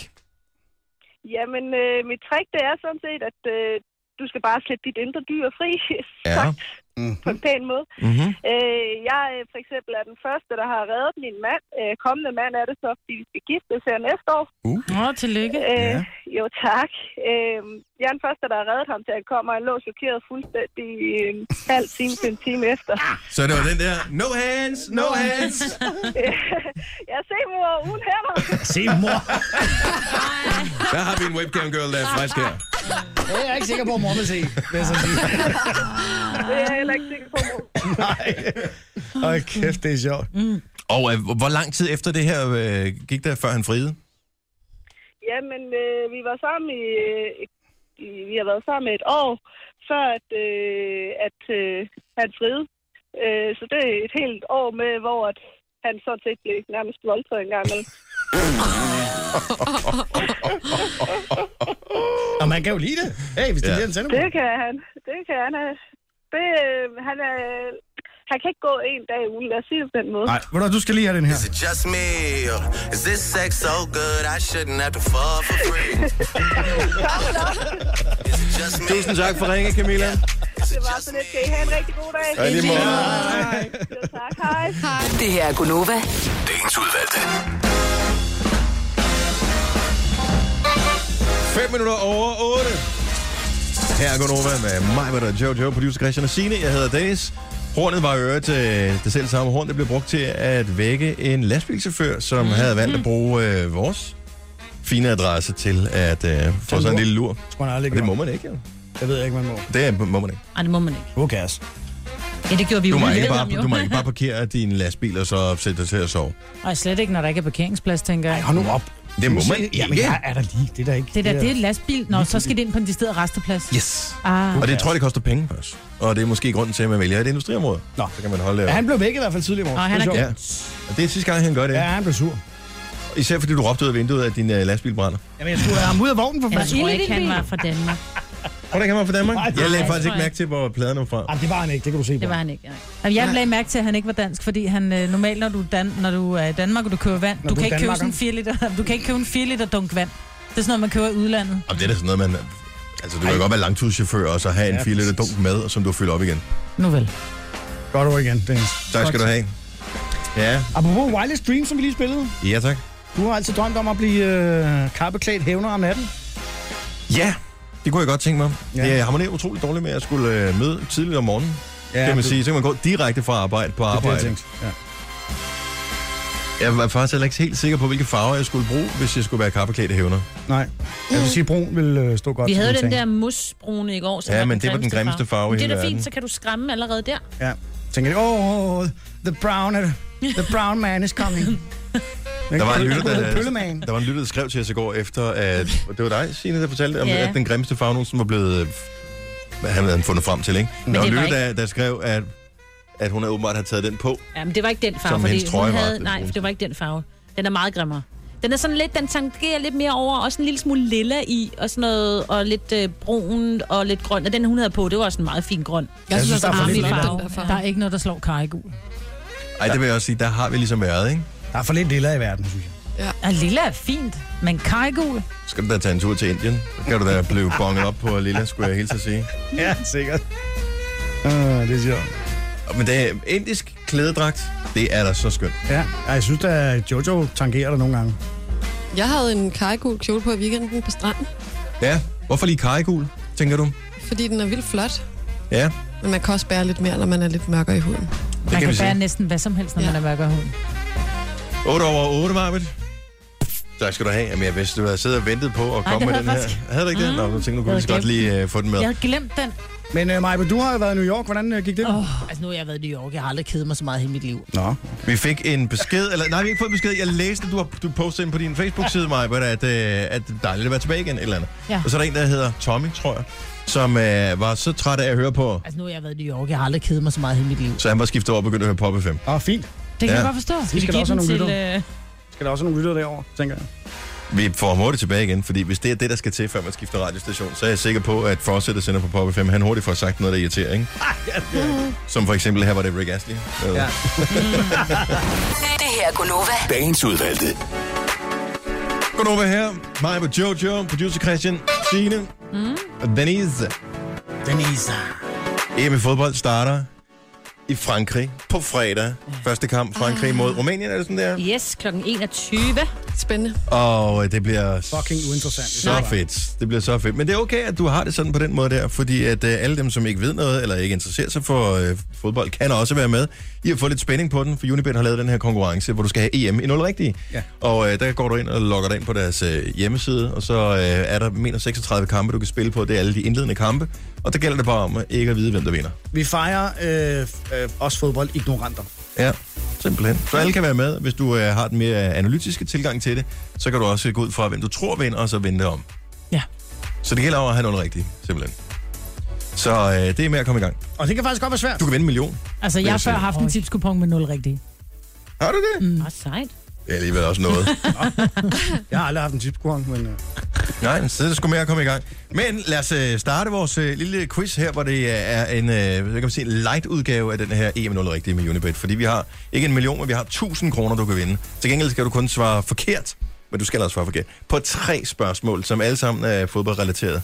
[SPEAKER 10] Jamen, øh, mit trick, det er sådan set, at øh, du skal bare slippe dit indre dyr fri
[SPEAKER 1] Ja. Mhm.
[SPEAKER 10] på en pæn måde.
[SPEAKER 1] Mm-hmm.
[SPEAKER 10] Øh, jeg øh, for eksempel er den første, der har reddet min mand. Øh, kommende mand er det så, fordi vi skal giftes her næste år.
[SPEAKER 1] Uh.
[SPEAKER 5] Nå, tillykke.
[SPEAKER 10] Øh, Jo, tak. Øh, jeg er den første, der har reddet ham, til han kommer, og han lå chokeret fuldstændig øh, en halv time til en time efter.
[SPEAKER 1] Så det var den der, no hands, no hands.
[SPEAKER 10] jeg ser mor uden hænder.
[SPEAKER 1] Se, mor. Der har vi en webcam girl, der er frisk her.
[SPEAKER 7] Det er jeg ikke sikker på, at mor vil se. Vil jeg så sige.
[SPEAKER 10] Det er jeg heller ikke sikker på, mor.
[SPEAKER 7] Ej, kæft, det er sjovt.
[SPEAKER 1] Og øh, hvor- hvor lang tid efter det her øh, gik der, før han friede?
[SPEAKER 10] Jamen, øh, vi var sammen i, øh, et- i... Vi har været sammen i et år, før at, øh, at øh, han friede. Øh, så det er et helt år med, hvor at han sådan set blev nærmest voldtaget en gang imellem.
[SPEAKER 7] Og man kan jo lide det. Hey, hvis det ja.
[SPEAKER 1] Ja.
[SPEAKER 7] lige er en sender.
[SPEAKER 10] Det kan han. Det kan han. øh. Det, øh, han, er, han kan ikke gå en dag uden, lad os sige det på den måde.
[SPEAKER 7] Nej, ved du, hvad, du skal lige have den her.
[SPEAKER 8] Is it just me? Or is this sex so good I shouldn't have to fall for free?
[SPEAKER 1] Tusind tak for ringe, Camilla.
[SPEAKER 10] Det var så lidt. Kan I have en rigtig god dag?
[SPEAKER 1] Ja, i lige måde.
[SPEAKER 10] Jo, tak. Hej. Hej.
[SPEAKER 9] Det her er Gunova.
[SPEAKER 8] Dagens udvalgte.
[SPEAKER 1] 5 minutter over 8. Her er Gunova med mig, hvad der er Jojo, producer Christian og Signe. Jeg hedder Dennis. Hornet var i øvrigt øh, det selv samme horn, det blev brugt til at vække en lastbilchauffør, som mm. havde valgt at bruge øh, vores fine adresse til at øh, få sådan en lille lur.
[SPEAKER 7] Tror jeg aldrig,
[SPEAKER 1] Og det må man ikke, jo.
[SPEAKER 7] Jeg ved ikke, man må.
[SPEAKER 1] Det er- må man ikke.
[SPEAKER 6] Ej, det må man ikke.
[SPEAKER 7] Who cares?
[SPEAKER 6] Ja, det gjorde vi
[SPEAKER 1] Du må,
[SPEAKER 6] uden
[SPEAKER 1] ikke
[SPEAKER 6] videre
[SPEAKER 1] bare,
[SPEAKER 6] om, jo.
[SPEAKER 1] du må ikke bare parkere din lastbil og så sætte dig til at sove.
[SPEAKER 3] Og slet ikke, når der ikke er parkeringsplads, tænker jeg.
[SPEAKER 7] Hold nu op.
[SPEAKER 1] Det må man
[SPEAKER 7] Ja, men
[SPEAKER 1] ikke.
[SPEAKER 7] jeg er der lige. Det er der ikke.
[SPEAKER 5] Det der, det er
[SPEAKER 7] er-
[SPEAKER 5] et lastbil. Nå, så skal det ind på en decideret resteplads.
[SPEAKER 1] Yes.
[SPEAKER 5] Ah.
[SPEAKER 1] Og det tror jeg, det koster penge først. Og det er måske grunden til, at man vælger et industriområde. Nå. Så kan man holde
[SPEAKER 7] Ja,
[SPEAKER 1] det.
[SPEAKER 7] han blev væk i hvert fald tidligere i morgen.
[SPEAKER 5] Nå, han er
[SPEAKER 1] Ja. Og det er sidste gang, han gør det.
[SPEAKER 7] Ja, han blev sur.
[SPEAKER 1] Især fordi du råbte ud af vinduet, at din øh, lastbil brænder.
[SPEAKER 7] Jamen, jeg skulle have ham ud af vognen for
[SPEAKER 5] Jeg
[SPEAKER 7] fanden.
[SPEAKER 5] tror ikke, han var fra Danmark.
[SPEAKER 1] Tror du ikke, han var fra Danmark?
[SPEAKER 7] Nej, det-
[SPEAKER 1] Jeg lagde
[SPEAKER 7] Nej,
[SPEAKER 1] faktisk
[SPEAKER 7] tror
[SPEAKER 1] ikke
[SPEAKER 7] jeg
[SPEAKER 1] mærke til, hvor pladen var fra.
[SPEAKER 7] Jamen, det var han ikke. Det kan du se på.
[SPEAKER 5] Det var han ikke. Jamen, jeg lagde mærke til, at han ikke var dansk, fordi han øh, normalt, når du, er Dan- når du er i Danmark, og du køber vand,
[SPEAKER 7] Når du
[SPEAKER 5] du kan,
[SPEAKER 7] er
[SPEAKER 5] ikke købe
[SPEAKER 7] Danmarker.
[SPEAKER 5] sådan en 4 liter, du kan ikke købe en 4 liter dunk vand. Det er sådan noget, man køber i udlandet.
[SPEAKER 1] Jamen, det er da sådan noget, man... Altså, du kan godt være langtidschauffør, og så have en
[SPEAKER 7] Ja,
[SPEAKER 1] 4 liter dunk med, og som du fylder op igen.
[SPEAKER 5] Nu vel.
[SPEAKER 7] Godt over igen, Dennis.
[SPEAKER 1] Tak skal du have. Ja,
[SPEAKER 7] Apropos Wireless Dream, som vi lige spillede.
[SPEAKER 1] ja tak.
[SPEAKER 7] Du har altid drømt om at blive øh, kappeklædt hævner om natten.
[SPEAKER 1] Ja, det kunne jeg godt tænke mig.
[SPEAKER 7] Ja.
[SPEAKER 1] Ja. Jeg harmonerer utroligt dårligt med, at jeg skulle øh, møde tidligt om morgenen.
[SPEAKER 7] Ja,
[SPEAKER 1] Ja, kan man
[SPEAKER 7] det-
[SPEAKER 1] sige. Så kan man gå direkte fra arbejde på
[SPEAKER 7] Det er det, jeg
[SPEAKER 1] arbejde.
[SPEAKER 7] tænkte. Ja.
[SPEAKER 1] jeg var faktisk heller ikke helt sikker på, hvilke farver jeg skulle bruge, hvis jeg skulle være kappeklædt hævner.
[SPEAKER 7] Nej. Jeg vil sige, at brun vil øh, stå godt.
[SPEAKER 6] Vi
[SPEAKER 7] til
[SPEAKER 6] havde jo den
[SPEAKER 7] ting.
[SPEAKER 6] der musbrune i går. som
[SPEAKER 1] Ja, men det var den grimmeste farve i
[SPEAKER 6] Men Det er
[SPEAKER 1] hele
[SPEAKER 6] da fint,
[SPEAKER 1] verden.
[SPEAKER 6] så kan du skræmme allerede der.
[SPEAKER 7] Ja. Tænker de, oh, oh, the brown, the brown man is coming.
[SPEAKER 1] Der var, en lytter,
[SPEAKER 7] Pølle-
[SPEAKER 1] der,
[SPEAKER 7] Pøllemagen.
[SPEAKER 1] der var en lytter, der skrev til os i går efter, at og det var dig, Signe, der fortalte, om,
[SPEAKER 6] Ja.
[SPEAKER 1] at den grimmeste farve nogensinde var blevet... øh, Hvad han havde fundet frem til, ikke?
[SPEAKER 6] Men
[SPEAKER 1] der var en
[SPEAKER 6] det var
[SPEAKER 1] lytter, der, der skrev, at, at hun havde åbenbart havde taget den på.
[SPEAKER 6] Ja, men det var ikke den farve,
[SPEAKER 1] Som hendes
[SPEAKER 6] fordi
[SPEAKER 1] trøje
[SPEAKER 6] hun
[SPEAKER 1] var,
[SPEAKER 6] havde...
[SPEAKER 1] den
[SPEAKER 6] Nej,
[SPEAKER 1] brune.
[SPEAKER 6] det var ikke den farve. Den er meget grimmere. Den er sådan lidt, den tangerer lidt mere over, også en lille smule lilla i, og sådan noget, og lidt øh, brun og lidt grøn. Og den, hun havde på, det var også en meget fin grøn.
[SPEAKER 5] Jeg
[SPEAKER 1] synes, synes,
[SPEAKER 4] altså,
[SPEAKER 1] der er for
[SPEAKER 5] Army
[SPEAKER 1] lidt
[SPEAKER 5] farve.
[SPEAKER 6] den der farve.
[SPEAKER 5] Der er ikke noget, der slår karregul.
[SPEAKER 1] Ej, det vil jeg også sige, der har vi ligesom været, ikke?
[SPEAKER 7] Der er for lidt lilla i verden, synes jeg.
[SPEAKER 5] Ja, lilla er fint, men karregul.
[SPEAKER 1] Så Skal du da tage en tur til Indien? Så kan du da blive bonget op på Lilla, skulle jeg helt så sige.
[SPEAKER 7] Ja, sikkert. Uh, det er sjovt.
[SPEAKER 1] Og- Men det er indisk klædedragt, det er da så skønt.
[SPEAKER 7] Ja, Ej, jeg synes da, Jojo tangerer dig nogle gange.
[SPEAKER 4] Jeg havde en karregul kjole på i weekenden på stranden,
[SPEAKER 1] Ja, hvorfor lige karikul, tænker du?
[SPEAKER 4] fordi den er vildt flot.
[SPEAKER 1] Ja,
[SPEAKER 4] Men man kan også bære lidt mere, når man er lidt mørkere i huden.
[SPEAKER 1] det
[SPEAKER 5] Man
[SPEAKER 1] kan
[SPEAKER 5] kan
[SPEAKER 1] vi
[SPEAKER 5] bære
[SPEAKER 1] sige.
[SPEAKER 5] næsten hvad som helst, når man er mørkere hund.
[SPEAKER 1] 8 over 8, Marvitt. Tak skal du have. Jamen, jeg vidste, du havde siddet og ventet på at
[SPEAKER 5] Ej,
[SPEAKER 1] komme med
[SPEAKER 5] det havde
[SPEAKER 1] den
[SPEAKER 5] jeg
[SPEAKER 1] her.
[SPEAKER 5] faktisk.
[SPEAKER 1] Havde du ikke det? Nå, nu tænkte jeg, nu kunne vi
[SPEAKER 5] Jeg
[SPEAKER 1] så godt
[SPEAKER 5] havde glemt
[SPEAKER 1] lige øh, få den med.
[SPEAKER 5] Jeg havde glemt den.
[SPEAKER 7] Men uh, Maja, du har jo været i New York. Hvordan øh, gik det? Oh.
[SPEAKER 5] Altså, nu har jeg været i New York. Jeg har aldrig kedet mig så meget i hele mit liv.
[SPEAKER 7] Nå.
[SPEAKER 1] Vi fik en besked, eller nej, vi har ikke fået en besked. Jeg læste, du har du postede ind på din Facebook-side, Maja, at, øh, at det er dejligt at være tilbage igen, et eller andet.
[SPEAKER 5] Ja.
[SPEAKER 1] Og så er der en, der hedder Tommy, tror jeg, som øh, var så træt af at høre på,
[SPEAKER 5] Altså, nu har jeg været i New York. Jeg har aldrig kedet mig så meget i hele mit liv.
[SPEAKER 1] så han var skiftet over og begyndt at høre Pop FM.
[SPEAKER 7] Åh, fint.
[SPEAKER 5] Det kan
[SPEAKER 1] Ja.
[SPEAKER 5] jeg godt forstå.
[SPEAKER 7] Skal vi give den til,
[SPEAKER 5] Øh...
[SPEAKER 7] Skal der også nogle lyttere derovre, tænker jeg.
[SPEAKER 1] Vi får ham hurtigt tilbage igen, fordi hvis det er det, der skal til, før man skifter radiostation, så er jeg sikker på, at Fawcett, der sender på Pop FM, han hurtigt får sagt noget, der irriterer, ikke?
[SPEAKER 5] Ah,
[SPEAKER 1] Som for eksempel, her var det Rick Astley. Ja.
[SPEAKER 9] Det her er Gunova.
[SPEAKER 8] Dagens udvalgte.
[SPEAKER 1] Godt over her. Mig med Jojo, producer Christian, Signe og Denise.
[SPEAKER 7] Denise.
[SPEAKER 1] EM i fodbold starter i Frankrig på fredag. Første kamp Frankrig mod Rumænien, er det sådan der?
[SPEAKER 6] Yes, kl. 21.
[SPEAKER 4] Spændende.
[SPEAKER 1] Og øh, det bliver
[SPEAKER 7] Fucking uinteressant.
[SPEAKER 1] så fedt. Det bliver så fedt. Men det er okay, at du har det sådan på den måde der, fordi at øh, alle dem, som ikke ved noget, eller ikke interesserer sig for øh, fodbold, kan også være med i at få lidt spænding på den, for Unibet har lavet den her konkurrence, hvor du skal have EM i 0 rigtige.
[SPEAKER 7] Ja.
[SPEAKER 1] Og øh, der går du ind og logger dig ind på deres øh, hjemmeside, og så øh, er der, mener 36 kampe, du kan spille på. Det er alle de indledende kampe, og der gælder det bare om øh, ikke at vide, hvem der vinder.
[SPEAKER 7] Vi fejrer øh, øh, også fodboldignoranter.
[SPEAKER 1] Ja, simpelthen. Så alle kan være med. Hvis du øh, har den mere øh, analytiske tilgang til det, så kan du også gå ud fra, hvem du tror vinder, og så vende det om.
[SPEAKER 5] øh, Ja.
[SPEAKER 1] Så det gælder om at have noget rigtigt, simpelthen. Så øh, det er med at komme i gang.
[SPEAKER 7] Og det kan faktisk godt være svært.
[SPEAKER 1] Du kan vinde en million.
[SPEAKER 5] Altså,
[SPEAKER 1] Vil
[SPEAKER 5] jeg
[SPEAKER 1] jeg
[SPEAKER 5] har før
[SPEAKER 1] sige.
[SPEAKER 5] haft en tipskupon med 0 rigtige.
[SPEAKER 1] Har du det? Mm.
[SPEAKER 6] Åh, sejt.
[SPEAKER 1] Det er alligevel også noget.
[SPEAKER 7] Jeg har aldrig haft en tipskurang, men... Øh,
[SPEAKER 1] Nej, men så er det sgu med at komme i gang. Men lad os øh, starte vores øh, lille quiz her, hvor det øh, er en, øh, hvad kan man sige, en light-udgave af den her EM0 rigtige med Unibet. Fordi vi har ikke en million, men vi har 1000 kroner, du kan vinde. Til gengæld skal du kun svare forkert, men du skal også svare forkert, på tre spørgsmål, som alle sammen er fodboldrelateret.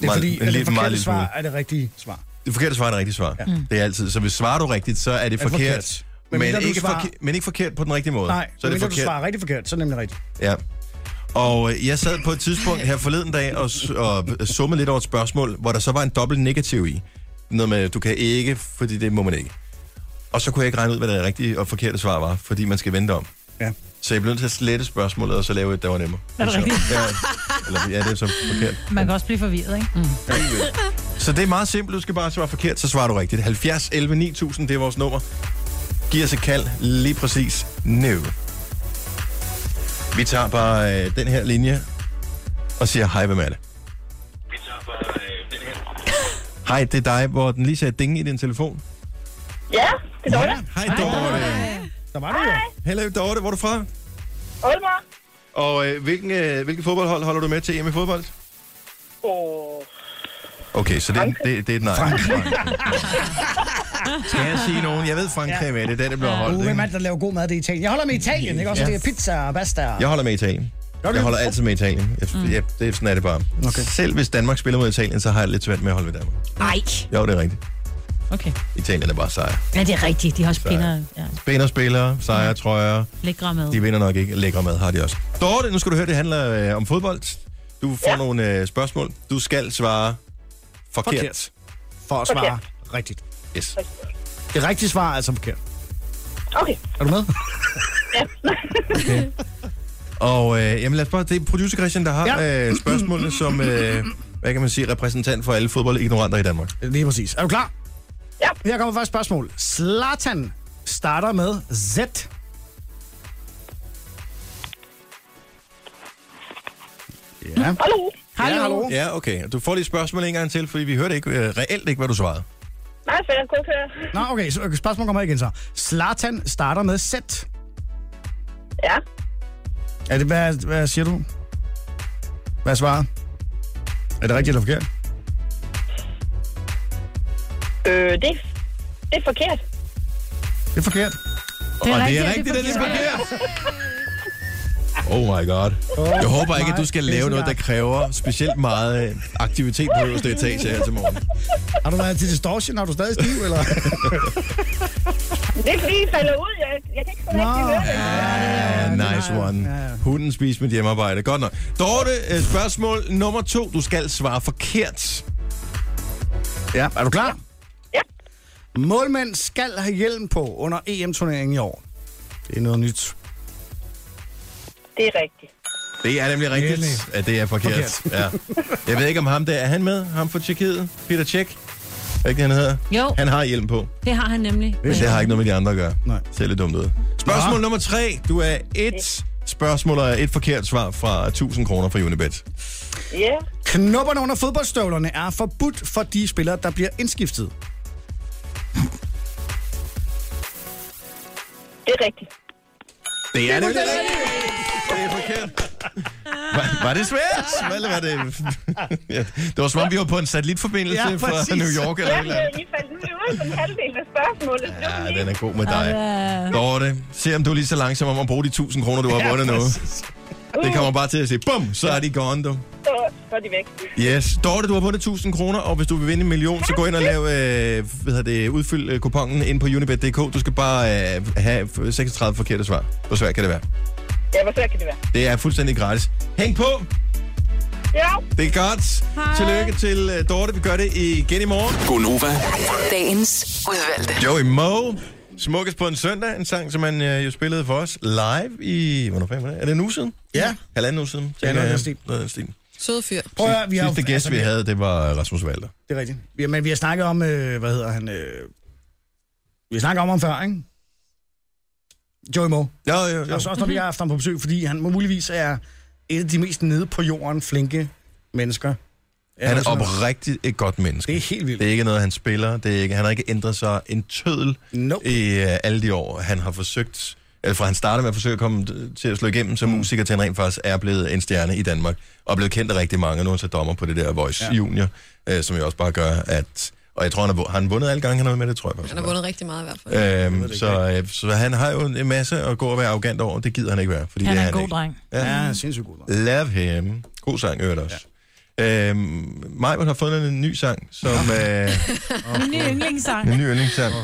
[SPEAKER 7] det er fordi, at det forkerte svar
[SPEAKER 1] smule.
[SPEAKER 7] er det rigtige svar.
[SPEAKER 1] Det forkerte svar er det rigtige svar. Ja. Det er altid. Så hvis svarer du rigtigt, så er det
[SPEAKER 7] Er det
[SPEAKER 1] forkert.
[SPEAKER 7] forkert.
[SPEAKER 1] Men,
[SPEAKER 7] Men mindre
[SPEAKER 1] men,
[SPEAKER 7] du
[SPEAKER 1] ikke
[SPEAKER 7] svarer-
[SPEAKER 1] forke- men ikke forkert på den rigtige måde.
[SPEAKER 7] Nej,
[SPEAKER 1] så er det
[SPEAKER 7] mindre du
[SPEAKER 1] forkert.
[SPEAKER 7] svarer rigtig forkert, så er det nemlig rigtigt.
[SPEAKER 1] Ja. Og øh, jeg sad på et tidspunkt her forleden dag og, s- og summede lidt over et spørgsmål, hvor der så var en dobbelt negativ i. Noget med, du kan ikke, fordi det må man ikke. Og så kunne jeg ikke regne ud, hvad det rigtige og forkerte svar var, fordi man skal vente om.
[SPEAKER 2] Ja.
[SPEAKER 1] Så jeg blev nødt til at slette spørgsmålet, og så lave et, der var nemmere.
[SPEAKER 5] Er det
[SPEAKER 1] Så-
[SPEAKER 5] rigtigt?
[SPEAKER 1] Ja, eller, ja, det er så forkert.
[SPEAKER 5] Man kan også blive forvirret, ikke? Mm.
[SPEAKER 1] Så det er meget simpelt. Du skal bare svare forkert, så svarer du rigtigt. 70 11 9000, det er vores nummer. Giv os et kald lige præcis nu. Vi tager bare øh, den her linje og siger hej, hvem er det? Hej, det er dig, hvor den lige sagde ding i din telefon.
[SPEAKER 13] Ja, det er Dorte.
[SPEAKER 1] Hej, Dorte.
[SPEAKER 7] Der var
[SPEAKER 13] du jo.
[SPEAKER 1] Hello, Dorte. Hvor er du fra?
[SPEAKER 13] Aalborg.
[SPEAKER 1] Og øh, hvilken, øh, hvilken fodboldhold holder du med til hjemme i fodbold?
[SPEAKER 13] Åh.
[SPEAKER 1] Okay, så det, er- det, det er et nej. Skal jeg sige nogen? Jeg ved, Frankrig er med. Det er den, der bliver holdt.
[SPEAKER 7] Uh,
[SPEAKER 1] ikke?
[SPEAKER 7] hvem er det, der laver god mad? Det er Italien. Jeg holder med Italien, ikke? Også
[SPEAKER 1] Ja.
[SPEAKER 7] det er pizza og pasta. og-
[SPEAKER 1] Jeg holder med Italien.
[SPEAKER 7] Gør du
[SPEAKER 1] Jeg
[SPEAKER 7] det?
[SPEAKER 1] holder altid med Italien. Jeg,
[SPEAKER 7] Mm.
[SPEAKER 1] mm. jeg, det, er- sådan er det bare. Okay. Selv hvis Danmark spiller mod Italien, så har jeg lidt svært med at holde ved Danmark.
[SPEAKER 6] Nej.
[SPEAKER 1] Jo, det er rigtigt.
[SPEAKER 6] Okay.
[SPEAKER 1] Italien er bare sejr.
[SPEAKER 6] Ja, det er rigtigt. De har også
[SPEAKER 1] Så-
[SPEAKER 6] pinder. Ja.
[SPEAKER 1] Spænder spillere, sejre, trøjer.
[SPEAKER 6] Lækre mad.
[SPEAKER 1] De vinder nok ikke. Lækre mad har de også. Dorte, nu skal du høre, det handler øh, om fodbold. Du får ja. nogle øh, spørgsmål. Du skal svare forkert.
[SPEAKER 7] Forkert. For at svare rigtigt.
[SPEAKER 1] Yes.
[SPEAKER 7] Det rigtige svar er altså forkert.
[SPEAKER 13] Okay.
[SPEAKER 7] Er du med?
[SPEAKER 1] Og øh, jamen lad os bare, det er producer Christian, der har ja. øh, spørgsmålene som, øh, hvad kan man sige, repræsentant for alle fodboldignoranter i Danmark.
[SPEAKER 7] Lige præcis. Er du klar? Ja. Her kommer første spørgsmål. Slatan starter med Z. Ja.
[SPEAKER 13] Hallo.
[SPEAKER 1] Hallo. Ja, hallo. Ja, okay. Du får lige et spørgsmål en gang til, fordi vi hørte ikke, øh, reelt ikke, hvad du svarede.
[SPEAKER 13] Nej, for jeg kunne ikke høre.
[SPEAKER 7] Nå, okay, så spørgsmålet kommer igen så. Slatan starter med Z.
[SPEAKER 13] Ja.
[SPEAKER 7] Er det, hvad, hvad siger du? Hvad er svaret? Er det rigtigt eller forkert?
[SPEAKER 13] Øh, det, det er forkert.
[SPEAKER 7] Det er forkert.
[SPEAKER 1] Det er Og det er rigtigt, rigtigt, det er det er forkert. Oh my god. Jeg håber ikke, at du skal
[SPEAKER 7] Nej, det er
[SPEAKER 1] lave noget, der
[SPEAKER 7] sådan
[SPEAKER 1] kræver specielt meget øh, aktivitet på øverste etage her til morgen.
[SPEAKER 7] Har du været til distortion? Har du stadig stiv, eller?
[SPEAKER 13] Det er fordi, I falder ud. Jeg, jeg kan ikke få rigtig høre det.
[SPEAKER 1] Ja, nice one. Hunden spiser mit hjemmearbejde. Godt nok. Dorte, øh, spørgsmål nummer to. Du skal svare forkert.
[SPEAKER 7] Ja, er du klar? Ja. Målmænd skal have hjelm på under EM-turneringen i år. Det er noget nyt.
[SPEAKER 13] Det er rigtigt.
[SPEAKER 1] Det er nemlig rigtigt, at det er forkert.
[SPEAKER 7] Forkert.
[SPEAKER 1] Ja. Jeg ved ikke, om ham der, er han med? Ham fra Tjekkiet? Peter Tjek? Er ikke det, han hedder?
[SPEAKER 6] Jo.
[SPEAKER 1] Han har hjelm på.
[SPEAKER 6] Det har han nemlig.
[SPEAKER 1] Men Det har ikke noget med de andre at gøre.
[SPEAKER 7] Nej.
[SPEAKER 1] Ser lidt dumt ud. Spørgsmål ja. nummer tre. Du er et spørgsmål og et forkert svar fra 1000 kroner fra Unibet.
[SPEAKER 13] Ja.
[SPEAKER 7] Knopperne under fodboldstøvlerne er forbudt for de spillere, der bliver indskiftet.
[SPEAKER 13] Det er rigtigt.
[SPEAKER 1] Det er det. Det er forkert. Var, var det svært? Eller var det... ja, det var som om, vi var på en satellitforbindelse
[SPEAKER 13] Ja,
[SPEAKER 1] ja, fra
[SPEAKER 13] præcis.
[SPEAKER 1] New York eller et
[SPEAKER 13] Jeg
[SPEAKER 1] eller
[SPEAKER 13] blev
[SPEAKER 10] øh,
[SPEAKER 1] andet.
[SPEAKER 13] lige faldet ud uden den halvdel af spørgsmålet. Det var
[SPEAKER 1] Ja, den
[SPEAKER 13] lige-
[SPEAKER 1] er god med dig. Dorte, se om du er lige så langsom om at bruge de 1000 kroner, du har vundet nu. Det kommer bare til at sige, bum, så er de gone, du.
[SPEAKER 13] Så, så er de væk.
[SPEAKER 1] Yes. Dorte, du har vundet 1000 kroner, og hvis du vil vinde en million, så gå ind og lav, øh, hvad hedder det, udfyld øh, kupongen ind på unibet.dk. Du skal bare øh, have 36 forkerte svar. Hvor svært kan det være?
[SPEAKER 13] Ja, hvor svært kan det være?
[SPEAKER 1] Det er fuldstændig gratis. Hæng på!
[SPEAKER 13] Ja.
[SPEAKER 1] Det er godt.
[SPEAKER 9] Hej.
[SPEAKER 1] Tillykke til øh, Dorte. Vi gør det igen i morgen.
[SPEAKER 9] Gonova. Dagens udvalgte.
[SPEAKER 1] Joey Moe. Smukkes på en søndag, en sang, som han øh, jo spillede for os live i... Hvornår fanden var det? Er det en uge siden? Ja. Halvanden uge siden.
[SPEAKER 7] Ja, noget af den stil.
[SPEAKER 1] stil.
[SPEAKER 4] Sød fyr.
[SPEAKER 7] Prøv at høre, vi har-
[SPEAKER 1] Sidste gæst,
[SPEAKER 7] altså,
[SPEAKER 1] vi
[SPEAKER 7] vi-
[SPEAKER 1] havde, det var Rasmus Valder.
[SPEAKER 7] Det er rigtigt. Ja, men vi har snakket om, øh, hvad hedder han? Øh, vi har snakket om ham før, ikke? Joey Moe.
[SPEAKER 1] Jo, jo, jo.
[SPEAKER 7] Og så også, når vi har haft ham på besøg, fordi han muligvis er et af de mest nede på jorden flinke mennesker. Altså,
[SPEAKER 1] Han er
[SPEAKER 7] sådan-
[SPEAKER 1] oprigtigt et godt menneske. Det er
[SPEAKER 7] helt vildt.
[SPEAKER 1] Det er ikke noget, han spiller. Det er ikke, han har ikke ændret sig en tødel
[SPEAKER 7] nope.
[SPEAKER 1] i øh, alle de år, han har forsøgt... Eller fra han startede med at forsøge at komme øh, til at slå igennem som musiker, til han rent faktisk er blevet en stjerne i Danmark. Og er blevet kendt af rigtig mange. Nu er han så dommer på det der Voice ja. Junior, øh, som jo også bare gør, at... Og jeg tror, han har, vu- har han vundet alle gange, han har været med det, tror jeg faktisk.
[SPEAKER 4] Han har vundet rigtig meget i hvert fald.
[SPEAKER 1] Øhm, så, øh, så han har jo en masse at gå og være arrogant over. Det gider han ikke være. Fordi
[SPEAKER 4] Han
[SPEAKER 1] det
[SPEAKER 4] er
[SPEAKER 1] er han
[SPEAKER 4] en god
[SPEAKER 1] ikke.
[SPEAKER 4] dreng.
[SPEAKER 1] Ja,
[SPEAKER 7] Ja, han er sindssygt god.
[SPEAKER 1] Love him. God sang, øvrigt også. Ja. Øhm, Majbert har fundet en ny sang, som øh,
[SPEAKER 5] Min nye yndlingssang.
[SPEAKER 1] en ny yndlingssang.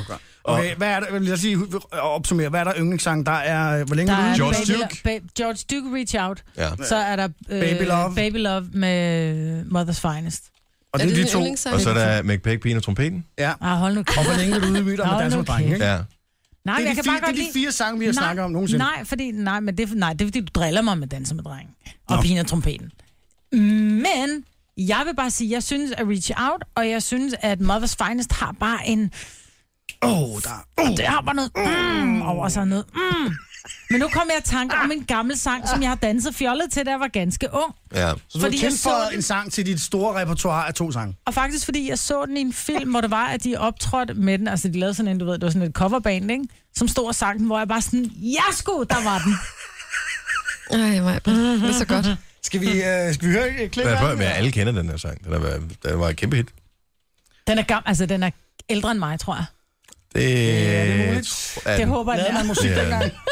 [SPEAKER 7] Okay, hvad er der, lad os lige opsummere, hvad er der yndlingssang? Der er, hvor længe
[SPEAKER 5] Der
[SPEAKER 7] er
[SPEAKER 5] er
[SPEAKER 7] du?
[SPEAKER 5] Baby Lo- Ba- George Duke Reach Out.
[SPEAKER 1] Ja.
[SPEAKER 5] Så er der øh,
[SPEAKER 7] Baby Love.
[SPEAKER 5] Baby Love med Mother's Finest.
[SPEAKER 1] Og det er, de to. Og så er der McPake, Pigen og Trompeten.
[SPEAKER 7] Ja.
[SPEAKER 5] Ah, hold nu kæft.
[SPEAKER 7] Og hvor længe er du ude i myter med
[SPEAKER 5] Hold
[SPEAKER 7] danser
[SPEAKER 5] nu
[SPEAKER 7] med drenge,
[SPEAKER 5] kæft.
[SPEAKER 7] ikke?
[SPEAKER 1] Ja.
[SPEAKER 5] Nej,
[SPEAKER 7] Det er
[SPEAKER 5] jeg
[SPEAKER 7] de
[SPEAKER 5] kan
[SPEAKER 7] fire-
[SPEAKER 5] bare
[SPEAKER 7] det
[SPEAKER 5] godt
[SPEAKER 7] er de
[SPEAKER 5] lide-
[SPEAKER 7] fire sange, vi har
[SPEAKER 5] nej,
[SPEAKER 7] snakket om nogensinde.
[SPEAKER 5] Nej, fordi, nej, men det, er- nej, det er fordi, du driller mig med Danser med Dreng og Pina og Trompeten. Men jeg vil bare sige, jeg synes at Reach Out, og jeg synes, at Mother's Finest har bare en...
[SPEAKER 7] Åh, oh, der...
[SPEAKER 5] Oh. Og det har bare noget... Mm, over sig noget... Mm. Men nu kommer jeg i tanke om en gammel sang, som jeg har danset fjollet til, da jeg var ganske ung.
[SPEAKER 1] Ja.
[SPEAKER 7] Ah. Så du Fordi
[SPEAKER 5] Fordi
[SPEAKER 7] har
[SPEAKER 5] jeg
[SPEAKER 7] tilføjet
[SPEAKER 5] så den.
[SPEAKER 7] en sang til dit store repertoire af to sange.
[SPEAKER 5] Og faktisk fordi jeg så den i en film, hvor det var, at de optrådte med den. Altså de lavede sådan en, du ved, det var sådan et coverband, ikke? Som stod og sang den, hvor jeg bare sådan, ja sgu, der var den.
[SPEAKER 4] Ej, mig, det er så godt.
[SPEAKER 7] Skal vi, øh, skal vi høre et klip
[SPEAKER 1] Men,
[SPEAKER 7] af
[SPEAKER 1] prøv,
[SPEAKER 7] den?
[SPEAKER 1] men alle kender den her sang. Den, er, den var et kæmpe hit.
[SPEAKER 5] Den er gammel, altså den er ældre end mig, tror jeg.
[SPEAKER 1] Det, ja,
[SPEAKER 5] det er muligt.
[SPEAKER 1] den.
[SPEAKER 5] Det håber jeg, den
[SPEAKER 7] Lavede
[SPEAKER 5] er.
[SPEAKER 7] man musik
[SPEAKER 1] Ja.
[SPEAKER 7] dengang?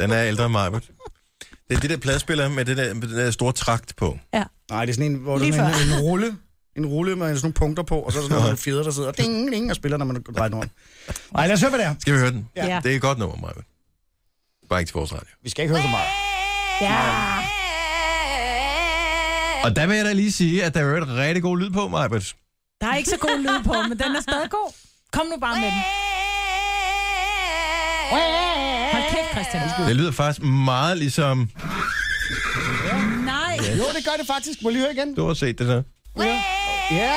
[SPEAKER 1] Den er ældre end mig. Det er det der pladespiller med det der, med det der store trakt på.
[SPEAKER 7] Nej, det er sådan en, hvor der er
[SPEAKER 5] Lige
[SPEAKER 7] sådan en,
[SPEAKER 5] før.
[SPEAKER 7] en rulle. En rulle med sådan nogle punkter på, og så er der sådan nogle fjeder, der sidder ding, ding, og spiller, når man drejer den rundt. Nej, lad os høre, hvad det er.
[SPEAKER 1] Skal vi høre den?
[SPEAKER 7] Ja.
[SPEAKER 1] Det er et godt nummer, Maja. Bare ikke til vores radio.
[SPEAKER 7] Vi skal ikke høre så meget.
[SPEAKER 5] Ja.
[SPEAKER 1] Og der vil jeg da lige sige, at der er et rigtig god lyd på, Maja. Det
[SPEAKER 5] Der er ikke så god lyd på, men den er stadig god. Kom nu bare med den. Hold kæft, Christian.
[SPEAKER 1] lyder faktisk meget ligesom...
[SPEAKER 5] Nej.
[SPEAKER 7] Jo, det gør det faktisk. Må jeg lige høre igen.
[SPEAKER 1] Du har set det der.
[SPEAKER 7] Ja!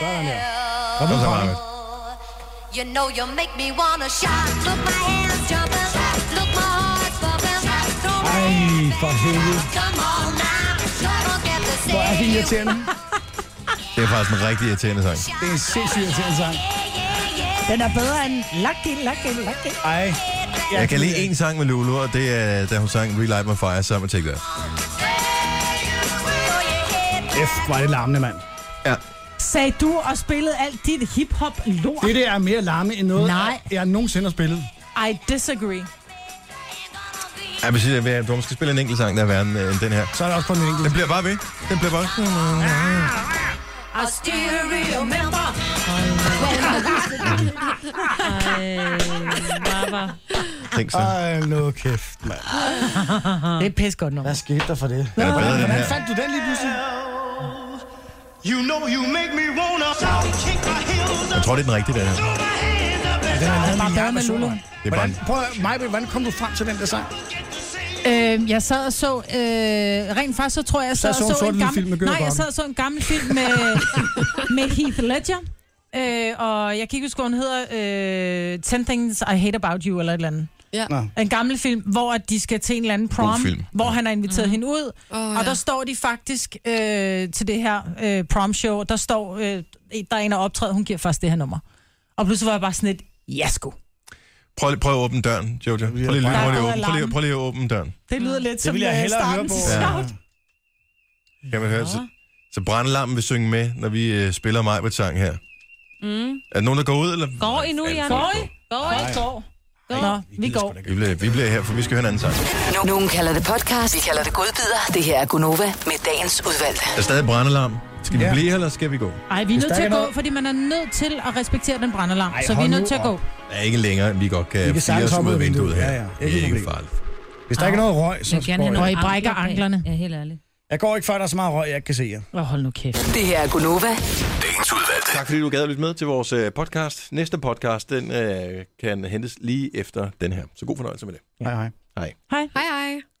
[SPEAKER 7] Sådan der. Kom
[SPEAKER 1] nu, Maja.
[SPEAKER 14] You know you make me wanna shout. Look my hands jumping, look my heart's pumping. Don't
[SPEAKER 7] Ej, for helvede.
[SPEAKER 14] come on now, don't get the
[SPEAKER 7] Hvor er det
[SPEAKER 14] same.
[SPEAKER 7] irriterende.
[SPEAKER 1] Det er faktisk en rigtig irriterende sang.
[SPEAKER 7] Det er en sindssygt irriterende sang.
[SPEAKER 5] Den er bedre end Lucky, Lucky, Lucky.
[SPEAKER 7] Ej.
[SPEAKER 1] Jeg kan lide en sang med Lulu, og det er, da hun sang Relight My Fire sammen med Taylor.
[SPEAKER 7] F, hvor er det larmende, mand.
[SPEAKER 5] Sagde du og spillede alt dit hip-hop-lort?
[SPEAKER 7] Det der er mere larme end noget,
[SPEAKER 5] Nej.
[SPEAKER 7] jeg nogensinde har spillet.
[SPEAKER 5] I disagree.
[SPEAKER 1] Ja, men siger, at du skal spille en enkelt sang, der er værre end øh, end den her.
[SPEAKER 7] Så er der også på en enkelt.
[SPEAKER 1] Den bliver bare ved. Den bliver bare...
[SPEAKER 14] I still remember when I used to
[SPEAKER 1] Tænk så.
[SPEAKER 7] Ej, nu kæft, mand.
[SPEAKER 5] Det er pis godt nummer.
[SPEAKER 7] Hvad skete der for det?
[SPEAKER 1] Er det bedre, den
[SPEAKER 7] Hvordan
[SPEAKER 1] her?
[SPEAKER 7] fandt du den lige pludselig?
[SPEAKER 15] You know you make me wanna shout, kick my heels
[SPEAKER 1] Jeg tror, det er den rigtige, den her.
[SPEAKER 7] Den har lavet en
[SPEAKER 5] Bare
[SPEAKER 7] milliard
[SPEAKER 5] bedre med
[SPEAKER 7] versioner.
[SPEAKER 5] Lulu.
[SPEAKER 1] Det er bare...
[SPEAKER 7] Hvordan, prøv at, Majbel, hvordan kom du frem til den der sang?
[SPEAKER 5] Øh, jeg sad og så, øh, rent faktisk så tror jeg, jeg sad
[SPEAKER 7] Så så en
[SPEAKER 5] og så en
[SPEAKER 7] sort-hvid film med
[SPEAKER 5] gammel,
[SPEAKER 7] Gødder
[SPEAKER 5] nej, jeg
[SPEAKER 7] Bakken.
[SPEAKER 5] sad og så en gammel film med, med Heath Ledger, øh, og jeg kan ikke huske, hvad hun hedder, øh, 10 Things I Hate About You, eller et eller andet.
[SPEAKER 4] Ja.
[SPEAKER 7] Nå.
[SPEAKER 5] En gammel film, hvor at de skal til en eller anden prom,
[SPEAKER 1] film.
[SPEAKER 5] hvor han har inviteret mm. hende ud,
[SPEAKER 4] Mhm. Åh,
[SPEAKER 5] oh, og der
[SPEAKER 4] ja.
[SPEAKER 5] står de faktisk øh, til det her øh, prom-show, og der står, øh, der er en, der optræder, hun giver først det her nummer. Og pludselig var jeg bare sådan et, ja sku.
[SPEAKER 1] Prøv, lige- prøv at åbne døren, Jojo. Prøv lige, prøv lige, at åbne- prøv lige, prøv lige at åbne døren.
[SPEAKER 5] Det
[SPEAKER 4] Mm.
[SPEAKER 5] lyder lidt som
[SPEAKER 7] ville jeg
[SPEAKER 5] øh,
[SPEAKER 7] hellere høre
[SPEAKER 5] starten
[SPEAKER 7] på.
[SPEAKER 5] til Shout.
[SPEAKER 1] Kan man høre? Så, så brandlarmen vil synge med, når vi øh, spiller mig sang her.
[SPEAKER 6] Mm.
[SPEAKER 1] Er der nogen, der går ud, eller?
[SPEAKER 6] Går I nu, Jan?
[SPEAKER 5] Går I?
[SPEAKER 6] Går I?
[SPEAKER 5] Går. Nå, vi går.
[SPEAKER 1] Vi bliver, vi bliver her, for vi skal høre en anden sang.
[SPEAKER 9] Nu- Nogen kalder det podcast, vi kalder det godbider. Det her er Gunova med dagens udvalgte.
[SPEAKER 1] Der er stadig brandalarm. Skal vi
[SPEAKER 7] Ja.
[SPEAKER 1] blive, eller skal vi gå?
[SPEAKER 5] Ej, vi er
[SPEAKER 7] Hvis
[SPEAKER 5] nødt
[SPEAKER 7] der
[SPEAKER 5] til at
[SPEAKER 7] ikke er
[SPEAKER 5] gå,
[SPEAKER 7] noget-
[SPEAKER 5] fordi man er nødt til at respektere den brandalarm.
[SPEAKER 7] Ej,
[SPEAKER 5] så vi er
[SPEAKER 7] hold
[SPEAKER 5] nødt
[SPEAKER 7] nu
[SPEAKER 5] til at gå.
[SPEAKER 7] op.
[SPEAKER 1] Der er ikke længere, end vi godt kan
[SPEAKER 7] Vi kan
[SPEAKER 1] fire
[SPEAKER 7] sagtens
[SPEAKER 1] os
[SPEAKER 7] hoppe
[SPEAKER 1] ud af
[SPEAKER 7] ud af
[SPEAKER 1] vinduet her.
[SPEAKER 7] vinduet. Ja, ja.
[SPEAKER 1] Det
[SPEAKER 7] Ikke
[SPEAKER 1] er ikke
[SPEAKER 7] problem.
[SPEAKER 1] farligt.
[SPEAKER 7] Hvis der ikke er noget røg, så
[SPEAKER 6] Jeg vil
[SPEAKER 7] går
[SPEAKER 6] gerne have
[SPEAKER 7] jeg.
[SPEAKER 5] Og I
[SPEAKER 6] noget
[SPEAKER 5] brækker
[SPEAKER 6] ankler bag.
[SPEAKER 5] anklerne.
[SPEAKER 6] Ja, helt ærligt.
[SPEAKER 7] Jeg går ikke, før der er så meget røg, jeg ikke kan se jer.
[SPEAKER 5] Oh, hold nu kæft.
[SPEAKER 9] Det her er Gunova.
[SPEAKER 1] Tak fordi du gad at lytte med til vores øh, podcast. Næste podcast, den øh, kan hentes lige efter den her. Så god fornøjelse med det.
[SPEAKER 7] Hej, hej.
[SPEAKER 1] Hej.
[SPEAKER 5] Hej.
[SPEAKER 4] Hej, hej.